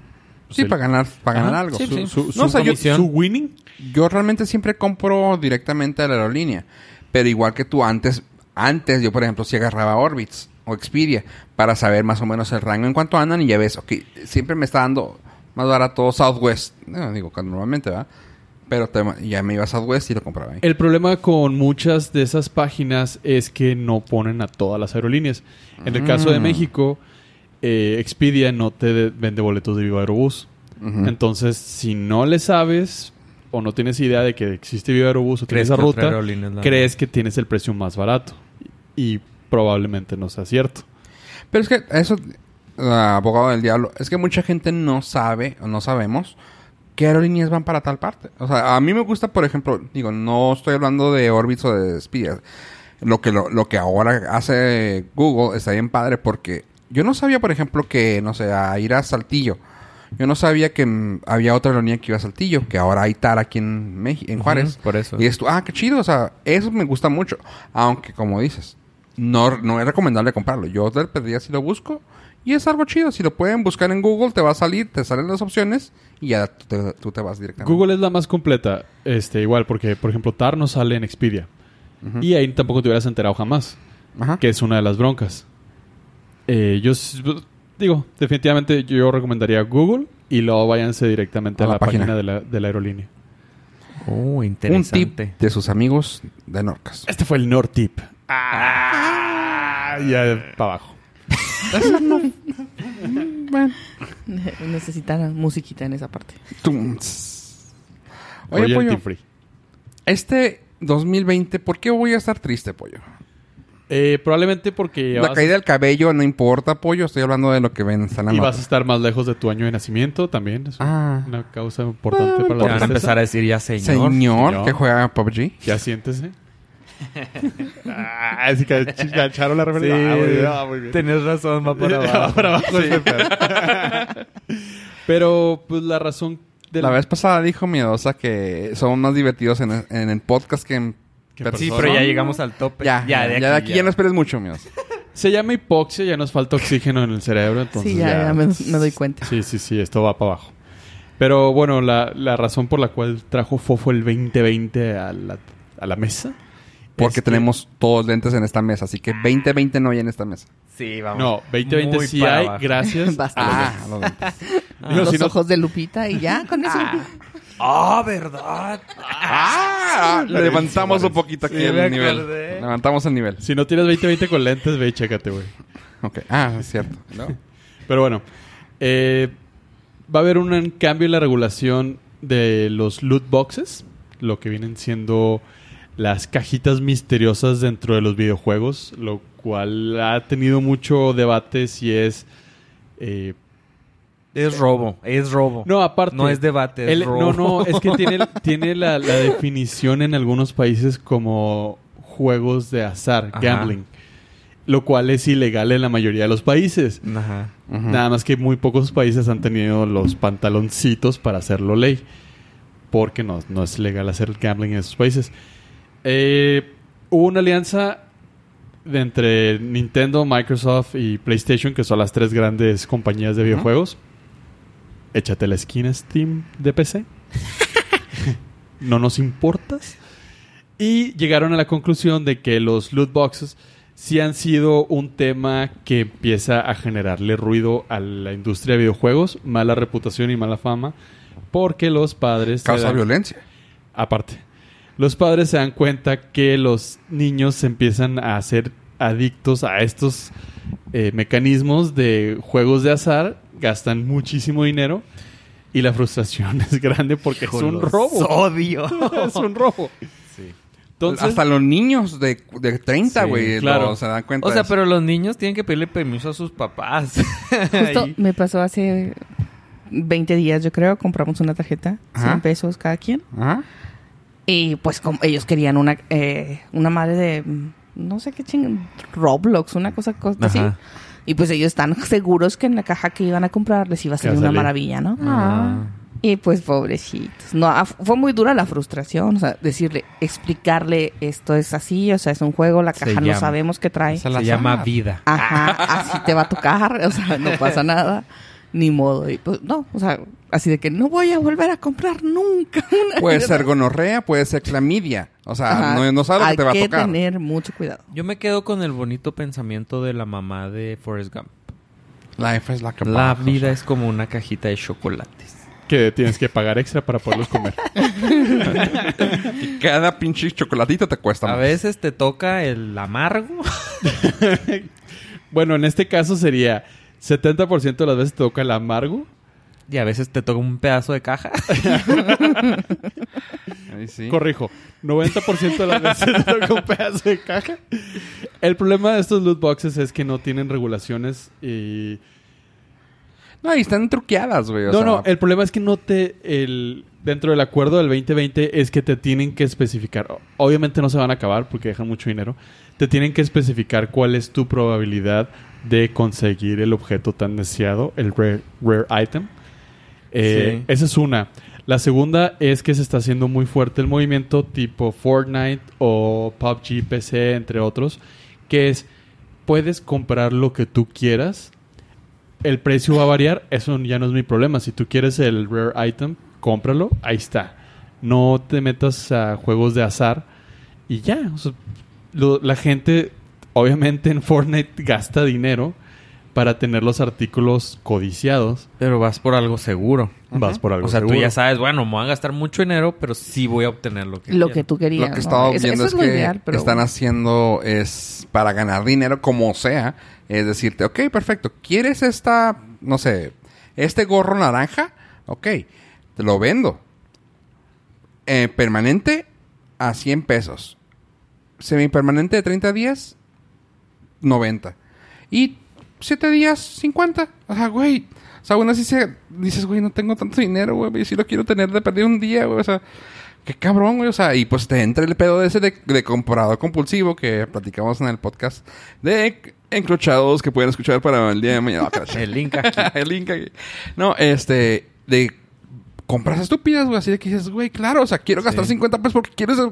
[SPEAKER 2] pues,
[SPEAKER 1] Sí,
[SPEAKER 2] el-
[SPEAKER 1] para ganar, para ganar
[SPEAKER 2] Ajá,
[SPEAKER 1] algo.
[SPEAKER 3] sí,
[SPEAKER 2] su,
[SPEAKER 3] sí.
[SPEAKER 2] su-
[SPEAKER 1] No,
[SPEAKER 2] su
[SPEAKER 1] o sea, yo-
[SPEAKER 2] comisión. su winning.
[SPEAKER 1] Yo realmente siempre compro directamente a la aerolínea, pero igual que tú antes, antes yo por ejemplo si agarraba Orbitz o Expedia para saber más o menos el rango en cuanto andan y ya ves, ok, siempre me está dando más barato Southwest, no, digo que normalmente va, Pero te ma- ya me ibas a West y lo compraba ahí.
[SPEAKER 2] El problema con muchas de esas páginas es que no ponen a todas las aerolíneas. En el caso de
[SPEAKER 1] Mm.
[SPEAKER 2] México, eh, Expedia no te de- vende boletos de Viva Aerobús.
[SPEAKER 1] Ujú.
[SPEAKER 2] Entonces, si no le sabes o no tienes idea de que existe Viva Aerobús o tienes esa
[SPEAKER 3] que otra
[SPEAKER 2] ruta,
[SPEAKER 3] aerolínea es la-
[SPEAKER 2] crees que tienes el precio más barato. Y probablemente no sea cierto.
[SPEAKER 1] Pero es que eso, ah, abogado del diablo, es que mucha gente no sabe o no sabemos qué aerolíneas van para tal parte. O sea, a mí me gusta, por ejemplo, digo, no estoy hablando de Orbitz o de Spirit. Lo que, lo, lo que ahora hace Google está bien padre porque yo no sabía, por ejemplo, que, no sé, a ir a Saltillo. Yo no sabía que mm, había otra aerolínea que iba a Saltillo, que ahora hay TAR aquí en, Meji- en
[SPEAKER 3] Ujú,
[SPEAKER 1] Juárez.
[SPEAKER 3] por eso.
[SPEAKER 1] Y es tú, ah, qué chido, o sea, eso me gusta mucho. Aunque, como dices, no, no es recomendable comprarlo. Yo te pediría si lo busco y es algo chido. Si lo pueden buscar en Google, te va a salir, te salen las opciones y ya tú te, tú te vas directamente.
[SPEAKER 2] Google es la más completa, este, igual, porque, por ejemplo, TAR no sale en Expedia. Y ahí tampoco te hubieras enterado jamás,
[SPEAKER 1] Ajá.
[SPEAKER 2] que es una de las broncas. Eh, yo s- digo, definitivamente yo recomendaría Google y luego váyanse directamente a, la, página, de, la, de la aerolínea.
[SPEAKER 3] Oh,
[SPEAKER 1] Un tip
[SPEAKER 3] interesante.
[SPEAKER 1] de sus amigos de Norcas.
[SPEAKER 2] Este fue el Nortip. Ah, ya para abajo.
[SPEAKER 1] Bueno.
[SPEAKER 4] Necesitan musiquita en esa parte.
[SPEAKER 1] Tum, tss. Oye,
[SPEAKER 2] Oye, el
[SPEAKER 1] Pollo,
[SPEAKER 2] tip free.
[SPEAKER 1] este 2020, ¿por qué voy a estar triste, Pollo?
[SPEAKER 2] Eh, probablemente porque
[SPEAKER 1] La
[SPEAKER 2] vas,
[SPEAKER 1] caída del cabello no importa, Pollo. Estoy hablando de lo que ven. Está en la
[SPEAKER 2] y
[SPEAKER 1] nota.
[SPEAKER 2] vas a estar más lejos de tu año de nacimiento también. Es
[SPEAKER 1] Ah.
[SPEAKER 2] una causa importante
[SPEAKER 1] Ah,
[SPEAKER 2] para
[SPEAKER 3] Te
[SPEAKER 2] la
[SPEAKER 3] van a
[SPEAKER 2] tristeza.
[SPEAKER 3] empezar a decir ya
[SPEAKER 1] Señor,
[SPEAKER 3] señor.
[SPEAKER 1] que juega PUBG.
[SPEAKER 2] Ya siéntese. ah, así que ch- ya echaron la
[SPEAKER 3] Sí,
[SPEAKER 2] referencia. Ah, muy bien, ah, muy bien.
[SPEAKER 3] tenés razón, va para
[SPEAKER 2] Va
[SPEAKER 3] abajo.
[SPEAKER 2] para abajo ese pedo. Pero, pues, la razón de
[SPEAKER 1] La vez pasada dijo Miedosa que somos más divertidos en, en el podcast que en
[SPEAKER 2] Que
[SPEAKER 1] persona.
[SPEAKER 3] Sí, pero ya llegamos al tope.
[SPEAKER 1] Ya, ya, de aquí, ya,
[SPEAKER 3] ya.
[SPEAKER 1] no esperes mucho, Miedosa.
[SPEAKER 2] Se llama hipoxia, ya nos falta oxígeno en el cerebro, entonces
[SPEAKER 4] sí, ya, ya me, me doy cuenta.
[SPEAKER 2] Sí, sí, sí, esto va para abajo. Pero, bueno, la, la razón por la cual trajo Fofo el 2020 a la, a la mesa...
[SPEAKER 1] Porque
[SPEAKER 2] es que-
[SPEAKER 1] tenemos todos lentes en esta mesa, así que 20-20 no hay en esta mesa.
[SPEAKER 3] Sí, vamos.
[SPEAKER 2] No, 2020
[SPEAKER 3] Muy
[SPEAKER 2] sí
[SPEAKER 3] para
[SPEAKER 2] hay,
[SPEAKER 3] abajo.
[SPEAKER 2] gracias.
[SPEAKER 4] Basta.
[SPEAKER 1] Ah, los lentes.
[SPEAKER 2] Digo,
[SPEAKER 4] los
[SPEAKER 2] si no-
[SPEAKER 4] ojos de Lupita y ya, con eso.
[SPEAKER 3] Ah, ¿verdad?
[SPEAKER 1] Ah,
[SPEAKER 2] Lorenzo
[SPEAKER 1] levantamos un
[SPEAKER 2] Suárez.
[SPEAKER 1] poquito aquí
[SPEAKER 3] Sí, me
[SPEAKER 1] el nivel.
[SPEAKER 3] acordé.
[SPEAKER 1] Levantamos el nivel.
[SPEAKER 2] Si no tienes 2020 con lentes, ve y chécate, güey.
[SPEAKER 1] Ok. Ah, es cierto. ¿No?
[SPEAKER 2] Pero bueno, eh, va a haber un cambio en la regulación de los loot boxes, lo que vienen siendo las cajitas misteriosas dentro de los videojuegos, lo cual ha tenido mucho debate si es... eh,
[SPEAKER 3] Es robo, es robo.
[SPEAKER 2] no, aparte...
[SPEAKER 3] No es debate, es
[SPEAKER 2] el- No,
[SPEAKER 3] robo.
[SPEAKER 2] no, es que tiene, tiene la, la definición en algunos países como juegos de azar,
[SPEAKER 3] Ajá.
[SPEAKER 2] gambling, lo cual es ilegal en la mayoría de los países.
[SPEAKER 3] Ajá.
[SPEAKER 1] Ujú.
[SPEAKER 2] Nada más que muy pocos países han tenido los pantaloncitos para hacerlo ley. Porque no, no es legal hacer gambling en esos países. Eh, hubo una alianza de entre Nintendo, Microsoft y PlayStation, que son las tres grandes compañías de videojuegos. Échate la esquina, Steam de PC. no nos importas. Y llegaron a la conclusión de que los loot boxes sí han sido un tema que empieza a generarle ruido a la industria de videojuegos, mala reputación y mala fama, porque los padres... se
[SPEAKER 1] Causa
[SPEAKER 2] dan-
[SPEAKER 1] violencia.
[SPEAKER 2] Aparte, los padres se dan cuenta que los niños se empiezan a hacer adictos a estos eh, mecanismos de juegos de azar, gastan muchísimo dinero y la frustración es grande porque es un
[SPEAKER 3] Los
[SPEAKER 2] robo.
[SPEAKER 3] Odio.
[SPEAKER 2] es un robo.
[SPEAKER 3] Sí.
[SPEAKER 2] Entonces,
[SPEAKER 1] Hasta los niños de, de 30,
[SPEAKER 2] Sí,
[SPEAKER 1] güey,
[SPEAKER 2] claro.
[SPEAKER 1] lo- se dan cuenta.
[SPEAKER 3] O
[SPEAKER 1] de
[SPEAKER 3] sea,
[SPEAKER 1] eso.
[SPEAKER 3] pero los niños tienen que pedirle permiso a sus papás.
[SPEAKER 4] Justo
[SPEAKER 3] Ahí.
[SPEAKER 4] me pasó hace 20 días, yo creo, compramos una tarjeta, 100
[SPEAKER 1] Ajá.
[SPEAKER 4] pesos cada quien.
[SPEAKER 1] Ajá.
[SPEAKER 4] Y pues como ellos querían una, eh, una madre de, mm, no sé qué ching, Roblox, una cosa, cosa así.
[SPEAKER 3] Ajá.
[SPEAKER 4] Y pues ellos están seguros que en la caja que iban a comprar les iba a salir
[SPEAKER 2] Va a
[SPEAKER 4] una
[SPEAKER 2] salir.
[SPEAKER 4] maravilla, ¿no?
[SPEAKER 1] Ah,
[SPEAKER 2] Ah.
[SPEAKER 4] Y pues pobrecitos. No, af- fue muy dura la frustración, o sea, decirle, explicarle esto es así, o sea, es un juego, la
[SPEAKER 3] Se
[SPEAKER 4] caja no
[SPEAKER 3] llama-
[SPEAKER 4] sabemos qué trae.
[SPEAKER 1] al
[SPEAKER 3] Se
[SPEAKER 1] azar.
[SPEAKER 3] llama vida.
[SPEAKER 4] Ajá, así te va a tocar, o sea, no pasa nada, ni modo. Y pues no, o sea, así de que no voy a volver a comprar nunca una
[SPEAKER 1] Puede ser gonorrea, puede ser clamidia. O sea,
[SPEAKER 4] Ajá.
[SPEAKER 1] no, no sabes lo
[SPEAKER 4] Hay
[SPEAKER 1] que te va a tocar.
[SPEAKER 4] tener mucho cuidado.
[SPEAKER 3] Yo me quedo con el bonito pensamiento de la mamá de Forrest Gump.
[SPEAKER 1] Life is like a
[SPEAKER 3] La
[SPEAKER 1] box.
[SPEAKER 3] vida es como una cajita de chocolates.
[SPEAKER 2] que tienes que pagar extra para poderlos comer.
[SPEAKER 1] Y cada pinche chocolatito te cuesta
[SPEAKER 3] A
[SPEAKER 1] más.
[SPEAKER 3] veces te toca el amargo.
[SPEAKER 2] bueno, en este caso sería 70% de las veces te toca el amargo.
[SPEAKER 3] Y a veces te toca un pedazo de caja.
[SPEAKER 1] Ahí sí.
[SPEAKER 2] Corrijo, 90% de las veces te toca un pedazo de caja. El problema de estos loot boxes es que no tienen regulaciones y...
[SPEAKER 1] No, y están truqueadas, güey. o
[SPEAKER 2] No,
[SPEAKER 1] sea,
[SPEAKER 2] no, el problema es que no te... El, dentro del acuerdo del 2020 es que te tienen que especificar. O- Obviamente no se van a acabar porque dejan mucho dinero. Te tienen que especificar cuál es tu probabilidad de conseguir el objeto tan deseado, el rare, rare item. Eh,
[SPEAKER 3] Sí.
[SPEAKER 2] Esa es una. La segunda es que se está haciendo muy fuerte el movimiento tipo Fortnite o PUBG PC, entre otros, que es puedes comprar lo que tú quieras. El precio va a variar, eso ya no es mi problema. Si tú quieres el rare item, cómpralo, ahí está. No te metas a juegos de azar y ya. o sea, lo- la gente, obviamente en Fortnite, gasta dinero para tener los artículos codiciados.
[SPEAKER 3] Pero vas por algo seguro.
[SPEAKER 2] Vas por algo
[SPEAKER 3] O sea,
[SPEAKER 2] seguro.
[SPEAKER 3] tú ya sabes, bueno, me voy a gastar mucho dinero, pero sí voy a obtener lo que
[SPEAKER 4] Lo
[SPEAKER 3] quiero.
[SPEAKER 4] que tú querías.
[SPEAKER 1] Lo que he
[SPEAKER 4] ¿no?
[SPEAKER 1] estado
[SPEAKER 4] Eso-
[SPEAKER 1] viendo
[SPEAKER 4] eso
[SPEAKER 1] es,
[SPEAKER 4] lo
[SPEAKER 1] que
[SPEAKER 4] ideal, pero
[SPEAKER 1] están
[SPEAKER 4] bueno.
[SPEAKER 1] haciendo es para ganar dinero como sea. Es decirte, ok, perfecto. ¿Quieres esta, no sé, este gorro naranja? Ok, te lo vendo. Eh, permanente a 100 pesos. Semipermanente de 30 días, 90. Y 7 días, 50. O sea, güey. O sea, aún así se- dices, güey, no tengo tanto dinero, güey. Yo sí lo quiero tener de perder un día, güey. O sea, qué cabrón, güey. O sea, y pues te entra el pedo ese de, de comprador compulsivo que platicamos en el podcast de encrochados que pueden escuchar para el día de mañana. No, que la chingada.
[SPEAKER 3] El link aquí.
[SPEAKER 1] el Inca. güey. No, este, de compras estúpidas, güey. Así de que dices, güey, claro, o sea, quiero gastar
[SPEAKER 3] Sí.
[SPEAKER 1] 50 pesos porque quieres. el-".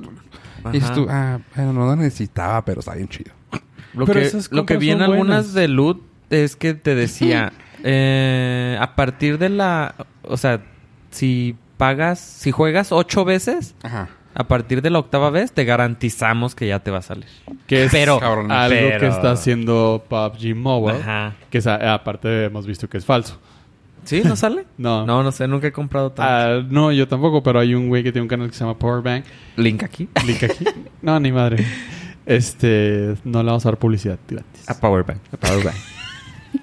[SPEAKER 1] Y dices
[SPEAKER 3] Ajá.
[SPEAKER 1] tú, ah, bueno, no lo necesitaba, pero está bien chido.
[SPEAKER 3] Lo,
[SPEAKER 2] Pero
[SPEAKER 3] que,
[SPEAKER 2] esas
[SPEAKER 3] lo que
[SPEAKER 2] compras
[SPEAKER 3] vi en
[SPEAKER 2] son
[SPEAKER 3] algunas
[SPEAKER 2] buenas.
[SPEAKER 3] de loot es que te decía, eh, a partir de la... O sea, si pagas, si juegas ocho veces,
[SPEAKER 1] Ajá.
[SPEAKER 3] a partir de la octava vez te garantizamos que ya te va a salir.
[SPEAKER 2] Que es
[SPEAKER 3] Pero-
[SPEAKER 1] Cabrón.
[SPEAKER 2] algo
[SPEAKER 3] pero-
[SPEAKER 2] que está haciendo PUBG Mobile.
[SPEAKER 3] Ajá.
[SPEAKER 2] Que es a- aparte hemos visto que es falso.
[SPEAKER 3] ¿Sí? ¿No sale?
[SPEAKER 2] No.
[SPEAKER 3] No, no sé, nunca he comprado tanto.
[SPEAKER 2] Ah, no, yo tampoco, pero hay un güey que tiene un canal que se llama Powerbank.
[SPEAKER 3] Link aquí.
[SPEAKER 2] Clic aquí. no, ni madre. Este, no le vamos a dar publicidad gratis.
[SPEAKER 3] A Powerbank. A Powerbank.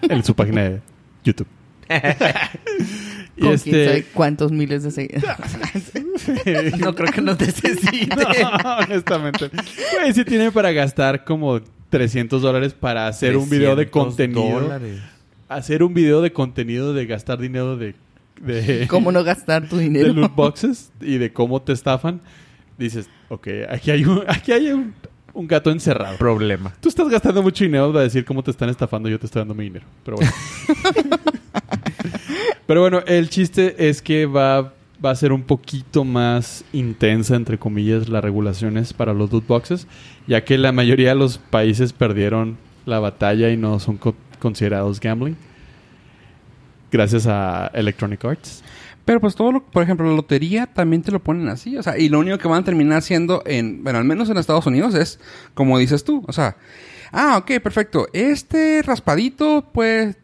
[SPEAKER 2] En su página de YouTube. y
[SPEAKER 4] Con quién sabe
[SPEAKER 2] este.
[SPEAKER 4] cuántos miles de seguidores.
[SPEAKER 3] no creo que nos necesite.
[SPEAKER 2] No, honestamente. Güey, sí tiene para gastar como 300 dólares para hacer un video de
[SPEAKER 3] 300
[SPEAKER 2] contenido.
[SPEAKER 3] dólares.
[SPEAKER 2] Hacer un video de contenido de gastar dinero de. de
[SPEAKER 4] ¿Cómo no gastar tu
[SPEAKER 2] de
[SPEAKER 4] dinero?
[SPEAKER 2] loot boxes y de cómo te estafan, dices, ok, aquí hay un, aquí hay un, un gato encerrado.
[SPEAKER 3] Problema.
[SPEAKER 2] Tú estás gastando mucho dinero para decir cómo te están estafando, yo te estoy dando mi dinero. Pero bueno. Pero bueno, el chiste es que va, va a ser un poquito más intensa, entre comillas, las regulaciones para los loot boxes, ya que la mayoría de los países perdieron la batalla y no son co- considerados gambling. Gracias a Electronic Arts.
[SPEAKER 1] Pero pues todo lo, por ejemplo, la lotería también te lo ponen así, o sea, y lo único que van a terminar haciendo en, bueno, al menos en Estados Unidos es, como dices tú, o sea, ah, ok, perfecto, este raspadito, pues,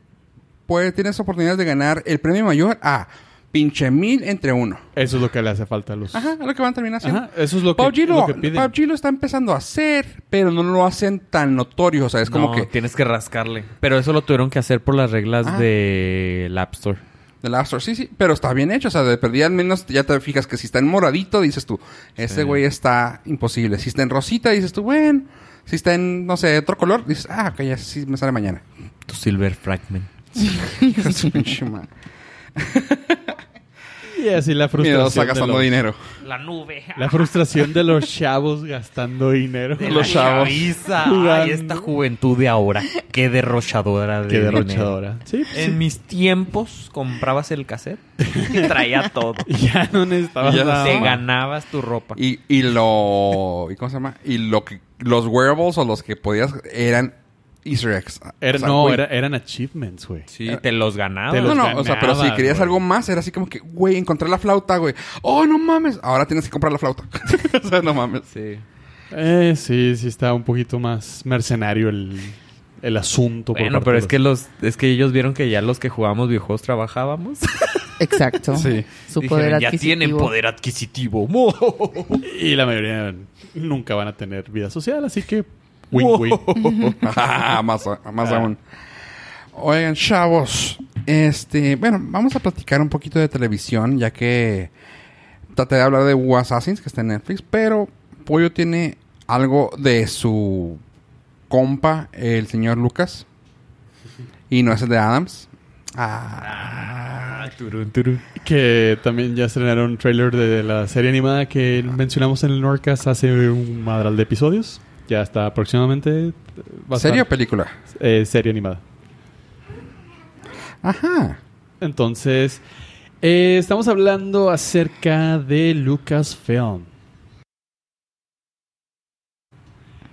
[SPEAKER 1] pues tienes oportunidad de ganar el premio mayor a pinche mil entre uno.
[SPEAKER 2] Eso es lo que le hace falta a los...
[SPEAKER 1] Ajá, es lo que van a terminar haciendo.
[SPEAKER 2] Ajá, eso es lo que,
[SPEAKER 1] PUBG
[SPEAKER 2] lo
[SPEAKER 1] lo,
[SPEAKER 2] que piden.
[SPEAKER 1] PUBG lo está empezando a hacer, pero no lo hacen tan notorio, o sea, es como
[SPEAKER 3] No,
[SPEAKER 1] que
[SPEAKER 3] tienes que rascarle. Pero eso lo tuvieron que hacer por las reglas
[SPEAKER 1] Ah.
[SPEAKER 3] del App Store.
[SPEAKER 1] de la App Store, sí, sí, pero está bien hecho, o sea, de perdida al menos ya te fijas que si está en moradito, dices tú, ese güey está imposible. Si está en rosita, dices tú, bueno, si está en, no sé, otro color, dices, ah, ok, ya sí me sale mañana.
[SPEAKER 3] Tu Silver Fragment.
[SPEAKER 1] Hijo de su pinche madre.
[SPEAKER 2] Y así
[SPEAKER 1] Miedosa
[SPEAKER 2] la frustración. de
[SPEAKER 1] gastando
[SPEAKER 2] los-
[SPEAKER 1] dinero.
[SPEAKER 3] La nube. Ah,
[SPEAKER 2] La frustración de los chavos gastando dinero.
[SPEAKER 3] De
[SPEAKER 1] Los
[SPEAKER 3] la
[SPEAKER 1] chavos.
[SPEAKER 3] chaviza. Ay,
[SPEAKER 2] Jugando.
[SPEAKER 3] esta juventud de ahora. Qué derrochadora de
[SPEAKER 2] Qué
[SPEAKER 3] dinero.
[SPEAKER 2] derrochadora. Sí, sí.
[SPEAKER 3] En mis tiempos comprabas el cassette y traía todo.
[SPEAKER 2] Ya no necesitabas
[SPEAKER 1] Ya
[SPEAKER 2] nada
[SPEAKER 1] sé.
[SPEAKER 3] Te
[SPEAKER 2] más.
[SPEAKER 3] ganabas tu ropa.
[SPEAKER 1] Y, y lo, ¿y cómo se llama? Y lo que, los wearables o los que podías eran Easter eggs.
[SPEAKER 2] Era-
[SPEAKER 1] O sea,
[SPEAKER 2] no,
[SPEAKER 1] güey,
[SPEAKER 2] era- eran achievements, güey.
[SPEAKER 3] Sí, te los ganabas.
[SPEAKER 2] Te
[SPEAKER 1] No,
[SPEAKER 2] los
[SPEAKER 1] no, o sea, pero si
[SPEAKER 2] ganabas,
[SPEAKER 1] querías
[SPEAKER 2] güey.
[SPEAKER 1] algo más, era así como que, güey, encontré la flauta, güey. Oh, no mames. Ahora tienes que comprar la flauta. o sea, no mames.
[SPEAKER 3] Sí.
[SPEAKER 2] Eh, sí, sí está un poquito más mercenario el, el asunto. por
[SPEAKER 3] Bueno,
[SPEAKER 2] parte
[SPEAKER 3] pero
[SPEAKER 2] de
[SPEAKER 3] es
[SPEAKER 2] los-
[SPEAKER 3] que los, es que ellos vieron que ya los que jugábamos videojuegos trabajábamos.
[SPEAKER 4] Exacto.
[SPEAKER 1] Sí.
[SPEAKER 4] Su poder
[SPEAKER 5] ya
[SPEAKER 4] adquisitivo.
[SPEAKER 5] tienen poder adquisitivo.
[SPEAKER 2] Y la mayoría nunca van a tener vida social, así que... Win, win.
[SPEAKER 1] más, a- más
[SPEAKER 2] Ah.
[SPEAKER 1] aún. Oigan, chavos. Este, bueno, vamos a platicar un poquito de televisión, ya que traté de hablar de Wu Assassins, que está en Netflix, pero Pollo tiene algo de su compa, el señor Lucas. Y no es el de Adams. Ah,
[SPEAKER 3] Ah,
[SPEAKER 2] Que también ya estrenaron un trailer de la serie animada que mencionamos en el Norcas hace un madral de episodios. Ya está aproximadamente... va a
[SPEAKER 1] ¿Serie o
[SPEAKER 2] estar-
[SPEAKER 1] película?
[SPEAKER 2] eh, serie animada.
[SPEAKER 1] Ajá.
[SPEAKER 2] Entonces, eh, estamos hablando acerca de Lucasfilm.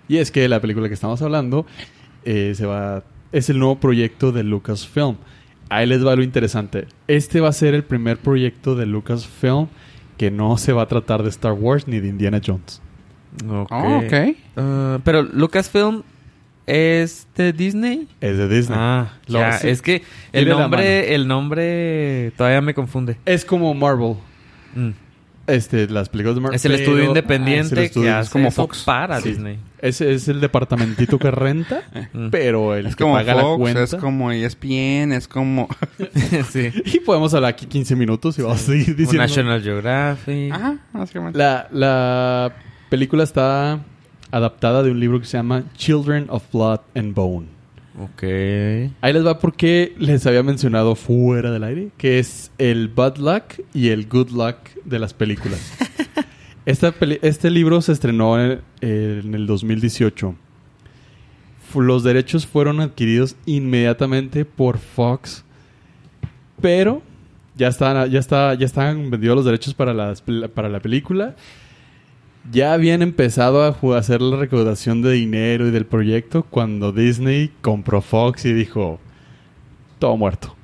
[SPEAKER 2] Y es que la película que estamos hablando eh, se va, es el nuevo proyecto de Lucasfilm. Ahí les va lo interesante. Este va a ser el primer proyecto de Lucasfilm que no se va a tratar de Star Wars ni de Indiana Jones.
[SPEAKER 3] Ok.
[SPEAKER 1] Oh, ok.
[SPEAKER 3] Ah, pero Lucasfilm es de Disney.
[SPEAKER 2] Es de Disney.
[SPEAKER 3] Ah,
[SPEAKER 2] Lo-
[SPEAKER 3] ya,
[SPEAKER 2] sí.
[SPEAKER 3] es que el
[SPEAKER 2] Tiene la
[SPEAKER 3] nombre, el nombre todavía me confunde.
[SPEAKER 2] Es como Marvel.
[SPEAKER 3] Mm.
[SPEAKER 2] Este, las películas de Marvel.
[SPEAKER 3] Es el estudio
[SPEAKER 2] pero- Ah,
[SPEAKER 3] independiente
[SPEAKER 2] es el estudio-
[SPEAKER 3] que
[SPEAKER 2] es
[SPEAKER 3] hace
[SPEAKER 2] como
[SPEAKER 3] eso
[SPEAKER 2] Fox.
[SPEAKER 3] para
[SPEAKER 2] Sí.
[SPEAKER 3] Disney. Mm.
[SPEAKER 2] Es, es el departamentito que renta, pero el
[SPEAKER 1] Es
[SPEAKER 2] que
[SPEAKER 1] como
[SPEAKER 2] paga la
[SPEAKER 1] Fox,
[SPEAKER 2] cuenta.
[SPEAKER 1] es como E ESPN, es como...
[SPEAKER 3] sí.
[SPEAKER 2] Y podemos hablar aquí 15 minutos y vamos a seguir
[SPEAKER 3] Un
[SPEAKER 2] diciendo.
[SPEAKER 3] National Geographic.
[SPEAKER 1] Ajá, básicamente.
[SPEAKER 2] La, la película está adaptada de un libro que se llama Children of Blood and Bone.
[SPEAKER 3] Ok.
[SPEAKER 2] Ahí les va porque les había mencionado fuera del aire que es el bad luck y el good luck de las películas. Esta peli- este libro se estrenó en, en el 2018. Fu- Los derechos fueron adquiridos inmediatamente por Fox, pero ya estaban, ya está, ya estaban vendidos los derechos para, las pel- para la película. Ya habían empezado a ju- hacer la recaudación de dinero y del proyecto cuando Disney compró Fox y dijo, todo muerto.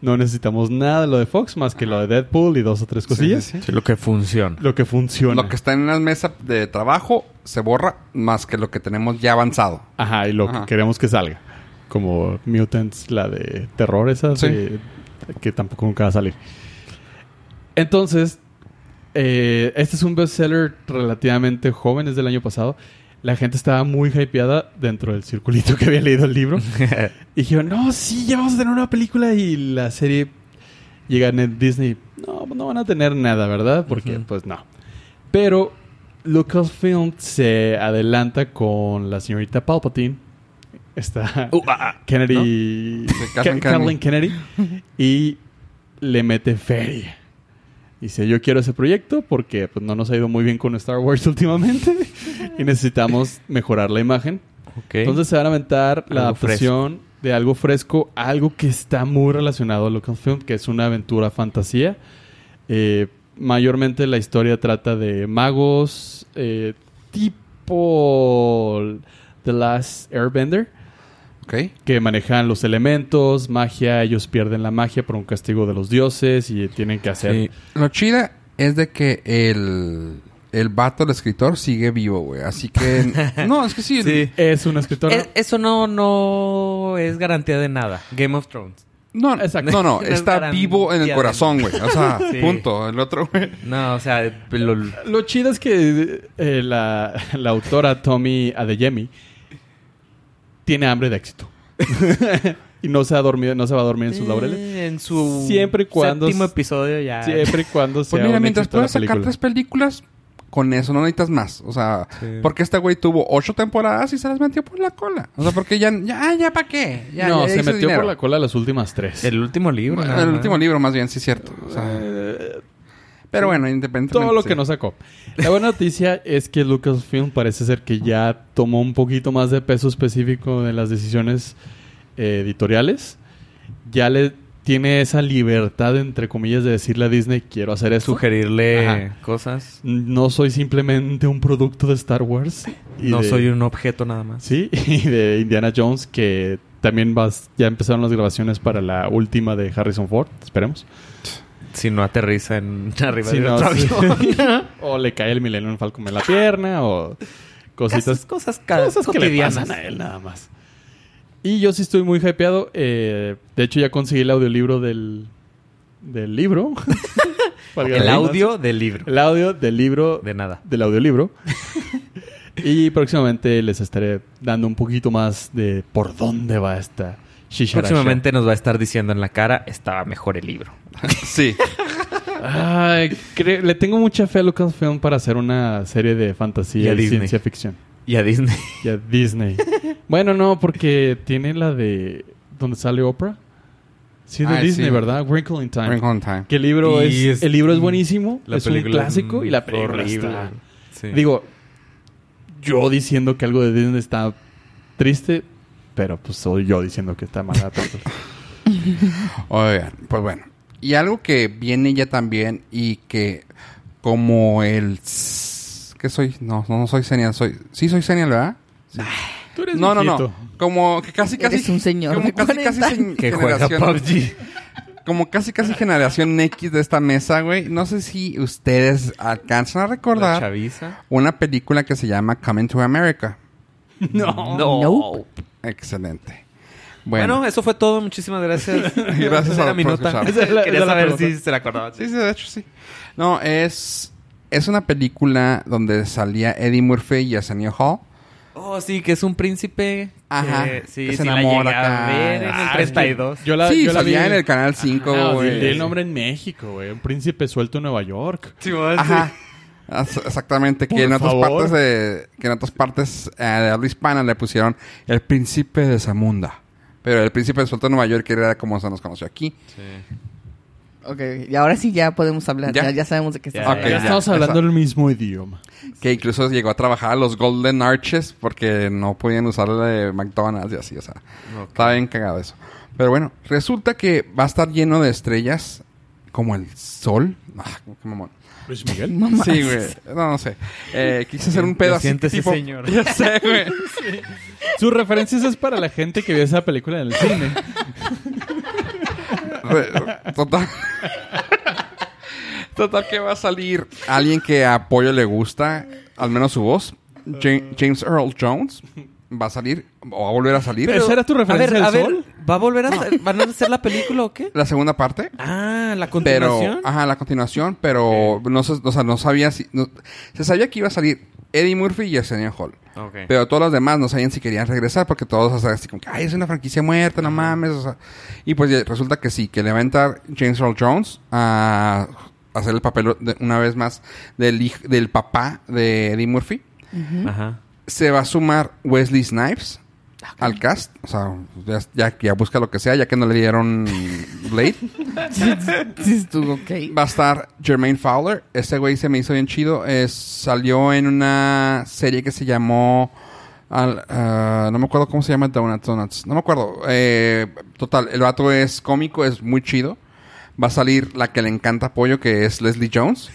[SPEAKER 2] No necesitamos nada de lo de Fox más que lo de Deadpool y dos o tres cosillas.
[SPEAKER 1] Sí, sí, sí.
[SPEAKER 3] Sí, lo que funciona.
[SPEAKER 2] Lo que funciona.
[SPEAKER 1] Lo que está en las mesas de trabajo se borra más que lo que tenemos ya avanzado.
[SPEAKER 2] Ajá, y lo
[SPEAKER 1] Ajá.
[SPEAKER 2] que queremos que salga. Como Mutants, la de terror esa,
[SPEAKER 1] Sí.
[SPEAKER 2] de- que tampoco nunca va a salir. Entonces, eh, este es un bestseller relativamente joven, es del año pasado. La gente estaba muy hypeada dentro del circulito que había leído el libro. y dijeron, no, sí, ya vamos a tener una película y la serie llega a Net- Disney. No, pues no van a tener nada, ¿verdad? Porque,
[SPEAKER 3] Ujú.
[SPEAKER 2] pues no. Pero Lucasfilm se adelanta con la señorita Palpatine. Está
[SPEAKER 3] Uh, ah, ah.
[SPEAKER 2] Kennedy.
[SPEAKER 1] Kathleen
[SPEAKER 2] Ka- Kathleen Kennedy. Y le mete feria. Dice, yo quiero ese proyecto porque pues, no nos ha ido muy bien con Star Wars últimamente y necesitamos mejorar la imagen.
[SPEAKER 3] Ok.
[SPEAKER 2] Entonces se van a aventar la
[SPEAKER 3] Algo fresco.
[SPEAKER 2] adaptación de algo fresco, algo que está muy relacionado a Lucasfilm, que es una aventura fantasía. Eh, mayormente la historia trata de magos eh, tipo The Last Airbender,
[SPEAKER 1] ¿Ok?
[SPEAKER 2] que manejan los elementos, magia, ellos pierden la magia por un castigo de los dioses y tienen que hacer...
[SPEAKER 3] Sí.
[SPEAKER 1] Lo chida es de que el, el vato, el escritor, sigue vivo, güey. Así que... no, es que sí.
[SPEAKER 3] Sí.
[SPEAKER 2] Es un escritor...
[SPEAKER 3] Es- E- eso no, no es garantía de nada. Game of Thrones.
[SPEAKER 1] No,
[SPEAKER 2] Exacto.
[SPEAKER 1] no, no.
[SPEAKER 3] No es
[SPEAKER 1] Está
[SPEAKER 3] garantía
[SPEAKER 1] vivo en el
[SPEAKER 3] de-
[SPEAKER 1] corazón, güey. O sea,
[SPEAKER 3] Sí.
[SPEAKER 1] punto. El otro, güey. Pues
[SPEAKER 3] No, o sea, lo-
[SPEAKER 2] Lo chido es que eh, la, la autora Tommy Adeyemi tiene hambre de éxito. y no se, ha dormido, no se va a dormir en sus laureles.
[SPEAKER 3] Eh, en su
[SPEAKER 2] Siempre y cuando-
[SPEAKER 3] séptimo episodio ya.
[SPEAKER 2] Siempre y cuando sea
[SPEAKER 1] Pues mira,
[SPEAKER 2] un
[SPEAKER 1] mientras
[SPEAKER 2] éxito la
[SPEAKER 1] puedas sacar
[SPEAKER 2] película.
[SPEAKER 1] tres películas, con eso no necesitas más. O sea,
[SPEAKER 3] Sí.
[SPEAKER 1] porque este güey tuvo ocho temporadas y se las metió por la cola. O sea, porque ya... Ya, ya ¿para qué? Ya,
[SPEAKER 2] no,
[SPEAKER 1] ya
[SPEAKER 2] se
[SPEAKER 1] hizo
[SPEAKER 2] metió
[SPEAKER 1] dinero.
[SPEAKER 2] por la cola las últimas tres.
[SPEAKER 3] El último libro.
[SPEAKER 1] Bueno,
[SPEAKER 3] nada
[SPEAKER 1] el
[SPEAKER 3] más.
[SPEAKER 1] último libro, más bien, sí, cierto. O sea,
[SPEAKER 2] Eh,
[SPEAKER 1] pero bueno, independientemente.
[SPEAKER 2] todo lo
[SPEAKER 1] sí.
[SPEAKER 2] que no sacó. La buena noticia es que Lucasfilm parece ser que ya tomó un poquito más de peso específico de las decisiones eh, editoriales. Ya le tiene esa libertad, entre comillas, de decirle a Disney, quiero hacer eso.
[SPEAKER 3] Sugerirle
[SPEAKER 2] Ajá.
[SPEAKER 3] cosas.
[SPEAKER 2] No soy simplemente un producto de Star Wars. y
[SPEAKER 3] No
[SPEAKER 2] de-
[SPEAKER 3] soy un objeto nada más.
[SPEAKER 2] Sí, y de Indiana Jones, que también vas, ya empezaron las grabaciones para la última de Harrison Ford, esperemos.
[SPEAKER 3] Si no aterriza en arriba
[SPEAKER 2] Si
[SPEAKER 3] de
[SPEAKER 2] no,
[SPEAKER 3] otro
[SPEAKER 2] sí.
[SPEAKER 3] avión.
[SPEAKER 2] o le cae el Millennium Falcon en la pierna, o
[SPEAKER 3] Cosas,
[SPEAKER 2] cositas,
[SPEAKER 3] cosas, ca-
[SPEAKER 2] cosas que le
[SPEAKER 3] cotidianas.
[SPEAKER 2] pasan a él nada más. Y yo sí estoy muy hypeado. eh, de hecho, ya conseguí el audiolibro del, del libro. Valga
[SPEAKER 3] El
[SPEAKER 2] la
[SPEAKER 3] audio del libro.
[SPEAKER 2] El audio del libro.
[SPEAKER 3] De nada.
[SPEAKER 2] Del audiolibro. y próximamente les estaré dando un poquito más de por dónde va esta shisharacha.
[SPEAKER 3] Próximamente nos va a estar diciendo en la cara, estaba mejor el libro.
[SPEAKER 2] Sí. Ay, cre- le tengo mucha fe a Lucasfilm para hacer una serie de
[SPEAKER 3] Y a
[SPEAKER 2] fantasía y,
[SPEAKER 3] Disney.
[SPEAKER 2] ciencia ficción.
[SPEAKER 3] Y a Disney.
[SPEAKER 2] Y a Disney. bueno, no, porque tiene la de... ¿Dónde sale Oprah? Sí, de
[SPEAKER 1] Ah,
[SPEAKER 2] Disney,
[SPEAKER 1] sí.
[SPEAKER 2] ¿verdad? Wrinkle in Time.
[SPEAKER 1] Bring on time.
[SPEAKER 2] Que el libro es,
[SPEAKER 3] Y es-
[SPEAKER 2] El libro es buenísimo.
[SPEAKER 3] La
[SPEAKER 2] es un
[SPEAKER 3] película
[SPEAKER 2] clásico. Y la película
[SPEAKER 3] horrible.
[SPEAKER 2] está-
[SPEAKER 3] Sí.
[SPEAKER 2] Digo, yo diciendo que algo de Disney está triste... Pero pues soy yo diciendo que está mala. pero- pues,
[SPEAKER 1] Oigan, pues bueno. Y algo que viene ya también y que como el... ¿Qué soy? No, no, no soy senial. Soy... Sí soy senial, ¿verdad?
[SPEAKER 2] Tú eres
[SPEAKER 1] No, no,
[SPEAKER 2] viejito.
[SPEAKER 1] no. Como que casi, casi...
[SPEAKER 4] Eres un señor
[SPEAKER 1] Como
[SPEAKER 4] de
[SPEAKER 1] casi,
[SPEAKER 4] 40
[SPEAKER 1] casi sen-
[SPEAKER 3] que juega
[SPEAKER 1] generación-
[SPEAKER 3] PUBG.
[SPEAKER 1] Como casi, casi generación X de esta mesa, güey. No sé si ustedes alcanzan a
[SPEAKER 3] La
[SPEAKER 1] recordar
[SPEAKER 3] chaviza.
[SPEAKER 1] una película que se llama Coming to America.
[SPEAKER 2] No.
[SPEAKER 3] No.
[SPEAKER 4] Nope.
[SPEAKER 1] Excelente.
[SPEAKER 3] Bueno.
[SPEAKER 1] Bueno,
[SPEAKER 3] eso fue todo. Muchísimas gracias.
[SPEAKER 1] Gracias
[SPEAKER 3] Esa
[SPEAKER 1] a-
[SPEAKER 3] era mi
[SPEAKER 1] por
[SPEAKER 3] nota.
[SPEAKER 1] escuchar.
[SPEAKER 2] Esa es la- esa
[SPEAKER 3] Quería
[SPEAKER 2] es la
[SPEAKER 3] saber
[SPEAKER 2] pregunta.
[SPEAKER 3] si se la acordaba.
[SPEAKER 1] sí, sí, de hecho sí. No, es... Es una película donde salía Eddie Murphy y Arsenio Hall.
[SPEAKER 3] Oh, sí, que es un príncipe.
[SPEAKER 1] Ajá,
[SPEAKER 3] Que, sí,
[SPEAKER 1] que se
[SPEAKER 3] sí la
[SPEAKER 1] enamora
[SPEAKER 3] llegué a
[SPEAKER 1] acá.
[SPEAKER 3] ver en el
[SPEAKER 2] Ah,
[SPEAKER 3] 32.
[SPEAKER 2] Yo la,
[SPEAKER 1] sí,
[SPEAKER 2] yo la vi
[SPEAKER 1] salía en el Canal 5,
[SPEAKER 2] Ah,
[SPEAKER 1] güey.
[SPEAKER 2] di el nombre en México, güey. Un príncipe suelto en Nueva York.
[SPEAKER 1] Ajá. As- Exactamente, que
[SPEAKER 2] Por
[SPEAKER 1] en, otras
[SPEAKER 2] favor.
[SPEAKER 1] partes de, que en otras partes eh, de habla hispana le pusieron el príncipe de Zamunda. Pero el príncipe de Suelto de Nueva York era como se nos conoció aquí.
[SPEAKER 4] Ok, y ahora sí ya podemos hablar.
[SPEAKER 1] ¿Ya?
[SPEAKER 4] Ya, ya sabemos de qué está
[SPEAKER 3] Ya,
[SPEAKER 1] Ok,
[SPEAKER 2] ya estamos
[SPEAKER 1] ya,
[SPEAKER 2] hablando
[SPEAKER 1] esa-
[SPEAKER 2] el mismo idioma.
[SPEAKER 1] Que incluso llegó a trabajar a los Golden Arches porque no podían usar la de McDonald's y así, o sea.
[SPEAKER 3] Ok.
[SPEAKER 1] Estaba bien cagado eso. Pero bueno, resulta que va a estar lleno de estrellas como el sol. Ah, qué mamón.
[SPEAKER 2] Luis Miguel.
[SPEAKER 4] Mamás.
[SPEAKER 1] Sí, güey. No, no sé. Eh, quise hacer un pedo así
[SPEAKER 3] sientes,
[SPEAKER 1] tipo...
[SPEAKER 3] señor.
[SPEAKER 1] Ya sé, güey.
[SPEAKER 2] Sus referencias es para la gente que vio esa película en el cine.
[SPEAKER 1] Re- Total. Total que va a salir alguien que a Pollo le gusta, al menos su voz. Ja- James Earl Jones va a salir, o va a volver a salir.
[SPEAKER 2] Pero- ¿Esa era tu referencia
[SPEAKER 3] a
[SPEAKER 2] al
[SPEAKER 3] ver,
[SPEAKER 2] sol?
[SPEAKER 3] A ver, ¿va a volver a hacer, ¿van a hacer la película o qué?
[SPEAKER 1] La segunda parte.
[SPEAKER 3] Ah, la
[SPEAKER 1] Pero,
[SPEAKER 3] continuación.
[SPEAKER 1] ajá, la continuación, pero no, se, o sea, no sabía si. no- se sabía que iba a salir Eddie Murphy y Arsenio Hall.
[SPEAKER 3] Ok.
[SPEAKER 1] Pero todos los demás no sabían si querían regresar porque todos o sea, así como que, ay, es una franquicia muerta, no mames. o sea. y pues ya, resulta que sí, que le va a entrar James Earl Jones a hacer el papel de- una vez más del, hij- del papá de Eddie Murphy.
[SPEAKER 3] Ajá.
[SPEAKER 1] Se va a sumar Wesley Snipes al cast. O sea, ya, ya, ya busca lo que sea, ya que no le dieron Blade.
[SPEAKER 4] Sí, estuvo ok.
[SPEAKER 1] Va a estar Jermaine Fowler. Este güey se me hizo bien chido. Es- salió en una serie que se llamó. al- ah, no me acuerdo cómo se llama Donuts Donuts. No me acuerdo. Eh, total, el vato es cómico, es muy chido. Va a salir la que le encanta apoyo, que es Leslie Jones.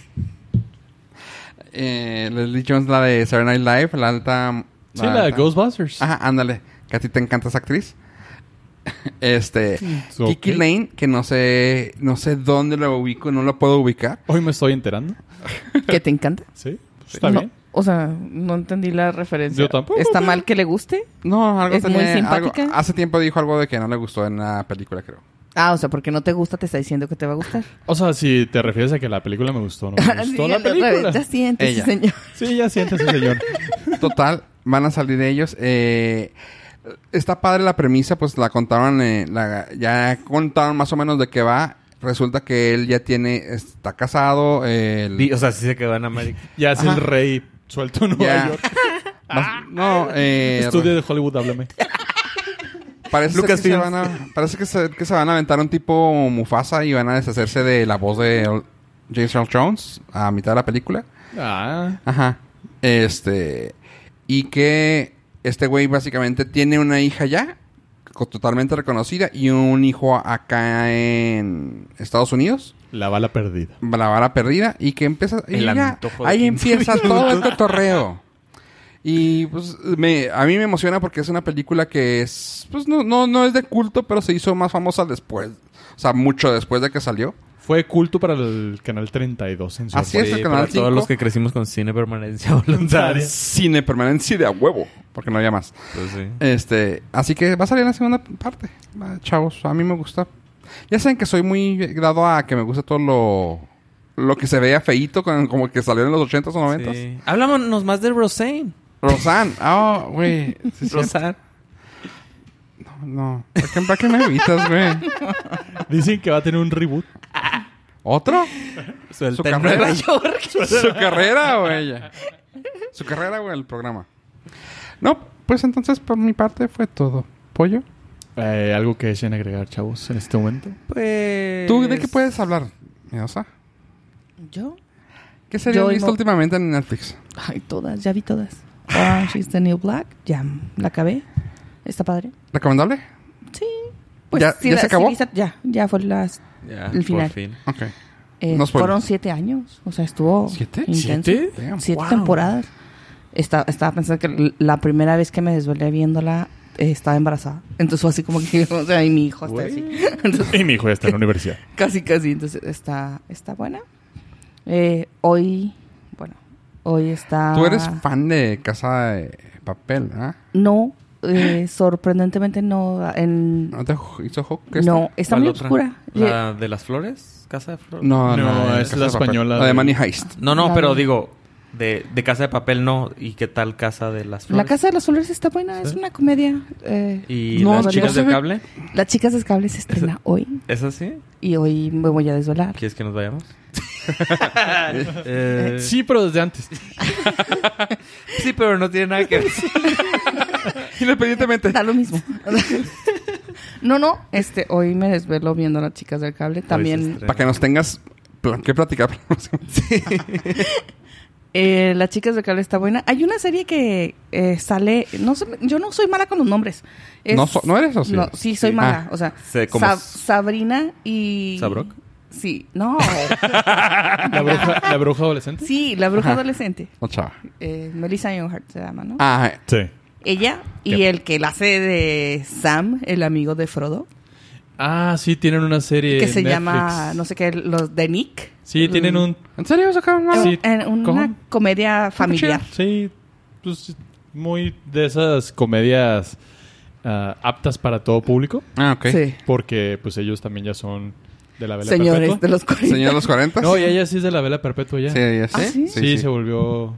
[SPEAKER 1] Eh, Leslie Jones, la de Saturday Night Live, la alta.
[SPEAKER 2] Sí, la de
[SPEAKER 1] alta-
[SPEAKER 2] Ghostbusters.
[SPEAKER 1] Ajá, ándale. Que a ti te encanta esa actriz. Este.
[SPEAKER 2] Ok.
[SPEAKER 1] Kiki Lane, que no sé. No sé dónde lo ubico, no lo puedo ubicar.
[SPEAKER 2] Hoy me estoy enterando.
[SPEAKER 4] ¿Que te encanta?
[SPEAKER 2] Sí. Está
[SPEAKER 4] No,
[SPEAKER 2] bien.
[SPEAKER 4] O sea, no entendí la referencia.
[SPEAKER 2] Yo tampoco,
[SPEAKER 4] ¿Está
[SPEAKER 2] pero-
[SPEAKER 4] mal que le guste?
[SPEAKER 1] No, algo
[SPEAKER 4] ¿Es muy
[SPEAKER 1] también- algo-
[SPEAKER 4] simpática?
[SPEAKER 1] hace tiempo dijo algo de que no le gustó en la película, creo.
[SPEAKER 4] Ah, o sea, porque no te gusta, te está diciendo que te va a gustar.
[SPEAKER 2] O sea, si te refieres a que la película me gustó, no me
[SPEAKER 4] Sí,
[SPEAKER 2] gustó Pues, la
[SPEAKER 4] otra vez, Ya
[SPEAKER 2] película.
[SPEAKER 4] sientes, sí,
[SPEAKER 1] Ella.
[SPEAKER 4] señor.
[SPEAKER 2] Sí, ya siéntese, señor.
[SPEAKER 1] Total, van a salir ellos. Eh, está padre la premisa, pues la contaron, eh, la- ya contaron más o menos de qué va. Resulta que él ya tiene, está casado. eh, el-
[SPEAKER 3] Di- O sea, sí se quedó en América.
[SPEAKER 2] Ya es el
[SPEAKER 1] Ajá.
[SPEAKER 2] rey suelto en Nueva
[SPEAKER 1] Ya.
[SPEAKER 2] York.
[SPEAKER 1] más- no, eh,
[SPEAKER 2] Estudio de Hollywood, háblame.
[SPEAKER 1] Parece
[SPEAKER 3] Lucas
[SPEAKER 1] que se
[SPEAKER 3] Films.
[SPEAKER 1] van a, parece que se, que se van a aventar un tipo Mufasa y van a deshacerse de la voz de el- James Earl Jones a mitad de la película.
[SPEAKER 2] Ah.
[SPEAKER 1] Ajá. Este y que este güey básicamente tiene una hija ya co- totalmente reconocida y un hijo acá en Estados Unidos.
[SPEAKER 2] La bala perdida.
[SPEAKER 1] La vara perdida y que empieza y
[SPEAKER 3] El
[SPEAKER 1] ya,
[SPEAKER 3] antojo de
[SPEAKER 1] ahí
[SPEAKER 3] 15
[SPEAKER 1] empieza todo el cotorreo. Y pues me, a mí me emociona porque es una película que es, pues no, no, no es de culto, pero se hizo más famosa después. O sea, mucho después de que salió.
[SPEAKER 2] Fue culto para el canal 32 en su
[SPEAKER 1] Así es,
[SPEAKER 3] Oye,
[SPEAKER 1] el
[SPEAKER 3] para
[SPEAKER 1] canal 5.
[SPEAKER 3] todos los que crecimos con cine permanencia voluntaria.
[SPEAKER 1] Cine permanencia de a huevo, porque no había más.
[SPEAKER 3] Pues sí.
[SPEAKER 1] Este, así que va a salir la segunda parte. Va, Chavos, a mí me gusta. Ya saben que soy muy dado a que me gusta todo lo, lo que se veía feíto, con- como que salió en los 80s o 90s.
[SPEAKER 3] Sí. Hablámonos más de Rosane.
[SPEAKER 1] Rosan, ah, güey. Sí, sí.
[SPEAKER 3] Rosane.
[SPEAKER 1] No, ¿para qué, para qué me evitas, güey?
[SPEAKER 2] Dicen que va a tener un reboot.
[SPEAKER 1] ¿Otro?
[SPEAKER 3] Suelta
[SPEAKER 1] Su
[SPEAKER 3] en
[SPEAKER 1] carrera.
[SPEAKER 3] Nueva York.
[SPEAKER 1] Su carrera, güey. ya. Su carrera, güey, el programa. No, pues entonces por mi parte fue todo. ¿Pollo?
[SPEAKER 2] Eh, algo que deseen agregar, chavos, en este momento.
[SPEAKER 3] Pues...
[SPEAKER 1] ¿Tú de qué puedes hablar, Miosa?
[SPEAKER 4] ¿Yo?
[SPEAKER 1] ¿Qué sería
[SPEAKER 4] Yo
[SPEAKER 1] visto
[SPEAKER 4] no-
[SPEAKER 1] últimamente en Netflix?
[SPEAKER 4] Ay, todas, ya vi todas. Orange is the New Black, ya la acabé. Está padre.
[SPEAKER 1] ¿Recomendable?
[SPEAKER 4] Sí. Pues,
[SPEAKER 1] ¿Ya-
[SPEAKER 4] sí
[SPEAKER 1] ya
[SPEAKER 4] la-
[SPEAKER 1] se acabó?
[SPEAKER 4] sí, lista- ya, ya fue las.
[SPEAKER 3] Ya,
[SPEAKER 4] El final.
[SPEAKER 3] Por fin.
[SPEAKER 1] Ok.
[SPEAKER 4] eh,
[SPEAKER 1] No spoiler.
[SPEAKER 4] fueron siete años. O sea, estuvo.
[SPEAKER 1] ¿Siete?
[SPEAKER 4] intenso.
[SPEAKER 2] ¿Siete?
[SPEAKER 1] Damn,
[SPEAKER 4] Siete
[SPEAKER 1] wow.
[SPEAKER 4] temporadas. Esta- estaba pensando que l- la primera vez que me desvelé viéndola eh, estaba embarazada. Entonces fue así como que. O sea, y mi hijo está así. Entonces,
[SPEAKER 2] Y mi hijo ya está en la universidad.
[SPEAKER 4] Casi, casi. Entonces, está, está buena. Eh, hoy, bueno, hoy está...
[SPEAKER 1] Tú eres fan de Casa de Papel, ¿ah?
[SPEAKER 4] No, eh, sorprendentemente no. En,
[SPEAKER 1] ¿No te ju- hizo hook que
[SPEAKER 4] no, está
[SPEAKER 3] ¿Cuál
[SPEAKER 4] muy
[SPEAKER 3] otra?
[SPEAKER 4] oscura.
[SPEAKER 3] ¿La de las flores? ¿Casa de
[SPEAKER 1] esta?
[SPEAKER 3] flores?
[SPEAKER 1] No,
[SPEAKER 2] No,
[SPEAKER 1] de
[SPEAKER 2] es
[SPEAKER 1] Casa
[SPEAKER 2] la
[SPEAKER 1] de Papel.
[SPEAKER 2] española
[SPEAKER 1] La de
[SPEAKER 2] de-
[SPEAKER 1] Money Heist.
[SPEAKER 3] No, no,
[SPEAKER 4] La
[SPEAKER 3] pero
[SPEAKER 4] de-
[SPEAKER 3] digo, de, de Casa de Papel no. ¿Y qué tal Casa de las Flores?
[SPEAKER 4] La Casa de los Flores está buena, es una comedia. eh,
[SPEAKER 3] ¿Y
[SPEAKER 1] No,
[SPEAKER 3] las
[SPEAKER 1] no
[SPEAKER 3] chicas
[SPEAKER 1] se
[SPEAKER 3] del
[SPEAKER 1] ve-
[SPEAKER 3] cable?
[SPEAKER 4] Las chicas del cable se estrena hoy
[SPEAKER 3] ¿Es así?
[SPEAKER 4] y hoy me voy a desvelar.
[SPEAKER 3] ¿Quieres que nos vayamos? sí.
[SPEAKER 2] Sí, pero desde antes.
[SPEAKER 3] sí, pero no tiene nada que ver.
[SPEAKER 1] Independientemente.
[SPEAKER 4] Da lo mismo. no, no, este, hoy me desvelo viendo las chicas del cable. También
[SPEAKER 1] Para que nos tengas plan que platicar.
[SPEAKER 4] Eh, las chicas del cable está buena. Hay una serie que eh, sale. No sé, yo no soy mala con los nombres. Es-
[SPEAKER 1] ¿No so- no eres o sí?
[SPEAKER 4] No, sí, soy
[SPEAKER 1] Sí.
[SPEAKER 4] mala.
[SPEAKER 1] Ah.
[SPEAKER 4] o sea,
[SPEAKER 3] Sé como
[SPEAKER 4] Sab-
[SPEAKER 3] s-
[SPEAKER 4] Sabrina y.
[SPEAKER 3] ¿Sabrock?
[SPEAKER 4] Sí, no.
[SPEAKER 2] La bruja, la bruja adolescente.
[SPEAKER 4] sí, la bruja
[SPEAKER 1] Ajá.
[SPEAKER 4] adolescente.
[SPEAKER 1] No, chava.
[SPEAKER 4] Eh, Melissa Earhart se llama, ¿no?
[SPEAKER 1] Ah,
[SPEAKER 2] Sí.
[SPEAKER 4] Ella y
[SPEAKER 2] ¿Qué?
[SPEAKER 4] el que la hace de Sam, el amigo de Frodo,
[SPEAKER 2] Ah, sí, tienen una serie.
[SPEAKER 4] que
[SPEAKER 2] en
[SPEAKER 4] se
[SPEAKER 2] Netflix.
[SPEAKER 4] llama, no sé qué, los de Nick.
[SPEAKER 2] Sí, tienen un.
[SPEAKER 1] ¿en serio sacaron una?
[SPEAKER 4] Eh,
[SPEAKER 2] Sí.
[SPEAKER 4] en una
[SPEAKER 2] ¿Cómo?
[SPEAKER 4] comedia familiar.
[SPEAKER 2] Sí, pues muy de esas comedias ah, aptas para todo público.
[SPEAKER 1] Ah, ok.
[SPEAKER 4] Sí.
[SPEAKER 2] Porque pues ellos también ya son de la vela
[SPEAKER 4] Señores de
[SPEAKER 2] perpetua.
[SPEAKER 4] los 40.
[SPEAKER 1] Señor de los 40.
[SPEAKER 2] No, y ella sí es de la vela perpetua ya.
[SPEAKER 1] Sí, ella sí.
[SPEAKER 4] ¿Ah, sí?
[SPEAKER 2] Sí, se volvió.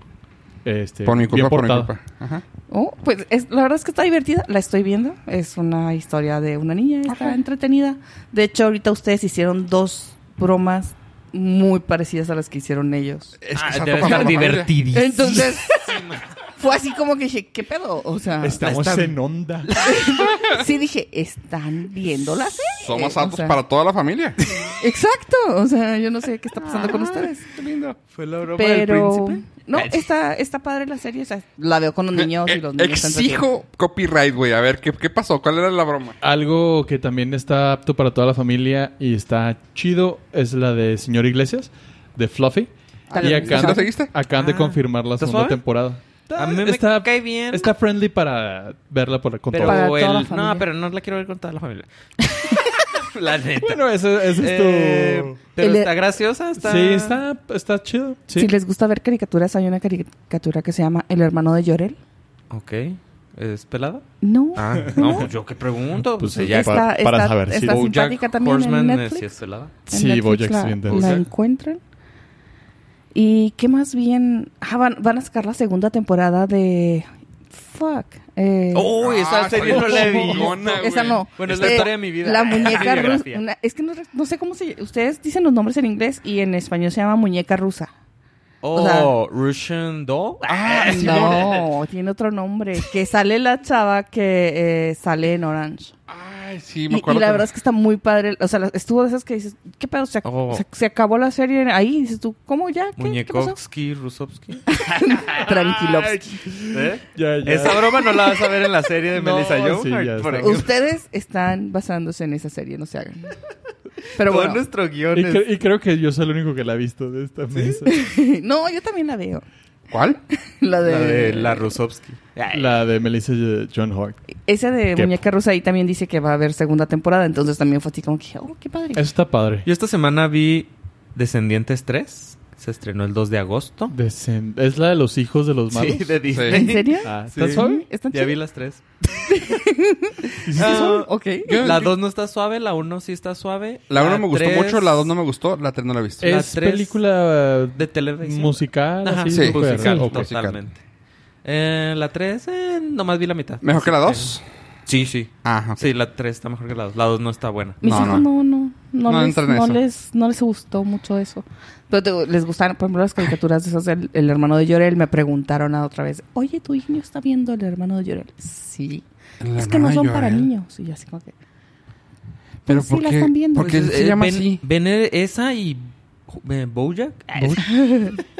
[SPEAKER 2] Este,
[SPEAKER 1] Por mi
[SPEAKER 2] bien
[SPEAKER 1] culpa, por mi
[SPEAKER 2] portada.
[SPEAKER 1] culpa. Ajá.
[SPEAKER 4] Oh, pues es- la verdad es que está divertida, la estoy viendo. Es una historia de una niña, está entretenida. De hecho, ahorita ustedes hicieron dos bromas muy parecidas a las que hicieron ellos.
[SPEAKER 1] Es
[SPEAKER 3] Ah,
[SPEAKER 1] que
[SPEAKER 3] debe
[SPEAKER 1] saco para
[SPEAKER 3] estar
[SPEAKER 1] la familia.
[SPEAKER 3] divertidísimo.
[SPEAKER 4] Entonces, fue así como que dije, ¿qué pedo? O sea,
[SPEAKER 2] Estamos
[SPEAKER 3] Está-
[SPEAKER 2] en onda.
[SPEAKER 4] sí dije, ¿están viendo la serie?
[SPEAKER 1] Somos
[SPEAKER 4] O
[SPEAKER 1] aptos
[SPEAKER 4] sea,
[SPEAKER 1] para toda la familia.
[SPEAKER 4] Exacto, o sea, yo no sé qué está pasando
[SPEAKER 3] Ah,
[SPEAKER 1] Ah.
[SPEAKER 4] con ustedes.
[SPEAKER 1] Qué lindo.
[SPEAKER 3] ¿Fue la broma
[SPEAKER 4] Pero, no, está, está padre la serie, o sea, la veo con los niños y los niños están
[SPEAKER 1] Exijo copyright, güey. A ver, ¿qué, ¿qué pasó? ¿Cuál era la broma?
[SPEAKER 2] Algo que también está apto para toda la familia y está chido es la de Señor Iglesias, de Fluffy.
[SPEAKER 4] Tal
[SPEAKER 2] Y
[SPEAKER 4] vez.
[SPEAKER 2] acaban,
[SPEAKER 1] ¿Sí la seguiste?
[SPEAKER 2] acaban de
[SPEAKER 3] Ah.
[SPEAKER 2] confirmar la
[SPEAKER 3] ¿Está
[SPEAKER 2] segunda
[SPEAKER 3] suave?
[SPEAKER 2] temporada.
[SPEAKER 3] A mí me
[SPEAKER 2] Está-
[SPEAKER 3] cae bien.
[SPEAKER 2] Está friendly para verla por, con
[SPEAKER 3] pero
[SPEAKER 2] todo.
[SPEAKER 4] Para toda la
[SPEAKER 3] el-
[SPEAKER 4] familia.
[SPEAKER 3] No, pero no la quiero ver con toda la familia. la neta.
[SPEAKER 2] Bueno, eso, eso es tu...
[SPEAKER 3] Eh, pero
[SPEAKER 4] El-
[SPEAKER 3] está graciosa. Está...
[SPEAKER 2] Sí, está, está chido. Sí.
[SPEAKER 4] Si les gusta ver caricaturas, hay una caricatura que se llama El hermano de Llorel.
[SPEAKER 3] Ok. ¿Es pelada?
[SPEAKER 4] No.
[SPEAKER 3] Ah, no, pues yo qué pregunto.
[SPEAKER 2] Pues
[SPEAKER 3] Pues
[SPEAKER 2] ella-
[SPEAKER 3] ella...
[SPEAKER 4] está,
[SPEAKER 2] para- para
[SPEAKER 4] está-
[SPEAKER 2] saber si
[SPEAKER 4] está
[SPEAKER 3] Bojack
[SPEAKER 4] simpática también
[SPEAKER 3] Horseman,
[SPEAKER 4] en
[SPEAKER 3] eh,
[SPEAKER 4] Netflix.
[SPEAKER 3] sí es pelada.
[SPEAKER 4] En
[SPEAKER 2] Sí,
[SPEAKER 4] Netflix
[SPEAKER 2] Bojack
[SPEAKER 4] la-
[SPEAKER 2] Horseman.
[SPEAKER 4] La
[SPEAKER 3] Bojack.
[SPEAKER 4] encuentran. ¿Y qué más bien? Ah, van, van a sacar la segunda temporada de... Fuck. Eh,
[SPEAKER 3] ¡Oh, esa
[SPEAKER 1] Ah,
[SPEAKER 3] serie no la he visto.
[SPEAKER 1] chingona, güey.
[SPEAKER 4] Esa no.
[SPEAKER 3] Bueno, es la
[SPEAKER 4] Eh,
[SPEAKER 3] historia de mi vida.
[SPEAKER 4] La muñeca
[SPEAKER 3] Mi
[SPEAKER 4] rusa.
[SPEAKER 3] biografía.
[SPEAKER 4] una- es que no, re- no sé cómo se... Ustedes dicen los nombres en inglés y en español se llama muñeca rusa.
[SPEAKER 3] Oh, Russian Doll.
[SPEAKER 1] Ah, sí,
[SPEAKER 4] no, tiene otro nombre. Que sale la chava que eh, sale en Orange.
[SPEAKER 1] Ay, sí,
[SPEAKER 4] Y,
[SPEAKER 1] me
[SPEAKER 4] y
[SPEAKER 1] acuerdo.
[SPEAKER 4] la
[SPEAKER 1] que-
[SPEAKER 4] verdad es que está muy padre. O sea, la- estuvo de esas que dices, ¿qué pedo? Se, ac-
[SPEAKER 3] Oh.
[SPEAKER 4] se- se acabó la serie ahí. Y dices tú, ¿cómo ya? ¿Qué, ¿qué pasó?
[SPEAKER 3] Muñekovsky, Rusovsky.
[SPEAKER 4] Tranquilovsky.
[SPEAKER 3] ¿Eh?
[SPEAKER 2] Ya, ya.
[SPEAKER 3] Esa broma no la vas a ver en la serie de
[SPEAKER 2] No,
[SPEAKER 3] Melissa
[SPEAKER 2] sí,
[SPEAKER 3] Joan
[SPEAKER 2] ya
[SPEAKER 3] Hart,
[SPEAKER 2] está.
[SPEAKER 3] por ejemplo.
[SPEAKER 4] Ustedes están basándose en esa serie, no se hagan. Pero
[SPEAKER 3] Todo
[SPEAKER 4] bueno,
[SPEAKER 3] nuestro guión
[SPEAKER 2] y,
[SPEAKER 3] es-
[SPEAKER 2] cre- y creo que yo soy el único que la ha visto de esta mesa.
[SPEAKER 4] no, yo también la veo.
[SPEAKER 1] ¿Cuál?
[SPEAKER 4] La de...
[SPEAKER 3] La de Ah. la Rusovsky.
[SPEAKER 2] La de Melissa John Hart.
[SPEAKER 4] Esa de
[SPEAKER 2] Que-
[SPEAKER 4] Muñeca Rusa ahí también dice que va a haber segunda temporada. Entonces también fue así como que, oh, qué padre.
[SPEAKER 2] Eso está padre.
[SPEAKER 3] Yo esta semana vi Descendientes 3. Se estrenó el 2 de agosto.
[SPEAKER 2] Descend- es la de los hijos de los malos.
[SPEAKER 3] Sí, de Disney.
[SPEAKER 4] ¿En serio?
[SPEAKER 2] Ah,
[SPEAKER 3] Sí.
[SPEAKER 2] ¿Estás suave?
[SPEAKER 4] ¿Están
[SPEAKER 3] Ya vi las tres.
[SPEAKER 4] chidas?
[SPEAKER 3] Ah,
[SPEAKER 4] Ok.
[SPEAKER 1] Yo-
[SPEAKER 3] la
[SPEAKER 1] yo-
[SPEAKER 3] 2 no está suave, la 1 sí está suave.
[SPEAKER 1] La 1 me gustó
[SPEAKER 3] tres
[SPEAKER 1] mucho, la 2 no me gustó, la 3 no la he visto.
[SPEAKER 3] Eh, La
[SPEAKER 2] Es
[SPEAKER 3] tres
[SPEAKER 2] película
[SPEAKER 3] De televisión.
[SPEAKER 2] musical.
[SPEAKER 3] Ajá,
[SPEAKER 2] así,
[SPEAKER 1] sí,
[SPEAKER 2] súper-
[SPEAKER 3] musical,
[SPEAKER 2] ok.
[SPEAKER 1] musical.
[SPEAKER 3] totalmente. Eh, la 3, eh, nomás vi la mitad.
[SPEAKER 1] ¿Mejor que la 2?
[SPEAKER 3] Sí, sí.
[SPEAKER 1] Ah, ok.
[SPEAKER 3] Sí, la 3 está mejor que la 2. La 2 no está buena.
[SPEAKER 4] Mis
[SPEAKER 1] No,
[SPEAKER 4] hijos no, no, no,
[SPEAKER 1] No
[SPEAKER 4] les,
[SPEAKER 1] entran en
[SPEAKER 4] no,
[SPEAKER 1] eso.
[SPEAKER 4] les, no les gustó mucho eso. Pero te digo, les gustan, por ejemplo, las caricaturas de esas del el hermano de Llorel. Me preguntaron a otra vez, oye, ¿tu niño está viendo el hermano de Llorel? Sí.
[SPEAKER 1] El
[SPEAKER 4] es que no
[SPEAKER 1] hermano
[SPEAKER 4] son
[SPEAKER 1] de
[SPEAKER 4] para
[SPEAKER 1] Joel.
[SPEAKER 4] niños. Y yo así como que...
[SPEAKER 1] Pero
[SPEAKER 4] Sí,
[SPEAKER 1] ¿por
[SPEAKER 4] la
[SPEAKER 1] qué?
[SPEAKER 4] están viendo.
[SPEAKER 1] ¿Por qué
[SPEAKER 3] Pues,
[SPEAKER 1] se
[SPEAKER 3] eh,
[SPEAKER 1] llama
[SPEAKER 3] ven,
[SPEAKER 1] así?
[SPEAKER 3] ven esa y eh, Bojack.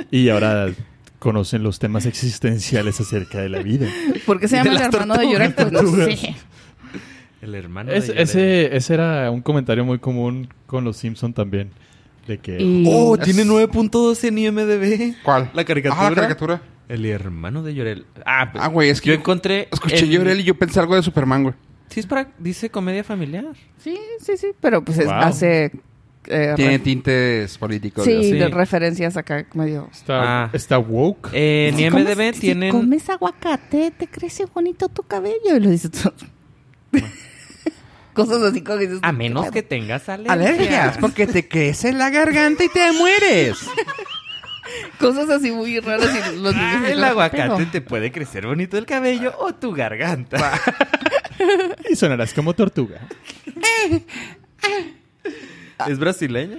[SPEAKER 2] Y ahora conocen los temas existenciales acerca de la vida.
[SPEAKER 4] ¿Por qué se
[SPEAKER 3] Y de
[SPEAKER 4] llama el
[SPEAKER 3] las
[SPEAKER 4] hermano de Llorel? Pues no sé.
[SPEAKER 3] El hermano.
[SPEAKER 2] Es-
[SPEAKER 3] de Llorel.
[SPEAKER 2] ese, ese era un comentario muy común con los Simpson también. De que
[SPEAKER 4] Y-
[SPEAKER 3] Oh, tiene 9.2 en IMDb.
[SPEAKER 1] ¿Cuál?
[SPEAKER 3] La caricatura.
[SPEAKER 1] Ah, la caricatura.
[SPEAKER 3] El hermano de Llorel. Ah, pues,
[SPEAKER 1] Ah, güey, es que
[SPEAKER 3] yo
[SPEAKER 1] yo
[SPEAKER 3] encontré.
[SPEAKER 1] Escuché
[SPEAKER 3] el-
[SPEAKER 1] Llorel y yo pensé algo de Superman, güey.
[SPEAKER 3] Sí, es para. Dice comedia familiar.
[SPEAKER 4] Sí, sí, sí. Pero pues es-
[SPEAKER 2] Wow.
[SPEAKER 4] hace... eh,
[SPEAKER 1] Tiene
[SPEAKER 4] re-
[SPEAKER 1] tintes políticos.
[SPEAKER 4] sí,
[SPEAKER 1] Dios.
[SPEAKER 3] sí.
[SPEAKER 4] de referencias acá medio...
[SPEAKER 2] está,
[SPEAKER 3] Ah.
[SPEAKER 2] está woke.
[SPEAKER 3] Eh, en
[SPEAKER 4] Si
[SPEAKER 3] IMDb
[SPEAKER 4] comes-
[SPEAKER 3] tienen.
[SPEAKER 4] Si comes aguacate, te crece bonito tu cabello. Y lo dice todo. Cosas así como que dices,
[SPEAKER 3] A menos que tengas alergias.
[SPEAKER 1] Alergias, porque te crece la garganta y te mueres.
[SPEAKER 4] Cosas así muy raras. Y los niños
[SPEAKER 3] Ah,
[SPEAKER 4] así,
[SPEAKER 3] el
[SPEAKER 4] ¿qué
[SPEAKER 3] aguacate
[SPEAKER 4] pedo?
[SPEAKER 3] te puede crecer bonito el cabello o tu garganta.
[SPEAKER 2] Y sonarás como tortuga.
[SPEAKER 3] ¿Es brasileña?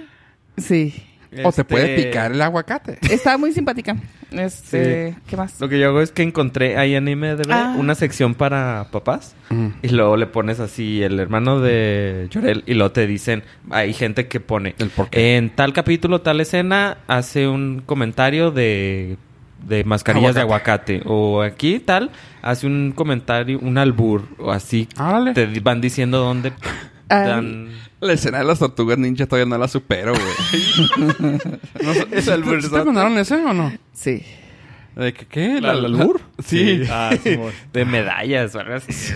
[SPEAKER 4] Sí.
[SPEAKER 3] Este
[SPEAKER 1] O te puede picar el aguacate.
[SPEAKER 4] Está muy simpática. Este, ¿Qué más?
[SPEAKER 3] Lo que yo hago es que encontré ahí en IMDb
[SPEAKER 4] Ah.
[SPEAKER 3] una sección para papás. Y luego le pones así el hermano de Llorel y luego te dicen, hay gente que pone,
[SPEAKER 1] El por qué.
[SPEAKER 3] en tal capítulo, tal escena, hace un comentario de, de mascarillas de aguacate. O aquí tal, hace un comentario, un albur o así.
[SPEAKER 1] Árale.
[SPEAKER 3] Te di- van diciendo dónde
[SPEAKER 4] Ah.
[SPEAKER 3] dan...
[SPEAKER 1] La escena de las tortugas ninja todavía no la supero, güey. no, sé,
[SPEAKER 3] Es
[SPEAKER 1] ¿sí te-
[SPEAKER 3] el
[SPEAKER 1] sí
[SPEAKER 3] versote.
[SPEAKER 1] ¿Te mandaron ese o no?
[SPEAKER 4] Sí.
[SPEAKER 1] ¿De que, qué?
[SPEAKER 2] ¿La- la albur?
[SPEAKER 1] Sí.
[SPEAKER 2] Sí. Ah, Simón.
[SPEAKER 3] de medallas o algo así.
[SPEAKER 4] sí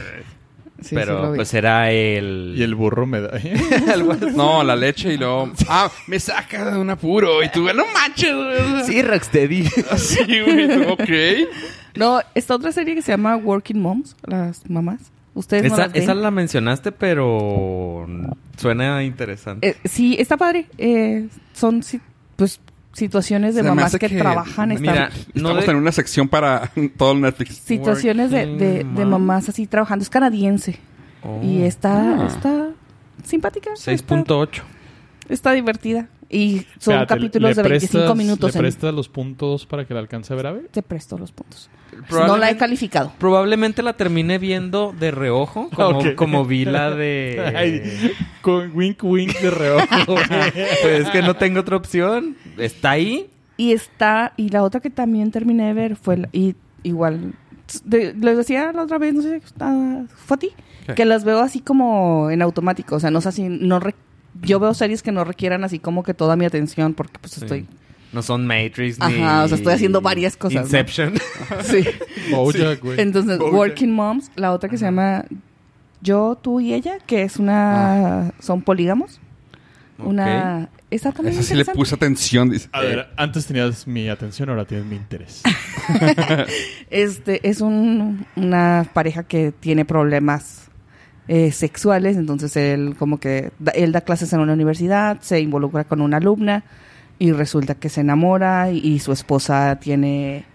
[SPEAKER 4] sí
[SPEAKER 3] Pero
[SPEAKER 4] lo vi.
[SPEAKER 3] pues era el...
[SPEAKER 2] Y el burro me da.
[SPEAKER 1] No, la leche y luego... Ah, me saca de un apuro. Y tú, no manches. güey.
[SPEAKER 3] Sí, Rocksteady.
[SPEAKER 1] Así, güey. tú, Ok.
[SPEAKER 4] No, está otra serie que se llama Working Moms, las mamás. Ustedes no
[SPEAKER 3] Esa,
[SPEAKER 4] las ven?
[SPEAKER 3] esa la mencionaste, pero suena interesante.
[SPEAKER 4] Eh, sí, está padre. Eh, son si- pues situaciones de
[SPEAKER 1] Se me
[SPEAKER 4] mamás
[SPEAKER 1] hace
[SPEAKER 4] que,
[SPEAKER 1] que-
[SPEAKER 4] trabajan. están-
[SPEAKER 3] Mira, no
[SPEAKER 1] Estamos
[SPEAKER 3] de-
[SPEAKER 1] en una sección para todo el Netflix.
[SPEAKER 4] situaciones de, de- de
[SPEAKER 3] Working
[SPEAKER 4] mamás así trabajando. Es canadiense.
[SPEAKER 2] Oh.
[SPEAKER 3] Mm.
[SPEAKER 4] Y
[SPEAKER 2] Ah,
[SPEAKER 3] Ah.
[SPEAKER 4] está, está simpática. está-
[SPEAKER 3] 6.8.
[SPEAKER 4] Está, divertida. Y son
[SPEAKER 2] Espérate,
[SPEAKER 4] capítulos
[SPEAKER 2] ¿le
[SPEAKER 4] de 25
[SPEAKER 2] prestas-
[SPEAKER 4] minutos.
[SPEAKER 2] ¿Le
[SPEAKER 4] en-
[SPEAKER 2] prestas los puntos para que la alcance a ver a ver?
[SPEAKER 4] Te presto los puntos. No la he
[SPEAKER 3] Probablemente,
[SPEAKER 4] calificado.
[SPEAKER 3] probablemente la termine viendo de reojo, como,
[SPEAKER 2] Ok.
[SPEAKER 3] como vi la
[SPEAKER 2] Ay,
[SPEAKER 3] de...
[SPEAKER 2] con wink wink de reojo.
[SPEAKER 3] pues es que no tengo otra opción. Está ahí.
[SPEAKER 4] Y está, y la otra que también terminé de ver fue, la- y igual, de- les decía la otra vez, no sé, ah, fue a ti,
[SPEAKER 1] ¿Qué?
[SPEAKER 4] que las veo así como en automático, o sea, no sé si, no re- yo veo series que no requieran así como que toda mi atención, porque pues estoy,
[SPEAKER 3] No son Matrix ni...
[SPEAKER 4] Ajá, o sea, estoy haciendo varias cosas, ¿no?
[SPEAKER 3] Inception.
[SPEAKER 4] sí.
[SPEAKER 2] Bojack, güey.
[SPEAKER 4] Entonces,
[SPEAKER 1] Bojack.
[SPEAKER 4] Working Moms, la otra que se llama Yo, Tú y Ella, que es una,
[SPEAKER 1] Ah.
[SPEAKER 4] son polígamos, una, esa también
[SPEAKER 1] Esa sí le
[SPEAKER 4] interesante.
[SPEAKER 1] puse atención, dice.
[SPEAKER 2] A ver, antes tenías mi atención, ahora tienes mi interés.
[SPEAKER 4] Este es un- una pareja que tiene problemas eh, sexuales, entonces él como que da- él da clases en una universidad, se involucra con una alumna y resulta que se enamora y, y su esposa tiene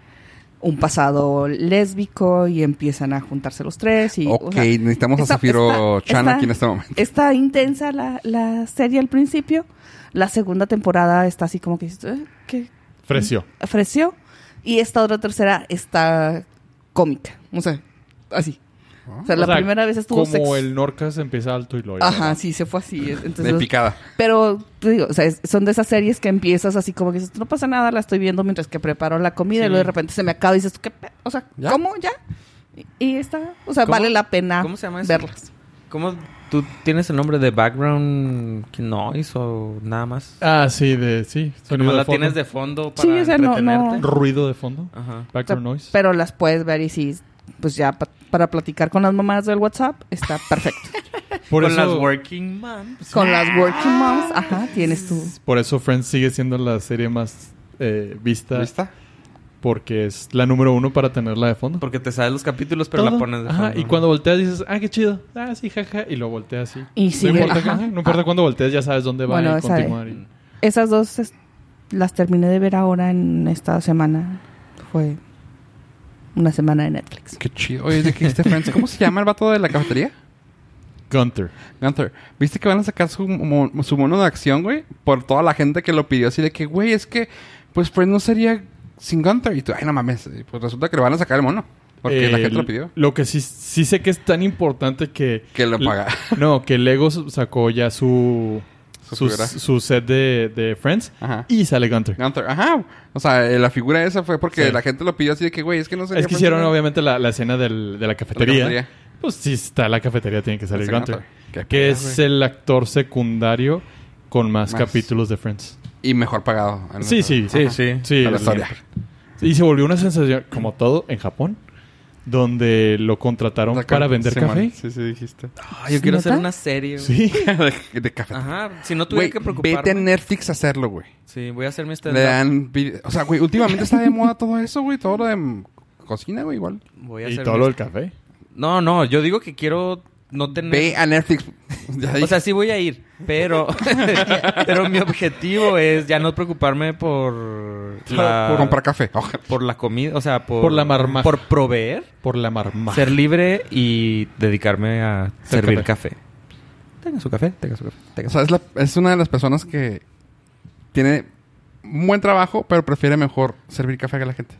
[SPEAKER 4] un pasado lésbico y empiezan a juntarse los tres y o
[SPEAKER 1] ok,
[SPEAKER 4] sea,
[SPEAKER 1] necesitamos
[SPEAKER 4] está-
[SPEAKER 1] a Zafiro
[SPEAKER 4] está-
[SPEAKER 1] Chan
[SPEAKER 4] está-
[SPEAKER 1] aquí en este momento.
[SPEAKER 4] está intensa la, la serie al principio, la segunda temporada está así como que dices, "Eh, ¿qué,
[SPEAKER 2] Frecio.
[SPEAKER 4] ofreció y esta otra tercera está cómica, o sea, así. O sea, la
[SPEAKER 2] O sea,
[SPEAKER 4] primera vez estuvo
[SPEAKER 2] Como
[SPEAKER 4] sex-
[SPEAKER 2] el Norcas empieza alto y lo
[SPEAKER 4] Ajá, sí, se fue así. es- Entonces,
[SPEAKER 1] De picada.
[SPEAKER 4] Pero, te digo, o sea, es- son de esas series que empiezas así como que dices, no pasa nada, la estoy viendo mientras que preparo la comida y
[SPEAKER 3] Sí.
[SPEAKER 4] luego de repente se me acaba y dices, ¿qué pe- O sea,
[SPEAKER 1] ¿Ya?
[SPEAKER 4] ¿cómo ya? Y, y está, o sea,
[SPEAKER 3] ¿Cómo-
[SPEAKER 4] vale la pena
[SPEAKER 3] cómo se llama eso?
[SPEAKER 4] verlas.
[SPEAKER 3] ¿Cómo tú tienes el nombre de background noise o nada más?
[SPEAKER 2] Ah, sí, de, sí.
[SPEAKER 3] Pero
[SPEAKER 2] sonido de
[SPEAKER 3] la
[SPEAKER 2] fondo.
[SPEAKER 3] tienes de Ah. fondo para
[SPEAKER 4] Sí, o sea, no- no-
[SPEAKER 3] entretenerte.
[SPEAKER 2] Ruido de fondo.
[SPEAKER 3] Ajá.
[SPEAKER 4] O sea,
[SPEAKER 2] Background noise.
[SPEAKER 4] pero las puedes ver y sí, pues ya pa- para platicar con las mamás del WhatsApp está perfecto.
[SPEAKER 2] Por
[SPEAKER 3] Con
[SPEAKER 2] eso,
[SPEAKER 3] las working moms.
[SPEAKER 4] con las working moms, ajá, tienes tu...
[SPEAKER 2] por eso Friends sigue siendo la serie más eh, vista,
[SPEAKER 1] ¿Lista?
[SPEAKER 2] porque es la número uno para tenerla de fondo.
[SPEAKER 3] Porque te sabes los capítulos, pero la
[SPEAKER 2] Todo.
[SPEAKER 3] pones de
[SPEAKER 2] Ajá,
[SPEAKER 3] fondo.
[SPEAKER 2] y cuando volteas dices, ah, qué chido. Ah, sí, jaja. Y lo volteas así.
[SPEAKER 4] Y
[SPEAKER 2] no
[SPEAKER 4] sigue,
[SPEAKER 2] importa,
[SPEAKER 4] ajá.
[SPEAKER 2] ajá, no
[SPEAKER 3] Ah.
[SPEAKER 2] importa cuándo volteas, ya sabes dónde va
[SPEAKER 4] Bueno,
[SPEAKER 2] y
[SPEAKER 4] esa de-
[SPEAKER 2] continuar. y-
[SPEAKER 4] Ah, Esas dos es- las terminé de ver ahora en esta semana. Fue una semana de Netflix.
[SPEAKER 1] Qué chido. Oye, ¿de qué viste Friends? ¿Cómo se llama el vato de la cafetería?
[SPEAKER 2] Gunther.
[SPEAKER 1] Gunther, ¿viste que van a sacar su, mo- su mono de acción, güey? Por toda la gente que lo pidió así de que, güey, es que, pues, Friends no sería sin Gunther. Y tú, ay, no mames. Y, Pues resulta que le van a sacar el mono. Porque la
[SPEAKER 2] Eh,
[SPEAKER 1] gente lo pidió.
[SPEAKER 2] Lo que sí, sí sé que es tan importante que...
[SPEAKER 1] Que lo paga.
[SPEAKER 2] No, que Lego sacó ya su...
[SPEAKER 1] Su
[SPEAKER 2] Su,
[SPEAKER 1] figura.
[SPEAKER 2] su set de, de Friends
[SPEAKER 1] Ajá.
[SPEAKER 2] y sale Gunther.
[SPEAKER 1] Gunther, ajá. O sea, eh, la figura esa fue porque
[SPEAKER 2] Sí.
[SPEAKER 1] la gente lo pidió así de que, güey, es que no sería
[SPEAKER 2] Es que
[SPEAKER 1] Friends
[SPEAKER 2] hicieron
[SPEAKER 1] sin-
[SPEAKER 2] obviamente la, la escena del- de la
[SPEAKER 1] la
[SPEAKER 2] cafetería. Pues sí está la cafetería, tiene que salir
[SPEAKER 1] Ese
[SPEAKER 2] Gunther.
[SPEAKER 1] Gunther. Qué
[SPEAKER 2] Que
[SPEAKER 1] pedo,
[SPEAKER 2] es
[SPEAKER 1] güey.
[SPEAKER 2] el actor secundario con más,
[SPEAKER 1] Más.
[SPEAKER 2] capítulos de Friends.
[SPEAKER 1] Y mejor pagado.
[SPEAKER 2] Sí, sí.
[SPEAKER 3] Sí, sí.
[SPEAKER 1] Para
[SPEAKER 2] Sí,
[SPEAKER 1] la
[SPEAKER 2] el-
[SPEAKER 1] historia.
[SPEAKER 2] Y se volvió una sensación, como todo, en Japón, donde lo contrataron
[SPEAKER 1] Sacaron-
[SPEAKER 2] para vender
[SPEAKER 1] Simón.
[SPEAKER 2] café.
[SPEAKER 1] Sí, sí, dijiste.
[SPEAKER 3] Ay, Ah, yo quiero hacer
[SPEAKER 4] ¿Nota?
[SPEAKER 3] una serie. güey.
[SPEAKER 2] Sí.
[SPEAKER 1] de, de café.
[SPEAKER 3] Ajá. Si no tuviera
[SPEAKER 1] Güey,
[SPEAKER 3] que preocuparme.
[SPEAKER 1] vete a Netflix a hacerlo, güey.
[SPEAKER 3] Sí, voy a hacer mi
[SPEAKER 1] Le
[SPEAKER 3] stand-up.
[SPEAKER 1] dan... vide- O sea, güey, últimamente está de moda todo eso, güey. Todo lo de mm, cocina, güey, igual.
[SPEAKER 3] Voy a
[SPEAKER 2] Y
[SPEAKER 3] hacer
[SPEAKER 2] todo
[SPEAKER 3] mi-
[SPEAKER 2] lo del café.
[SPEAKER 3] No, no. Yo digo que quiero no tener...
[SPEAKER 1] Ve a Netflix. Ya
[SPEAKER 3] O
[SPEAKER 1] dije.
[SPEAKER 3] sea, sí voy a ir, pero pero mi objetivo es ya no preocuparme por la
[SPEAKER 1] Por comprar café. Ojalá.
[SPEAKER 3] por la comida, o sea, por
[SPEAKER 2] Por la marmaja.
[SPEAKER 3] por proveer,
[SPEAKER 2] Por la marmaja.
[SPEAKER 3] ser libre y dedicarme a
[SPEAKER 2] Ser
[SPEAKER 3] servir café. Tenga su café, tenga su café, tenga
[SPEAKER 1] O
[SPEAKER 3] su
[SPEAKER 1] sea, es, la- es una de las personas que tiene un buen trabajo, pero prefiere mejor servir café que la gente.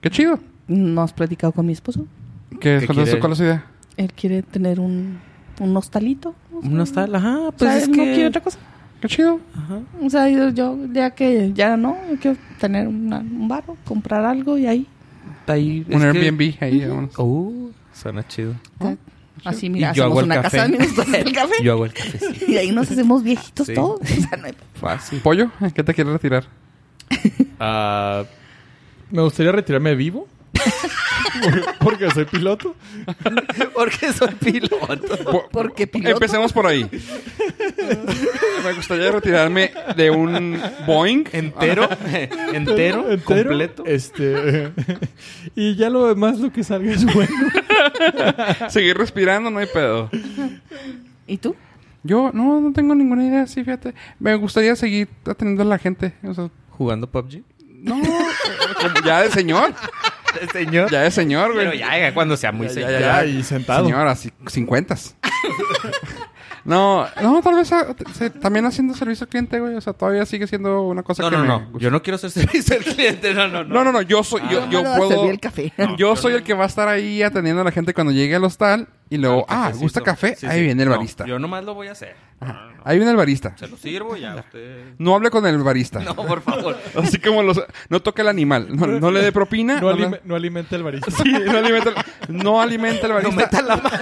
[SPEAKER 1] Qué chido.
[SPEAKER 4] No has platicado con mi esposo.
[SPEAKER 1] ¿Qué,
[SPEAKER 3] ¿Qué
[SPEAKER 1] cuál, es,
[SPEAKER 3] quiere?
[SPEAKER 1] cuál es su idea?
[SPEAKER 4] Él quiere tener un, un hostalito. o sea,
[SPEAKER 3] Un hostal, ajá,
[SPEAKER 4] o
[SPEAKER 3] pues
[SPEAKER 4] sea,
[SPEAKER 3] es
[SPEAKER 4] él
[SPEAKER 3] que
[SPEAKER 4] no quiere otra cosa.
[SPEAKER 1] Qué chido.
[SPEAKER 3] Ajá.
[SPEAKER 4] O sea, yo, yo ya que ya no, yo quiero tener una- un barro, comprar algo y ahí.
[SPEAKER 3] Ahí,
[SPEAKER 1] un
[SPEAKER 3] es que-
[SPEAKER 1] Airbnb ahí. vámonos.
[SPEAKER 3] Uh, suena chido.
[SPEAKER 4] ta- Así,
[SPEAKER 3] Y
[SPEAKER 4] mira,
[SPEAKER 3] yo hago
[SPEAKER 4] hacemos
[SPEAKER 3] el
[SPEAKER 4] una
[SPEAKER 3] café.
[SPEAKER 4] casa de minutos del café.
[SPEAKER 3] Yo hago el café. sí.
[SPEAKER 4] Y ahí nos hacemos viejitos
[SPEAKER 3] Sí.
[SPEAKER 4] todos. O sea, no hay-
[SPEAKER 3] Fácil.
[SPEAKER 1] Pollo, ¿qué te quieres retirar?
[SPEAKER 2] Ah, me gustaría retirarme vivo. Por- Porque soy piloto.
[SPEAKER 3] Porque soy piloto.
[SPEAKER 1] Po-
[SPEAKER 4] Porque piloto.
[SPEAKER 1] Empecemos por ahí. Me gustaría retirarme de un Boeing.
[SPEAKER 3] Entero, entero, Eh. completo.
[SPEAKER 2] Este. y ya lo demás, lo que salga es bueno.
[SPEAKER 1] Seguir respirando, no hay pedo.
[SPEAKER 4] ¿Y tú?
[SPEAKER 1] Yo no, no tengo ninguna idea, sí, fíjate. Me gustaría seguir atendiendo a la gente. O sea,
[SPEAKER 3] Jugando PUBG.
[SPEAKER 1] no, ya de señor.
[SPEAKER 3] Señor.
[SPEAKER 1] Ya de señor, güey.
[SPEAKER 3] Pero ya, ya, cuando sea muy
[SPEAKER 2] Ya,
[SPEAKER 3] señor.
[SPEAKER 2] ya, ya, y sentado.
[SPEAKER 1] Señor, así, cincuentas. no, no, tal vez ah, se- también haciendo servicio al cliente, güey. O sea, todavía sigue siendo una cosa
[SPEAKER 3] No,
[SPEAKER 1] que
[SPEAKER 3] no,
[SPEAKER 1] me
[SPEAKER 3] no. Ah.
[SPEAKER 1] gusta.
[SPEAKER 3] Yo no quiero ser servicio al cliente. No, no, no.
[SPEAKER 1] No, no, no, yo soy, yo, yo
[SPEAKER 4] No, no,
[SPEAKER 1] puedo...
[SPEAKER 4] serví el café.
[SPEAKER 1] yo soy el que va a estar ahí atendiendo a la gente cuando llegue al hostal y luego, ah,
[SPEAKER 3] Cafecito.
[SPEAKER 1] ¿gusta café?
[SPEAKER 3] Sí,
[SPEAKER 1] ahí
[SPEAKER 3] sí.
[SPEAKER 1] viene el
[SPEAKER 3] No,
[SPEAKER 1] barista.
[SPEAKER 3] yo nomás lo voy a hacer.
[SPEAKER 1] Ajá. Ahí viene el barista.
[SPEAKER 3] Se lo sirvo ya. Usted...
[SPEAKER 1] No hable con el barista.
[SPEAKER 3] No, por favor.
[SPEAKER 1] Así como los... No toque el animal. No, no le dé propina.
[SPEAKER 2] No,
[SPEAKER 1] no le-
[SPEAKER 2] alime- no alimenta el barista.
[SPEAKER 1] Sí, no alimenta, no alimenta el
[SPEAKER 3] No
[SPEAKER 1] barista.
[SPEAKER 3] meta la mano.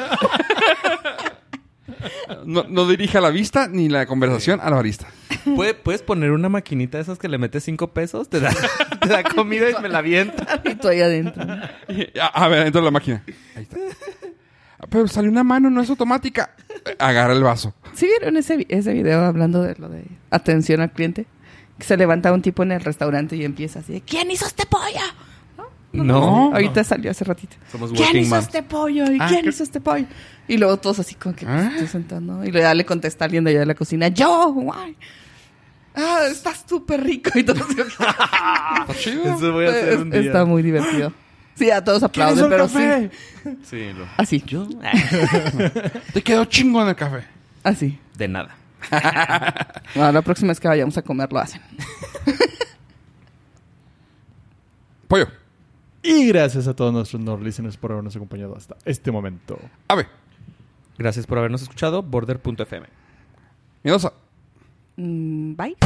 [SPEAKER 1] No, no dirija la vista ni la conversación al barista.
[SPEAKER 3] ¿Puedes, puedes poner una maquinita de esas que le metes cinco pesos, te da, te da comida y me la avienta.
[SPEAKER 4] Y tú ahí adentro.
[SPEAKER 1] A, a ver, entra la máquina. Ahí está. Ah, Pero salió una mano, no es automática. Agarra el vaso.
[SPEAKER 4] ¿Sí vieron ese, vi- ese video hablando de lo de atención al cliente? Que se levanta un tipo en el restaurante y empieza así de, ¿Quién hizo este pollo?
[SPEAKER 1] No.
[SPEAKER 4] Ahorita salió hace ratito.
[SPEAKER 3] Somos
[SPEAKER 4] ¿Quién
[SPEAKER 3] working
[SPEAKER 4] hizo
[SPEAKER 3] moms.
[SPEAKER 4] este pollo? ¿Y
[SPEAKER 1] Ah,
[SPEAKER 4] quién
[SPEAKER 1] ¿qué?
[SPEAKER 4] hizo este pollo? Y luego todos así como que
[SPEAKER 1] Ah.
[SPEAKER 4] pues, estoy sentando. Y luego ya le contesta alguien de allá de la cocina, ¡Yo! guay". ¡Ah, estás súper rico! Y todos así,
[SPEAKER 1] Está chido.
[SPEAKER 3] Ah, Eso voy a hacer un día.
[SPEAKER 4] Eh, Está muy divertido. Sí, a todos
[SPEAKER 1] ¿Quién hizo
[SPEAKER 4] aplauden,
[SPEAKER 1] el
[SPEAKER 4] pero sí.
[SPEAKER 1] café?
[SPEAKER 3] Sí, lo-
[SPEAKER 4] Así. ¿Yo?
[SPEAKER 1] Te quedó chingón el café.
[SPEAKER 4] Así.
[SPEAKER 3] De nada.
[SPEAKER 4] Bueno, la próxima vez que vayamos a comer lo hacen.
[SPEAKER 1] Pollo.
[SPEAKER 2] Y gracias a todos nuestros Nord listeners por habernos acompañado hasta este momento.
[SPEAKER 1] Ave.
[SPEAKER 3] Gracias por habernos escuchado. Border.fm.
[SPEAKER 1] Miedosa.
[SPEAKER 4] Mm, bye.